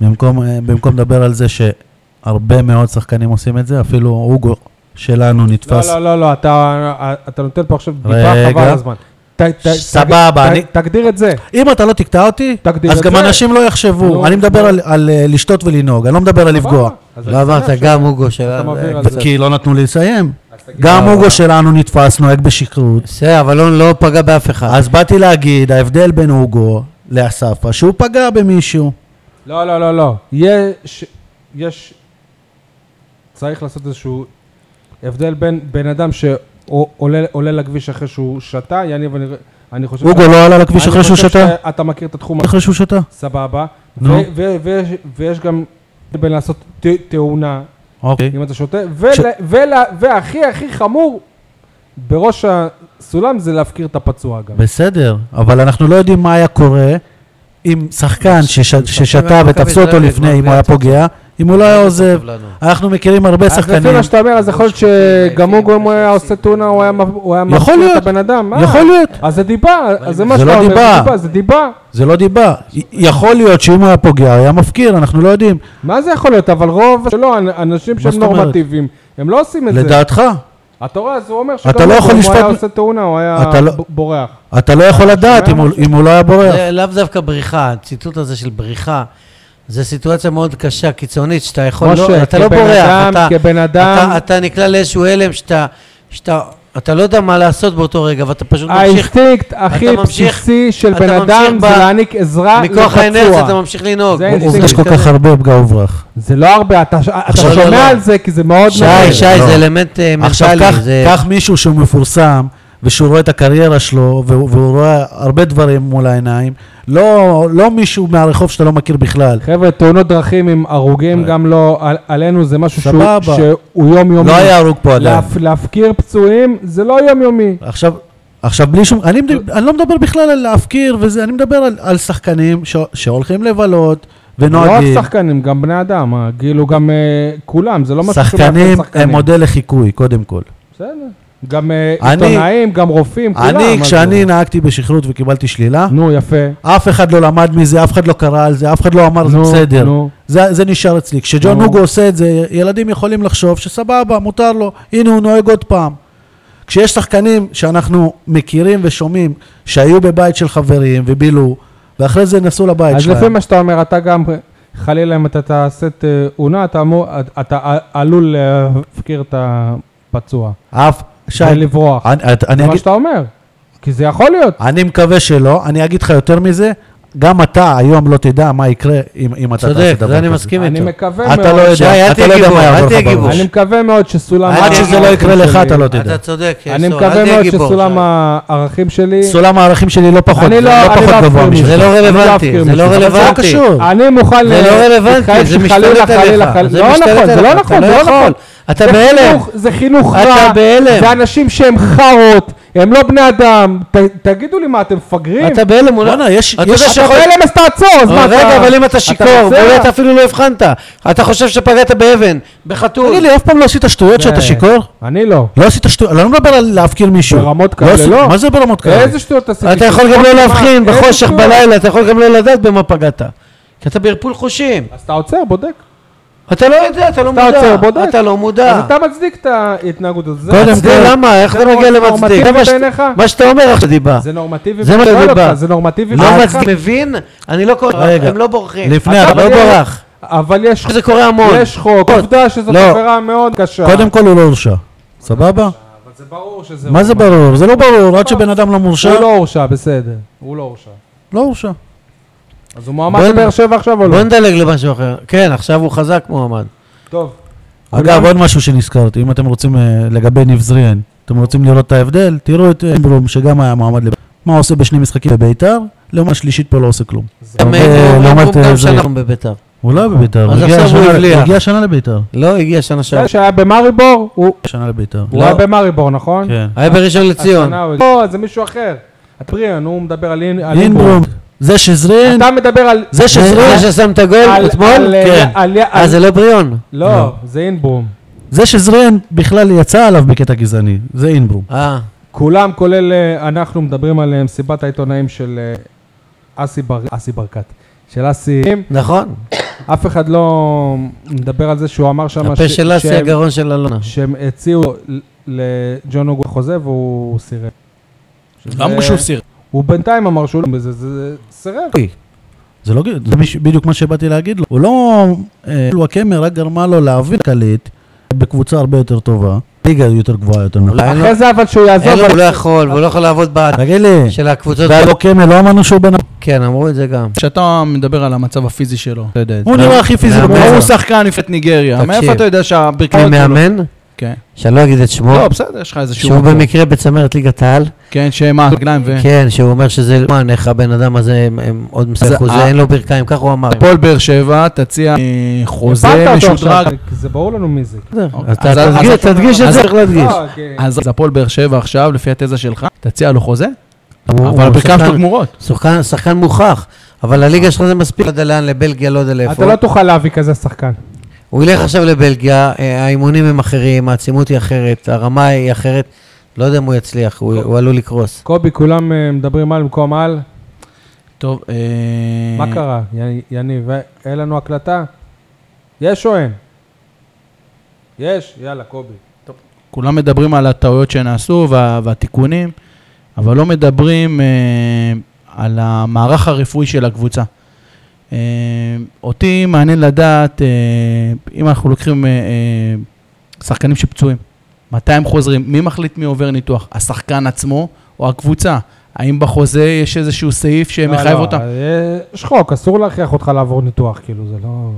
Speaker 3: במקום, אה, במקום לדבר על זה שהרבה מאוד שחקנים עושים את זה, אפילו אוגו שלנו
Speaker 1: לא,
Speaker 3: נתפס.
Speaker 1: לא, לא, לא, אתה אתה נותן פה עכשיו דיבה
Speaker 3: רגע.
Speaker 1: חבל על הזמן. ת- ת-
Speaker 3: סבבה,
Speaker 1: ת-
Speaker 3: אני-
Speaker 1: תגדיר את זה.
Speaker 3: אם אתה לא תקטע אותי,
Speaker 1: תגדיר
Speaker 3: אז
Speaker 1: את
Speaker 3: גם
Speaker 1: זה.
Speaker 3: אנשים לא יחשבו.
Speaker 1: לא.
Speaker 3: אני מדבר על- על אה, לשתות ולנהוג, אני לא מדבר על לפגוע.
Speaker 1: אז
Speaker 4: לא
Speaker 1: אני
Speaker 4: אמרת,
Speaker 1: שמח
Speaker 4: גם הוגו של...
Speaker 1: שאתה מבהיר על
Speaker 3: ו-
Speaker 1: זה.
Speaker 3: כי לא נתנו לי לסיים.
Speaker 1: תגיד.
Speaker 3: גם אוגו שלנו נתפס, נוהג בשכרות.
Speaker 4: בסדר, אבל לא- לא פגע באף אחד.
Speaker 3: אז באתי להגיד, ההבדל בין אוגו לאספה, שהוא פגע במישהו.
Speaker 1: לא, לא, לא, לא. יש, יש, צריך לעשות איזשהו הבדל בין בן אדם שעולה עולה לכביש אחרי שהוא שתה, יניב, אני, אני חושב...
Speaker 3: אוגו לא עלה לכביש
Speaker 1: אני
Speaker 3: אחרי שהוא
Speaker 1: חושב
Speaker 3: שתה? לא.
Speaker 1: שאתה מכיר את התחום,
Speaker 3: אחרי שהוא שתה.
Speaker 1: סבבה. ו-
Speaker 3: נו.
Speaker 1: ו- ויש- ויש גם בין לעשות ת- תאונה,
Speaker 3: אוקיי.
Speaker 1: אם אתה שותה, ול-
Speaker 3: ש-
Speaker 1: ולה- והכי הכי חמור, בראש הסולם זה להפקיר את הפצוע גם.
Speaker 3: בסדר, אבל אנחנו לא יודעים מה היה קורה אם שחקן שש- ששתה
Speaker 4: מכבי
Speaker 3: ותפסו אותו
Speaker 4: תל אביב,
Speaker 3: לפני,
Speaker 4: מה,
Speaker 3: אם הוא
Speaker 4: בלי
Speaker 3: היה
Speaker 4: הצעות.
Speaker 3: פוגע, אם הוא לא היה
Speaker 4: לא
Speaker 3: עוזב,
Speaker 4: כתוב לנו.
Speaker 3: אנחנו מכירים הרבה
Speaker 1: אז לפי
Speaker 3: שחקנים.
Speaker 1: מה שאתה אומר, אז יכול להיות שגם הוא, אם הוא היה עושה טונה, הוא היה מב- הוא היה
Speaker 3: יכול
Speaker 1: מפסיד את
Speaker 3: להיות.
Speaker 1: הבן אדם. מה?
Speaker 3: יכול להיות.
Speaker 1: אז זה דיבה, אז זה מה
Speaker 3: זה
Speaker 1: שאתה
Speaker 3: לא
Speaker 1: אומר,
Speaker 3: דיבה.
Speaker 1: זה דיבה, זה דיבה.
Speaker 3: זה לא דיבה. י- יכול להיות שאם הוא היה פוגע, היה מפקיר, אנחנו לא יודעים.
Speaker 1: מה זה יכול להיות? אבל רוב שלא, אנ- אנשים שהם
Speaker 3: זאת אומרת?
Speaker 1: נורמטיביים, הם לא עושים את זה.
Speaker 3: לדעתך,
Speaker 1: אתה רואה, אז הוא אומר
Speaker 3: אתה לא
Speaker 1: הוא-
Speaker 3: יכול
Speaker 1: אם הוא היה
Speaker 3: לשפוט-
Speaker 1: עושה טונה, הוא היה
Speaker 3: אתה לא-
Speaker 1: ב- בורח.
Speaker 3: אתה לא
Speaker 1: אה,
Speaker 3: יכול לדעת אם הוא- אם הוא לא היה בורח.
Speaker 4: זה לאו דווקא בריחה, הציטוט הזה של בריחה, זה סיטואציה מאוד קשה, קיצונית, שאתה יכול,
Speaker 1: משה,
Speaker 4: לא, אתה לא
Speaker 1: כבן
Speaker 4: בורח,
Speaker 1: אדם-
Speaker 4: אתה,
Speaker 1: כבן אדם-
Speaker 4: אתה, אתה נקלע לאיזשהו הלם שאתה, שאתה, אתה לא יודע מה לעשות באותו רגע, ואתה פשוט ממשיך,
Speaker 1: האינסטינקט הכי
Speaker 4: ממשיך-
Speaker 1: בסיסי של
Speaker 4: אתה
Speaker 1: בן אדם
Speaker 4: ממשיך
Speaker 1: זה
Speaker 4: ב-
Speaker 1: להעניק עזרה
Speaker 4: אה, מכוח אוקיי. האנרציה אתה
Speaker 1: לפצוע.
Speaker 4: ממשיך לנהוג.
Speaker 1: זה
Speaker 4: הוא-
Speaker 3: עובדה
Speaker 1: זה
Speaker 3: יש כל
Speaker 4: כזה.
Speaker 3: כך הרבה פגע וברח.
Speaker 1: זה לא הרבה, אתה ש- אתה
Speaker 4: לא, לא,
Speaker 1: שומע
Speaker 4: לא.
Speaker 1: על זה כי זה מאוד נורא.
Speaker 4: שי, שי,
Speaker 3: לא.
Speaker 4: זה אלמנט אה,
Speaker 3: עכשיו
Speaker 4: מנטלי,
Speaker 3: קח-
Speaker 4: זה...
Speaker 3: קח מישהו שהוא מפורסם, ושהוא רואה את הקריירה שלו, והוא והוא רואה הרבה דברים מול העיניים, לא לא מישהו מהרחוב שאתה לא מכיר בכלל.
Speaker 1: חבר'ה, תאונות דרכים עם הרוגים גם לא על- עלינו, זה משהו שהוא
Speaker 3: סבבה.
Speaker 1: שהוא יומיומי.
Speaker 3: לא היה הרוג פה עדיין.
Speaker 1: להפ- להפקיר פצועים זה לא יומיומי.
Speaker 3: עכשיו, עכשיו בלי שום, אני, מדבר, אני לא מדבר בכלל על להפקיר וזה, אני מדבר על, על שחקנים ש, שהולכים לבלות
Speaker 1: לא רק
Speaker 3: ונוהגים.
Speaker 1: שחקנים, גם בני אדם, אה, כאילו גם אה, כולם, זה לא משהו
Speaker 3: שחקנים הם מודל לחיקוי, קודם כל.
Speaker 1: בסדר. גם אה,
Speaker 3: אני-
Speaker 1: עיתונאים, גם רופאים, כולם.
Speaker 3: אני,
Speaker 1: מה
Speaker 3: כשאני
Speaker 1: זה?
Speaker 3: נהגתי בשכרות וקיבלתי שלילה,
Speaker 1: נו, יפה.
Speaker 3: אף אחד לא למד מזה, אף אחד לא קרא על זה, אף אחד לא אמר זה
Speaker 1: נו,
Speaker 3: בסדר.
Speaker 1: נו.
Speaker 3: זה, זה נשאר אצלי. כשג'ון
Speaker 1: נו.
Speaker 3: הוגו עושה את זה, ילדים יכולים לחשוב שסבבה, מותר לו, הנה הוא נוהג עוד פעם. כשיש שחקנים שאנחנו מכירים ושומעים, שהיו בבית של חברים ובילו, ואחרי זה נסעו לבית
Speaker 1: אז
Speaker 3: שלהם.
Speaker 1: לפי מה שאתה אומר, אתה גם, חלילה, אם אתה תעשה את אה, עונה, אתה אמור- אתה ע- עלול להפקיר את הפצוע.
Speaker 3: אף, שי,
Speaker 1: ולברוח.
Speaker 3: אני, את- אני,
Speaker 1: זה מה
Speaker 3: אגיד,
Speaker 1: שאתה אומר. כי זה יכול להיות.
Speaker 3: אני מקווה שלא, אני אגיד לך יותר מזה, גם אתה היום לא תדע מה יקרה אם, אם אתה תעשה
Speaker 4: צודק,
Speaker 3: דבר
Speaker 4: זה אני
Speaker 3: כזה.
Speaker 4: מסכים
Speaker 1: אני
Speaker 4: איתו.
Speaker 1: מקווה מאוד.
Speaker 3: אתה לא
Speaker 4: שי, אל
Speaker 3: יודע, אתה
Speaker 4: תהיה
Speaker 3: לא יודע
Speaker 4: גיבור,
Speaker 3: מה
Speaker 4: אל
Speaker 3: יעבור
Speaker 4: תהיה
Speaker 3: לך
Speaker 4: גיבור.
Speaker 3: בראש.
Speaker 1: אני מקווה מאוד שסולם...
Speaker 4: עד
Speaker 3: עד
Speaker 1: הערכים
Speaker 3: שזה לא יקרה לך
Speaker 1: שלי-
Speaker 3: אתה לא תדע.
Speaker 4: אתה צודק,
Speaker 1: אני
Speaker 4: סור, אוקיי, אל
Speaker 1: מקווה
Speaker 4: תהיה
Speaker 1: מאוד
Speaker 4: גיבור,
Speaker 1: שסולם
Speaker 4: שי.
Speaker 1: הערכים שלי...
Speaker 3: סולם הערכים שלי לא פחות,
Speaker 1: אני
Speaker 3: לא
Speaker 1: לא- אני לא
Speaker 3: פחות גבוה
Speaker 1: אפילו
Speaker 3: משלך.
Speaker 4: זה לא
Speaker 1: אני לא אפקיר
Speaker 4: רלוונטי,
Speaker 1: מישהו,
Speaker 4: זה לא
Speaker 1: אבל זה לא
Speaker 4: רלוונטי.
Speaker 3: קשור.
Speaker 1: אני מוכן...
Speaker 4: זה לא
Speaker 1: ל- להתחייב
Speaker 4: רלוונטי, זה
Speaker 1: שחלילה,
Speaker 4: משתלט עליך.
Speaker 1: חלילה, חלילה-
Speaker 4: זה
Speaker 1: לא
Speaker 4: משתלט
Speaker 1: נכון, זה לא
Speaker 4: עליך,
Speaker 1: נכון,
Speaker 4: אתה
Speaker 1: זה
Speaker 4: לא
Speaker 1: לא נכון.
Speaker 4: יכול. אתה
Speaker 1: זה
Speaker 4: בהלם.
Speaker 1: חינוך- זה חינוך רע.
Speaker 4: אתה בהלם.
Speaker 1: זה אנשים שהם חארות, הם לא בני אדם. ת- תגידו לי, מה, אתם מפגרים?
Speaker 4: אתה בהלם, הוא לא...
Speaker 3: בואנה, יש...
Speaker 4: אתה
Speaker 3: יש-
Speaker 4: יודע
Speaker 1: אתה
Speaker 4: שיכול-
Speaker 1: בהלם, אז תעצור, אז מה אתה...
Speaker 4: רגע, אבל אם אתה שיכור,
Speaker 1: בסדר?
Speaker 4: באמת אפילו לא הבחנת. אתה חושב שפגעת באבן, בחתול.
Speaker 3: תגיד לי, אף פעם לא עשית שטויות שאתה
Speaker 1: זה-
Speaker 3: שיכור?
Speaker 1: אה, אני לא.
Speaker 3: לא עשית שטויות, אני לא מדבר על להפקיר מישהו.
Speaker 1: ברמות
Speaker 3: לא
Speaker 1: כאלה,
Speaker 3: עשית-
Speaker 1: לא.
Speaker 3: מה זה ברמות כאלה?
Speaker 1: איזה שטויות עשיתי?
Speaker 4: כן. אתה יכול גם
Speaker 1: שטויות,
Speaker 4: לא
Speaker 1: מה?
Speaker 4: להבחין
Speaker 1: איזה
Speaker 4: בחושך
Speaker 1: שטויות?
Speaker 4: בלילה, אתה יכול גם לא לדעת במה פגעת. כי אתה בערפול חושים.
Speaker 1: אז אתה עוצר, בודק.
Speaker 4: אתה לא יודע, אתה לא
Speaker 1: אתה עוצר,
Speaker 4: מודע.
Speaker 1: בודק.
Speaker 4: אתה לא מודע.
Speaker 1: אז אתה מצדיק את ההתנהגות הזאת. זה
Speaker 4: קודם
Speaker 1: מצדיק.
Speaker 4: כל, למה? איך
Speaker 1: זה לא
Speaker 4: אתה מגיע
Speaker 1: נורמטיבי
Speaker 4: למצדיק? זה מה ש-
Speaker 1: בעיניך?
Speaker 4: מה שאתה אומר עכשיו דיבה.
Speaker 1: זה נורמטיבי.
Speaker 4: זה מה
Speaker 1: אני שואל
Speaker 4: שבא.
Speaker 1: אותך, זה נורמטיבי.
Speaker 4: לא
Speaker 1: בעיניך?
Speaker 4: מצדיק. מבין? אני לא קורא,
Speaker 3: רגע.
Speaker 4: הם לא בורחים.
Speaker 3: לפני,
Speaker 4: אתה
Speaker 3: אבל
Speaker 4: לא
Speaker 1: יש-
Speaker 4: בורח.
Speaker 1: אבל יש
Speaker 4: זה נכון. קורה המון.
Speaker 1: יש חוק. עובדה שזאת
Speaker 3: לא.
Speaker 1: עבירה מאוד קשה.
Speaker 3: קודם כל הוא לא הורשע. סבבה?
Speaker 1: אבל זה ברור שזה...
Speaker 3: מה זה ברור? זה לא ברור, עד שבן אדם לא מורשע,
Speaker 1: הוא לא הורשע, בסדר. הוא לא הורשע.
Speaker 3: לא הורשע.
Speaker 1: אז הוא מועמד
Speaker 4: בוא נ-
Speaker 1: לבאר שבע עכשיו או לא?
Speaker 4: בוא נדלג למשהו אחר. כן, עכשיו הוא חזק מועמד.
Speaker 1: טוב.
Speaker 3: אגב, עוד משהו שנזכרתי, אם אתם רוצים, אה, לגבי ניב זריאן, אתם רוצים לראות את ההבדל, תראו את אמברום, שגם היה מועמד לב... מה עושה בשני משחקים בביתר, לעומת שלישית פה לא עושה כלום.
Speaker 4: גם
Speaker 3: הרבה-
Speaker 4: אה,
Speaker 1: לא
Speaker 3: לעומת,
Speaker 4: גם
Speaker 3: אה, זה-
Speaker 4: שאנחנו בביתר.
Speaker 3: הוא לא היה בביתר,
Speaker 4: אז
Speaker 3: הוא הגיע
Speaker 4: עכשיו הוא
Speaker 3: השנה-
Speaker 4: הבליח.
Speaker 3: הוא הגיע השנה לביתר.
Speaker 4: לא, הגיע שנה
Speaker 1: זה
Speaker 4: שעברה.
Speaker 1: שהיה במאריבור, הוא
Speaker 3: השנה לביתר.
Speaker 4: לא.
Speaker 1: הוא היה במאריבור, נכון?
Speaker 3: כן.
Speaker 4: היה בראשון לציון.
Speaker 1: השנה הוא- לא, זה מישהו אחר. הטריאן, הוא מדבר על אין- על
Speaker 3: אינברום,
Speaker 1: אינברום.
Speaker 3: זה שזרין,
Speaker 1: אתה מדבר על...
Speaker 3: זה
Speaker 4: כן. זה
Speaker 3: שזרין,
Speaker 4: ששם את הגול
Speaker 1: אה, על-
Speaker 4: אתמול?
Speaker 1: על-
Speaker 4: כן.
Speaker 1: על-
Speaker 4: אה,
Speaker 1: על-
Speaker 4: זה לא בריאון.
Speaker 1: לא, זה אינברום.
Speaker 3: זה שזרין בכלל יצא עליו בקטע גזעני, זה אינברום.
Speaker 4: אה,
Speaker 1: כולם, כולל אה, אנחנו, מדברים על אה, מסיבת העיתונאים של אה, אסי בר- אסי ברקת. של אסי...
Speaker 4: נכון.
Speaker 1: אף אחד לא מדבר על זה שהוא אמר שם...
Speaker 4: הפה
Speaker 1: ש-
Speaker 4: של אסי,
Speaker 1: שהם-
Speaker 4: הגרון של אלונה.
Speaker 1: שהם הציעו ל- לג'ון הוגו חוזה והוא סירב.
Speaker 5: גם
Speaker 1: שזה-
Speaker 5: הוא שהוא סיר.
Speaker 1: הוא בינתיים אמר שהוא לא בזה, זה סירב.
Speaker 3: זה לא, ג- זה מיש- בדיוק מה שבאתי להגיד לו. הוא לא, אה, הקמר רק גרמה לו להבין קליט בקבוצה הרבה יותר טובה, ליגה יותר גבוהה יותר נכון.
Speaker 4: אולי אין לו-
Speaker 1: אחרי זה אבל שהוא יעזוב,
Speaker 4: אין לו,
Speaker 1: אבל-
Speaker 4: הוא לא יכול, והוא לא יכול לעבוד בעד
Speaker 3: תגיד לי,
Speaker 4: של הקבוצות.
Speaker 3: ועל הקמר לא אמרנו שהוא בן...
Speaker 4: כן, אמרו את זה גם.
Speaker 5: כשאתה מדבר על המצב הפיזי שלו, אתה יודע את זה.
Speaker 3: הוא נראה הכי פיזי
Speaker 4: מאמן.
Speaker 3: בקבוצה.
Speaker 5: הוא שחקן נפלט ניגריה,
Speaker 4: תקשיב.
Speaker 5: מאיפה אתה יודע
Speaker 4: אני
Speaker 5: שהברכיים שלו...
Speaker 4: מאמן,
Speaker 5: כן.
Speaker 4: שאני לא אגיד את שמו,
Speaker 5: לא, בסדר, יש לך איזה
Speaker 4: שהוא
Speaker 5: שהוא...
Speaker 4: במקרה בצמרת ליגת העל,
Speaker 5: כן, שמה, רגליים ו...
Speaker 4: כן, שהוא אומר שזה, מה, איך הבן אדם הזה הם- הם עוד
Speaker 5: אז
Speaker 4: מסך אחוז,
Speaker 5: ה-
Speaker 4: אין לו ברכיים, ככה הוא אמר.
Speaker 5: הפועל באר שבע תציע אה, חוזה
Speaker 1: הפלת אותו
Speaker 5: משודרג.
Speaker 1: עכשיו, זה ברור לנו מי זה.
Speaker 4: בסדר,
Speaker 5: אוקיי.
Speaker 4: אז אתה-
Speaker 5: אז- אז-
Speaker 4: תדגיש-
Speaker 5: אז-
Speaker 4: תדגיש את
Speaker 5: אז-
Speaker 4: זה, אה, אוקיי. צריך להדגיש.
Speaker 1: לא, כי-
Speaker 5: אז אז הפועל באר שבע עכשיו, לפי התזה שלך, תציע לו חוזה,
Speaker 4: הוא-
Speaker 5: אבל
Speaker 4: הוא
Speaker 5: הברכיים
Speaker 4: שחקן-
Speaker 5: שלו גמורות.
Speaker 4: שחקן- שחקן מוכח, אבל הליגה שלך זה מספיק, לא יודע לאן, לבלגיה, לא יודע לאיפה.
Speaker 1: אתה לא תוכל להביא כזה שחקן.
Speaker 4: הוא ילך עכשיו לבלגיה, אה, האימונים הם אחרים, העצימות היא אחרת, הרמה היא אחרת. לא יודע אם הוא יצליח, הוא הוא עלול לקרוס.
Speaker 1: קובי, כולם אה, מדברים על במקום על.
Speaker 5: טוב, אה,
Speaker 1: מה קרה, י- יניב? אה, אין לנו הקלטה? יש או אין? יש? יאללה, קובי.
Speaker 5: כולם מדברים על הטעויות שנעשו וה, והתיקונים, אבל לא מדברים אה, על המערך הרפואי של הקבוצה. אה, אותי מעניין לדעת, אה, אם אנחנו לוקחים אה, אה, שחקנים שפצועים, מתי הם חוזרים, מי מחליט מי עובר ניתוח, השחקן עצמו או הקבוצה? האם בחוזה יש איזשהו סעיף
Speaker 4: כן,
Speaker 5: שמחייב
Speaker 1: לא, לא,
Speaker 5: אותם?
Speaker 1: אה, יש חוק, אסור להכריח אותך לעבור ניתוח, כאילו, זה לא...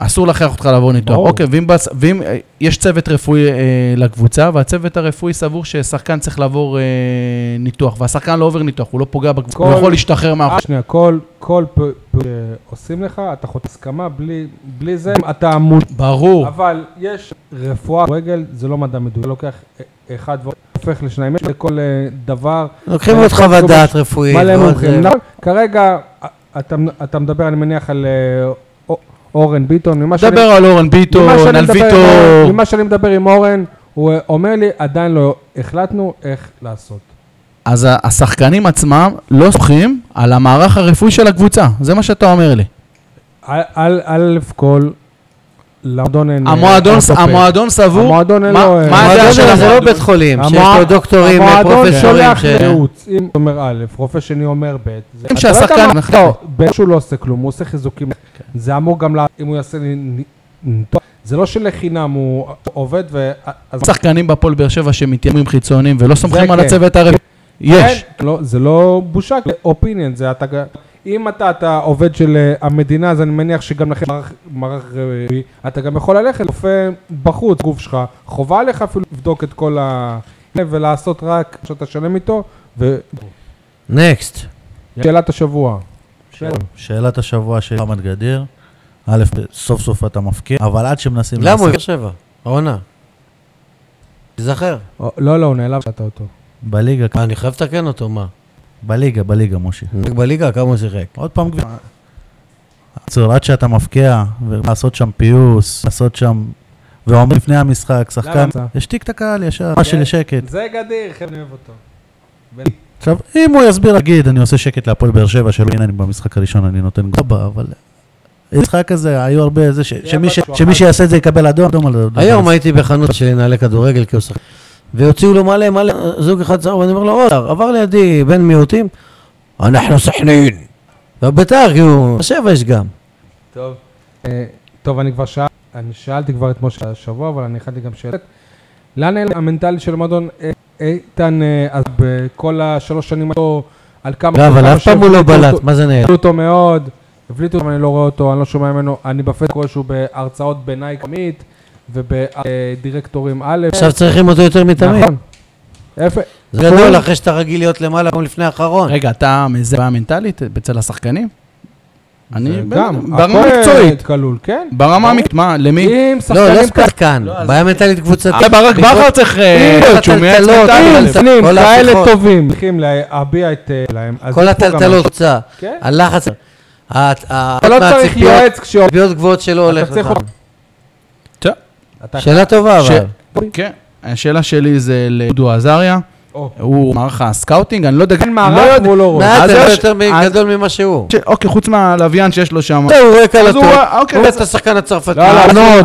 Speaker 5: אסור להכריח אותך לעבור ניתוח.
Speaker 1: ברור.
Speaker 5: אוקיי, ואם, בס... ואם אה, יש צוות רפואי אה, לקבוצה, והצוות הרפואי סבור ששחקן צריך לעבור אה, ניתוח, והשחקן לא עובר ניתוח, הוא לא פוגע בקבוצה,
Speaker 1: כל-
Speaker 5: הוא יכול להשתחרר
Speaker 1: אה,
Speaker 5: מהחוץ.
Speaker 1: שנייה, כל, כל פעולה שעושים לך, אתה חותם הסכמה, בלי, בלי זה אתה אמון.
Speaker 5: ברור.
Speaker 1: אבל יש רפואה, רגל, זה לא מדע מדויק, אתה לוקח אה, אחד והופך לשניים, יש לכל אה, דבר.
Speaker 4: לוקחים
Speaker 1: אה,
Speaker 4: עוד
Speaker 1: כל
Speaker 4: חוות
Speaker 1: מיני
Speaker 4: דעת רפואית.
Speaker 1: מלא
Speaker 4: ועוד,
Speaker 1: מומחים.
Speaker 4: אה,
Speaker 1: נכון, כרגע אה, אתה, אתה מדבר, אני מניח, על אה, אור- אורן ביטון, ממה שאני...
Speaker 5: דבר על אורן ביטון,
Speaker 1: ממה שאני
Speaker 5: על
Speaker 1: מדבר עם
Speaker 5: ויטור.
Speaker 1: אורן- ממה שאני מדבר עם אורן, הוא אה, אומר לי, עדיין לא החלטנו איך לעשות.
Speaker 5: אז ה- השחקנים עצמם לא סוחים על המערך הרפואי של הקבוצה, זה מה שאתה אומר לי.
Speaker 1: אה, א', א', כל, למועדון אין... אה,
Speaker 5: המועדון,
Speaker 1: אורתופד.
Speaker 5: המועדון סבור,
Speaker 1: המועדון אין
Speaker 5: מה-
Speaker 1: לו, אה,
Speaker 5: מה הדעה
Speaker 4: המועדון
Speaker 5: של
Speaker 4: הזה זה לא
Speaker 5: המועדון?
Speaker 4: בית חולים, שיש
Speaker 1: המוע-
Speaker 4: לו דוקטורים, אה,
Speaker 1: המועדון
Speaker 4: פרופסורים.
Speaker 1: שולח
Speaker 4: ש-
Speaker 1: ייעוץ, אם אומר א', רופא שני אומר ב', זה- אתה לא יודע
Speaker 5: שהשחקן-
Speaker 1: מה-
Speaker 5: אנחנו-
Speaker 1: לא, ב' שהוא לא עושה כלום, הוא עושה חיזוקים, זה אמור גם, לה- אם הוא יעשה נ- נ- זה לא שלחינם הוא עובד ו... אז-
Speaker 5: שחקנים בהפועל באר שבע שמתיימרים חיצוניים ולא סומכים
Speaker 1: זה
Speaker 5: על
Speaker 1: כן.
Speaker 5: הצוות הרפואי. יש.
Speaker 1: כן, לא, זה לא בושה, זה אופיניאן, זה אתה... ג- אם אתה, אתה עובד של אה, המדינה, אז אני מניח שגם לכם מערך- מערך רפואי, אתה גם יכול ללכת לרופא בחוץ, גוף שלך, חובה עליך אפילו לבדוק את כל ה... ולעשות רק שאתה שלם איתו,
Speaker 4: נקסט.
Speaker 1: ושאלת השבוע.
Speaker 3: כן, שאלת השבוע של חמד גדיר, א', סוף סוף אתה מפקיר, אבל עד שמנסים...
Speaker 4: למה? הוא
Speaker 3: לנסות-
Speaker 4: באר שבע. עונה. תיזכר.
Speaker 1: או- לא, לא, הוא נעלב שאתה אותו.
Speaker 3: בליגה,
Speaker 4: מה, אני חייב לתקן אותו, מה?
Speaker 3: בליגה, בליגה, משה.
Speaker 4: רק בליגה כמה הוא שיחק.
Speaker 3: עוד פעם גביע. עצור, עד שאתה מבקיע, ולעשות שם פיוס, לעשות שם... ואומר לפני המשחק, שחקן,
Speaker 1: יצא?
Speaker 3: השתיק את הקהל ישר, מה
Speaker 1: כן.
Speaker 3: שלשקט.
Speaker 1: זה גדיר, חבר'ה, אני אוהב אותו.
Speaker 3: עכשיו, אם הוא יסביר, להגיד, אני עושה שקט להפועל באר שבע, שלא הנה, אני במשחק הראשון, אני נותן גובה, אבל... המשחק הזה, היו הרבה, זה ש- שמי ש-
Speaker 1: בטוח.
Speaker 3: שמי שיעשה את זה יקבל אדום, אדום על אדום.
Speaker 4: היום הייתי בחנות של נעלי כדורגל, כי הוא שחק... והוציאו לו מלא מלא, זוג אחד צהוב, אני אומר לו, אולר, עבר לידי בן מיעוטים, אנחנו סחנין. והביתר, כאילו, שבע יש גם.
Speaker 1: טוב. אה, טוב, אני כבר שאל, אני שאלתי כבר את משה השבוע, אבל אני הכנתי גם שאלת. לאן נעלם המנטלי של המועדון אה, איתן, אה, אז בכל השלוש שנים האלו, על כמה...
Speaker 4: לא, אבל
Speaker 1: כמה
Speaker 4: אף פעם הוא לא
Speaker 1: שהבליטו
Speaker 4: בלט,
Speaker 1: אותו-
Speaker 4: מה זה נעלם?
Speaker 1: הבליטו אותו מאוד, הבליטו אותו, אני לא רואה אותו, אני לא שומע ממנו, אני בפייסבוק רואה שהוא בהרצאות בנייק עמית ובדירקטורים א',
Speaker 4: עכשיו צריכים אותו יותר מתמיד.
Speaker 1: נכון. יפה.
Speaker 4: זה גדול, אחרי שאתה רגיל להיות למעלה, כמו לפני האחרון.
Speaker 5: רגע, אתה מזהה בעיה מנטלית אצל השחקנים? אני...
Speaker 1: גם,
Speaker 5: ברמה
Speaker 1: הכל, אה,
Speaker 5: המקצועית.
Speaker 1: כלול, כן.
Speaker 5: ברמה המקצועית, מה, למי?
Speaker 1: אם
Speaker 4: לא, לא
Speaker 1: שחקנים כאלה,
Speaker 4: שחקן, בעיה מנטלית קבוצתית.
Speaker 5: אה, ברק בכר צריך אה, להיות שהוא מייעץ
Speaker 4: טלטלות,
Speaker 5: מנטלית.
Speaker 4: אה,
Speaker 1: שחקנים
Speaker 4: כל
Speaker 1: כאלה
Speaker 4: ההפיכות.
Speaker 1: טובים, צריכים להביע את אה, להם. אז
Speaker 4: כל
Speaker 1: יש פה גם-
Speaker 4: הטלטלות קבוצה,
Speaker 1: כן.
Speaker 4: הלחץ, ה- ה-
Speaker 1: אתה לא צריך
Speaker 4: מהציפיות-
Speaker 1: יועץ כשאומרים
Speaker 4: ציפיות גבוהות שלא הולך
Speaker 1: צריך
Speaker 4: לך.
Speaker 1: עוד-
Speaker 5: טוב,
Speaker 4: שאלה טובה,
Speaker 5: ש-
Speaker 4: אבל.
Speaker 5: כן. השאלה שלי זה לדודו עזריה,
Speaker 1: או.
Speaker 5: הוא מערך הסקאוטינג, אני לא יודע...
Speaker 1: אין
Speaker 5: לא
Speaker 1: מערך
Speaker 5: יודע-
Speaker 1: והוא לא רואה.
Speaker 5: אז
Speaker 4: מעט
Speaker 5: יש-
Speaker 4: יותר מ-
Speaker 5: אז-
Speaker 4: גדול ממה שהוא.
Speaker 5: ש- אוקיי, חוץ מהלוויין שיש לו שם.
Speaker 4: הוא רואה
Speaker 5: אז הוא-
Speaker 4: קלטות,
Speaker 5: אוקיי,
Speaker 4: הוא רואה
Speaker 5: אז-
Speaker 4: את השחקן הצרפתי.
Speaker 1: לא, לא,
Speaker 5: אז-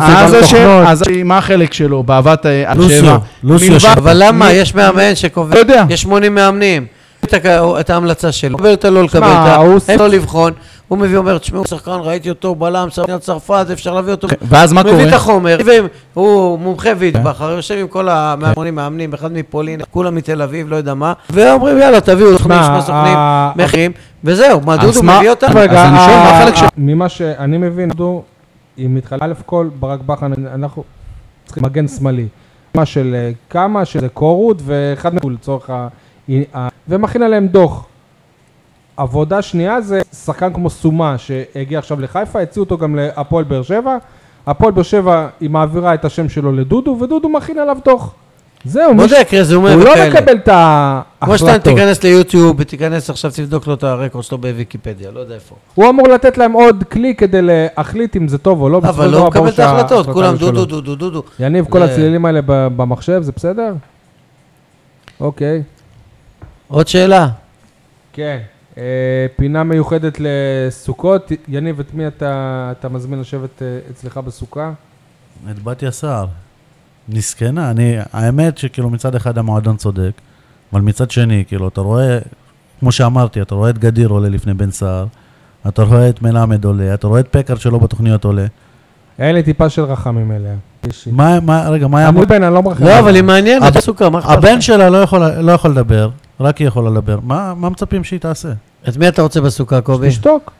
Speaker 1: תוכנות, זה
Speaker 5: אז
Speaker 1: גם
Speaker 5: השאל-
Speaker 1: תוכנות.
Speaker 5: אז מה החלק שלו באהבת אה, על שבע?
Speaker 3: לוסיו, לוסיו,
Speaker 5: מלבד-
Speaker 4: אבל למה?
Speaker 5: מי-
Speaker 4: יש מאמן שקובע,
Speaker 5: לא יודע.
Speaker 4: יש 80 מאמנים. את ה- את ההמלצה שלו, קבל אותה לא לקבל
Speaker 1: שמע,
Speaker 4: אותה,
Speaker 1: הוא
Speaker 4: אין
Speaker 1: ס-
Speaker 4: לו לא לבחון, הוא מביא, אומר, תשמעו, הוא שחקן, ראיתי אותו, בלם, שחקן צרפת, אפשר להביא אותו,
Speaker 5: אוקיי, ואז מה
Speaker 4: מביא את
Speaker 5: קורה?
Speaker 4: החומר, ואם- הוא מומחה ויטבחר, יושב עם כל המאמנים, מאמנים, אחד מפולין, כולם מתל אביב, לא יודע מה, ואומרים, יאללה, תביאו סוכנים,
Speaker 1: שמע,
Speaker 4: שני סוכנים,
Speaker 1: ה-
Speaker 4: מחירים, וזהו, אה, מה,
Speaker 5: אז
Speaker 4: דודו
Speaker 5: מה-
Speaker 4: מביא אותם?
Speaker 5: אז אני שואל, מה
Speaker 1: אה,
Speaker 5: החלק של-
Speaker 1: ממה שאני מבין, דודו, אם מתחלק, א' כל, ברק בכר, אנחנו צריכים מגן שמאלי. מה של אה, כמה, שזה קורות, ואחד מהם הוא לצורך ה... ה- ומכין עליהם דוח. עבודה שנייה זה שחקן כמו סומה שהגיע עכשיו לחיפה, הציעו אותו גם להפועל באר שבע. הפועל באר שבע היא מעבירה את השם שלו לדודו, ודודו מכין עליו דוח. זהו, מישהו-
Speaker 4: בודק רזומה
Speaker 1: הוא לא
Speaker 4: וכאלה.
Speaker 1: מקבל את ה...
Speaker 4: כמו שאתה
Speaker 1: החלטות.
Speaker 4: תיכנס ליוטיוב, תיכנס עכשיו, תבדוק לו את הרקורד שלו בוויקיפדיה, לא יודע איפה.
Speaker 1: הוא אמור לתת להם עוד כלי כדי להחליט אם זה טוב או לא. בסופו
Speaker 4: אבל
Speaker 1: של
Speaker 4: לא
Speaker 1: דבר
Speaker 4: הוא מקבל
Speaker 1: ברור
Speaker 4: את ההחלטות,
Speaker 1: שההחלטה
Speaker 4: כולם
Speaker 1: היא שלו.
Speaker 4: דו דו דו דו דו דו.
Speaker 1: יניב, כל
Speaker 4: זה-
Speaker 1: הצלילים האלה ב- במחשב, זה בסדר? אוקיי.
Speaker 4: עוד שאלה?
Speaker 1: כן. אה, פינה מיוחדת לסוכות. יניב, את מי אתה אתה מזמין לשבת אה, אצלך בסוכה?
Speaker 4: אה,
Speaker 3: את בתיה סער. מסכנה, אני, האמת שכאילו מצד אחד המועדון צודק, אבל מצד שני, כאילו, אתה רואה, כמו שאמרתי, אתה רואה את גדיר עולה לפני בן סער, אתה רואה את מלמד עולה, אתה רואה את פקארט שלא בתוכניות עולה.
Speaker 1: אין לי טיפה של רחמים אליה.
Speaker 4: כן.
Speaker 1: אישית.
Speaker 3: מה, מה, רגע, מה היה...
Speaker 1: אני בן, אני לא מרחם.
Speaker 4: לא,
Speaker 1: עליה.
Speaker 4: אבל היא מעניינת,
Speaker 3: הבן-
Speaker 4: עסוקה, מה אכפת
Speaker 3: הבן
Speaker 4: לך?
Speaker 3: שלה לא יכול, לא יכול לדבר, רק היא יכולה לדבר. מה, מה מצפים שהיא תעשה?
Speaker 4: את מי אתה רוצה בסוכה, קובי?
Speaker 1: תשתוק.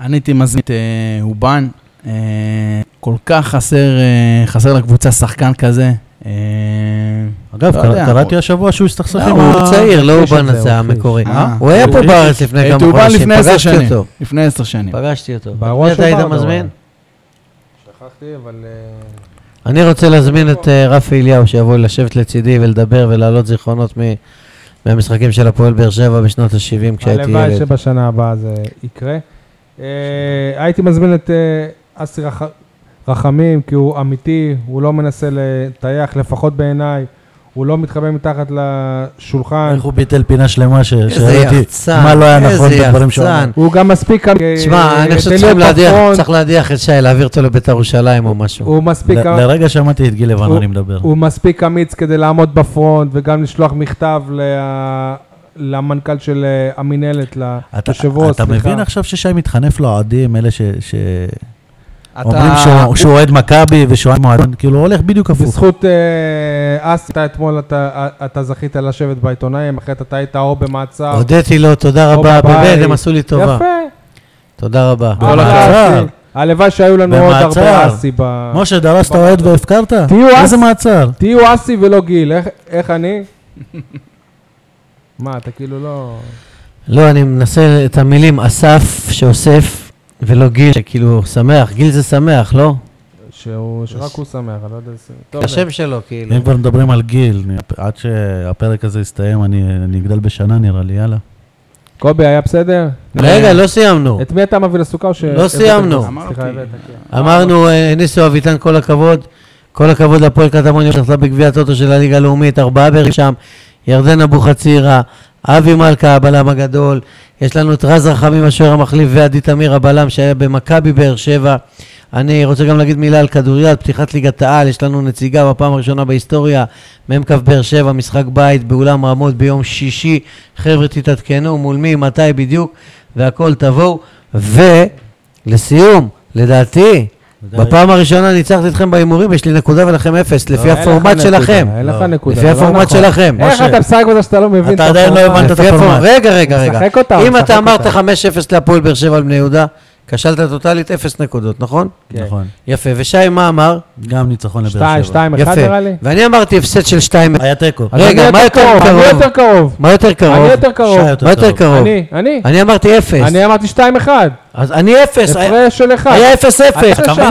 Speaker 5: אני הייתי מזמין את אה, אובן, אה, כל כך חסר, אה, חסר לקבוצה שחקן כזה. אה,
Speaker 3: אגב,
Speaker 5: לא
Speaker 3: קרא-
Speaker 5: יודע,
Speaker 3: קראתי
Speaker 5: הוא-
Speaker 3: השבוע שהוא הסתכסך
Speaker 5: לא,
Speaker 3: עם
Speaker 4: הוא צעיר, לא
Speaker 3: יש את
Speaker 4: אובן
Speaker 3: זה,
Speaker 4: הזה
Speaker 3: הוא
Speaker 4: המקורי.
Speaker 5: אה,
Speaker 4: הוא היה פה
Speaker 3: הוא-
Speaker 4: בארץ לפני
Speaker 5: את
Speaker 4: כמה
Speaker 5: אובן
Speaker 4: חודשים,
Speaker 5: לפני עשר
Speaker 4: פגשתי
Speaker 5: שנים.
Speaker 4: אותו.
Speaker 5: לפני עשר
Speaker 3: כן.
Speaker 5: שנים.
Speaker 4: פגשתי אותו.
Speaker 1: באירוע
Speaker 4: מי
Speaker 1: של
Speaker 4: אתה היית
Speaker 1: ברדה,
Speaker 4: מזמין?
Speaker 1: שכחתי, אבל... אה,
Speaker 4: אני רוצה להזמין את אה, רפי אליהו שיבוא לשבת לצידי ולדבר ולהעלות זיכרונות מ- מהמשחקים של הפועל באר שבע בשנות ה-70 כשהייתי
Speaker 1: הלוואי
Speaker 4: ילד.
Speaker 1: שבשנה הבאה זה יקרה. אה, הייתי מזמין את אה, אסי רח- רחמים, כי הוא אמיתי, הוא לא מנסה לטייח, לפחות בעיניי. הוא לא מתחבא מתחת לשולחן.
Speaker 3: איך הוא ביטל פינה שלמה ש-
Speaker 4: איזה
Speaker 3: שראיתי
Speaker 4: יחצן,
Speaker 3: מה לא היה נכון
Speaker 4: איזה
Speaker 3: בדברים שהוא אמר.
Speaker 4: יחצן.
Speaker 1: הוא גם מספיק... אמין,
Speaker 4: תשמע,
Speaker 1: אה,
Speaker 4: אני
Speaker 1: תן
Speaker 4: חושב
Speaker 1: לי
Speaker 4: שצריכים
Speaker 1: עוד
Speaker 4: להדיח,
Speaker 1: פחון.
Speaker 4: צריך להדיח את שי, להעביר אותו לבית"ר ירושלים או משהו.
Speaker 1: הוא מספיק...
Speaker 3: ל- לרגע שמעתי את גיל לבן,
Speaker 1: הוא-
Speaker 3: אני מדבר.
Speaker 1: הוא מספיק אמיץ כדי לעמוד בפרונט וגם לשלוח מכתב ל- למנכ"ל של אה, המינהלת,
Speaker 3: אתה,
Speaker 1: ליושב ראש,
Speaker 3: אתה
Speaker 1: סליחה.
Speaker 3: מבין עכשיו ששי מתחנף לאוהדים, אלה ש- שאומרים
Speaker 5: אתה...
Speaker 3: שהוא- שהוא אוהד מכבי ושהוא אוהד מועדון, כאילו הוא הולך בדיוק הפוך.
Speaker 1: בזכות אה, אסי, אתה אתמול, אתה- אה, אתה זכית לשבת בעיתונאים, אחרת אתה היית או במעצר.
Speaker 4: הודיתי לו, תודה
Speaker 1: או
Speaker 4: רבה,
Speaker 1: בבית.
Speaker 4: באמת, הם עשו לי טובה.
Speaker 1: יפה.
Speaker 4: תודה רבה.
Speaker 3: כל
Speaker 1: אחלה
Speaker 3: הכבוד.
Speaker 1: אסי. הלוואי שהיו לנו עוד
Speaker 3: במעצר.
Speaker 1: הרבה אסי ב...
Speaker 3: משה, דרסת אוהד והפקרת?
Speaker 1: תהיו
Speaker 3: איזה
Speaker 1: אס-
Speaker 3: מעצר?
Speaker 1: תהיו אסי ולא גיל, איך- איך אני? מה, אתה כאילו לא...
Speaker 4: לא, אני מנסה את המילים אסף שאוסף, ולא גיל, שכאילו שמח. גיל זה שמח, לא? *laughs*
Speaker 1: שהוא- שרק הוא שמח, אני לא יודע... איזה- טוב,
Speaker 4: השם שלו, כאילו.
Speaker 3: אם כבר מדברים על גיל, אני- עד שהפרק הזה יסתיים, אני אני אגדל בשנה נראה לי, יאללה.
Speaker 1: אה, קובי, היה בסדר? אה,
Speaker 3: אה,
Speaker 4: רגע, לא סיימנו.
Speaker 1: את מי אתה מביא לסוכה או ש...
Speaker 4: לא סיימנו.
Speaker 1: סליחה, הבאת, כן.
Speaker 4: אמרנו, אה, ניסו אביטן, כל הכבוד. כל הכבוד להפועל קטמוניה שזכתה בגביע הטוטו של הליגה הלאומית, ארבעה בערך שם, ירדן אבוחצירא, אבי מלכה, הבלם הגדול, יש לנו את רז רחמים, השוער המחליף, ועדי תמיר, הבלם שהיה במכבי באר שבע. אני רוצה גם להגיד מילה על כדוריד, פתיחת ליגת העל, יש לנו נציגה בפעם הראשונה בהיסטוריה, מ"כ באר שבע, משחק בית באולם רמות ביום שישי. חבר'ה, תתעדכנו מול מי, מתי בדיוק, והכל תבואו. ולסיום, לדעתי, בפעם הראשונה ניצחתי אתכם בהימורים, יש לי נקודה ולכם אפס, לפי
Speaker 1: אה, אין לך
Speaker 4: הפורמט
Speaker 1: נקודה,
Speaker 4: שלכם.
Speaker 1: אין לך נקודה.
Speaker 4: לפי
Speaker 1: זה לא
Speaker 4: הפורמט
Speaker 1: נכון.
Speaker 4: שלכם.
Speaker 1: איך
Speaker 4: משה.
Speaker 1: אתה משחק בזה שאתה לא מבין?
Speaker 3: אתה
Speaker 1: את
Speaker 3: עדיין לא
Speaker 1: הפורמט?
Speaker 3: הבנת את
Speaker 4: לפי הפורמט.
Speaker 3: הפורמט.
Speaker 4: רגע, רגע, רגע.
Speaker 1: משחק אותה,
Speaker 4: אם
Speaker 1: משחק
Speaker 4: אתה אמרת
Speaker 1: אותה.
Speaker 4: 5-0 להפועל באר שבע על בני יהודה, כשלת טוטאלית 0 נקודות, נכון?
Speaker 1: כן.
Speaker 3: נכון.
Speaker 4: יפה, ושי מה אמר?
Speaker 3: גם ניצחון לבאר
Speaker 1: שתיים,
Speaker 3: שבע.
Speaker 1: שתיים, אחד
Speaker 4: יפה.
Speaker 1: נראה לי?
Speaker 4: ואני אמרתי הפסד של 2
Speaker 3: היה תיקו.
Speaker 1: אז
Speaker 4: רגע,
Speaker 1: אני
Speaker 4: מה יותר
Speaker 1: אני
Speaker 4: קרוב?
Speaker 1: יותר קרוב.
Speaker 4: מה יותר
Speaker 1: אני
Speaker 4: קרוב?
Speaker 1: יותר קרוב.
Speaker 3: שי יותר
Speaker 4: מה יותר
Speaker 3: טוב.
Speaker 4: קרוב?
Speaker 1: אני, אני.
Speaker 4: אני אמרתי 0.
Speaker 1: אני אמרתי 2-1.
Speaker 4: אז אני 0.
Speaker 1: הפרש של 1.
Speaker 4: היה 0-0. אבל-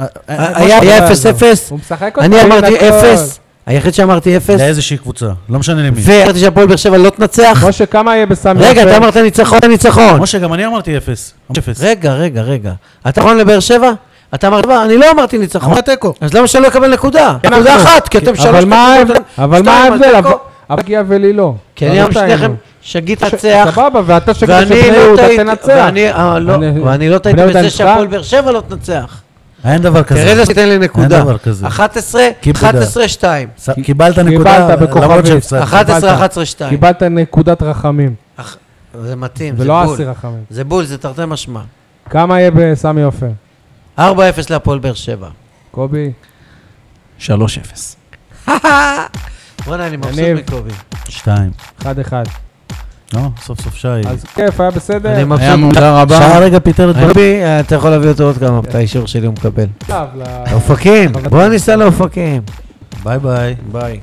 Speaker 3: אה, אה,
Speaker 4: היה היה 0-0.
Speaker 1: הוא משחק אותה.
Speaker 4: אני
Speaker 1: אין
Speaker 4: אמרתי
Speaker 1: הכל.
Speaker 4: 0. היחיד שאמרתי 0.
Speaker 3: לאיזושהי קבוצה, לא משנה למי.
Speaker 4: ואמרתי שהפועל באר שבע לא תנצח.
Speaker 1: משה, כמה יהיה בסמי?
Speaker 4: רגע, אתה אמרת ניצחון, ניצחון.
Speaker 3: משה, גם אני אמרתי אפס. אפס.
Speaker 4: רגע, רגע, רגע. אתה נכון לבאר שבע? אתה אמרת, "אבל אני לא אמרתי ניצחון.
Speaker 3: אמרת תיקו.
Speaker 4: אז למה שלא יקבל נקודה? נקודה
Speaker 1: אנחנו.
Speaker 4: אחת, כי אתם שלוש...
Speaker 1: אבל מה
Speaker 4: נקודות,
Speaker 1: ההבדל? אבל מה
Speaker 4: שתיים,
Speaker 1: ההבדל?
Speaker 4: אז תיקו.
Speaker 1: אבל הגיע ולי לא.
Speaker 4: כי אני אמרתי
Speaker 1: רבותיי,
Speaker 4: שניכם,
Speaker 1: נו.
Speaker 4: שגיא
Speaker 1: ש-
Speaker 4: תנצח,
Speaker 1: סבבה, ואתה שגם
Speaker 4: ואני לא
Speaker 1: יהודה
Speaker 4: טעיתי,
Speaker 1: תנצח.
Speaker 4: ואני, אה, לא,
Speaker 1: אני-
Speaker 4: ואני לא
Speaker 1: בני
Speaker 4: טעיתי
Speaker 1: יהודה
Speaker 4: בזה
Speaker 1: ניצחה?
Speaker 4: שהפועל באר שבע לא תנצח.
Speaker 3: אין דבר כזה.
Speaker 4: תראה לזה, תיתן לי נקודה.
Speaker 3: דבר כזה.
Speaker 4: 11,
Speaker 3: כיבודה.
Speaker 4: 11, 2.
Speaker 3: ס- קיבלת נקודה,
Speaker 1: בכוכבית.
Speaker 3: למרות שהפסדת.
Speaker 4: 11, 11, 2.
Speaker 1: קיבלת נקודת רחמים,
Speaker 4: זה מתאים, זה
Speaker 1: ולא
Speaker 4: בול.
Speaker 1: אסי רחמים.
Speaker 4: זה בול, זה תרתי משמע.
Speaker 1: כמה יהיה בסמי עופר?
Speaker 4: 4-0 להפועל באר שבע.
Speaker 1: קובי?
Speaker 5: 3-0.
Speaker 4: בואנה, אני מבסוט
Speaker 1: יניב.
Speaker 4: מקובי.
Speaker 3: שתיים.
Speaker 1: 1-1.
Speaker 3: לא, סוף סוף שי.
Speaker 1: אז כיף, היה בסדר?
Speaker 4: אני מבסוט.
Speaker 5: היה מודה
Speaker 3: שי
Speaker 5: רבה.
Speaker 3: הרגע פיטר את ברק.
Speaker 4: קובי, אה, אתה יכול להביא אותו עוד כמה, את האישור שלי הוא מקבל.
Speaker 1: עכשיו ל-
Speaker 4: אופקים, בוא ניסע לאופקים.
Speaker 3: ביי ביי.
Speaker 4: ביי.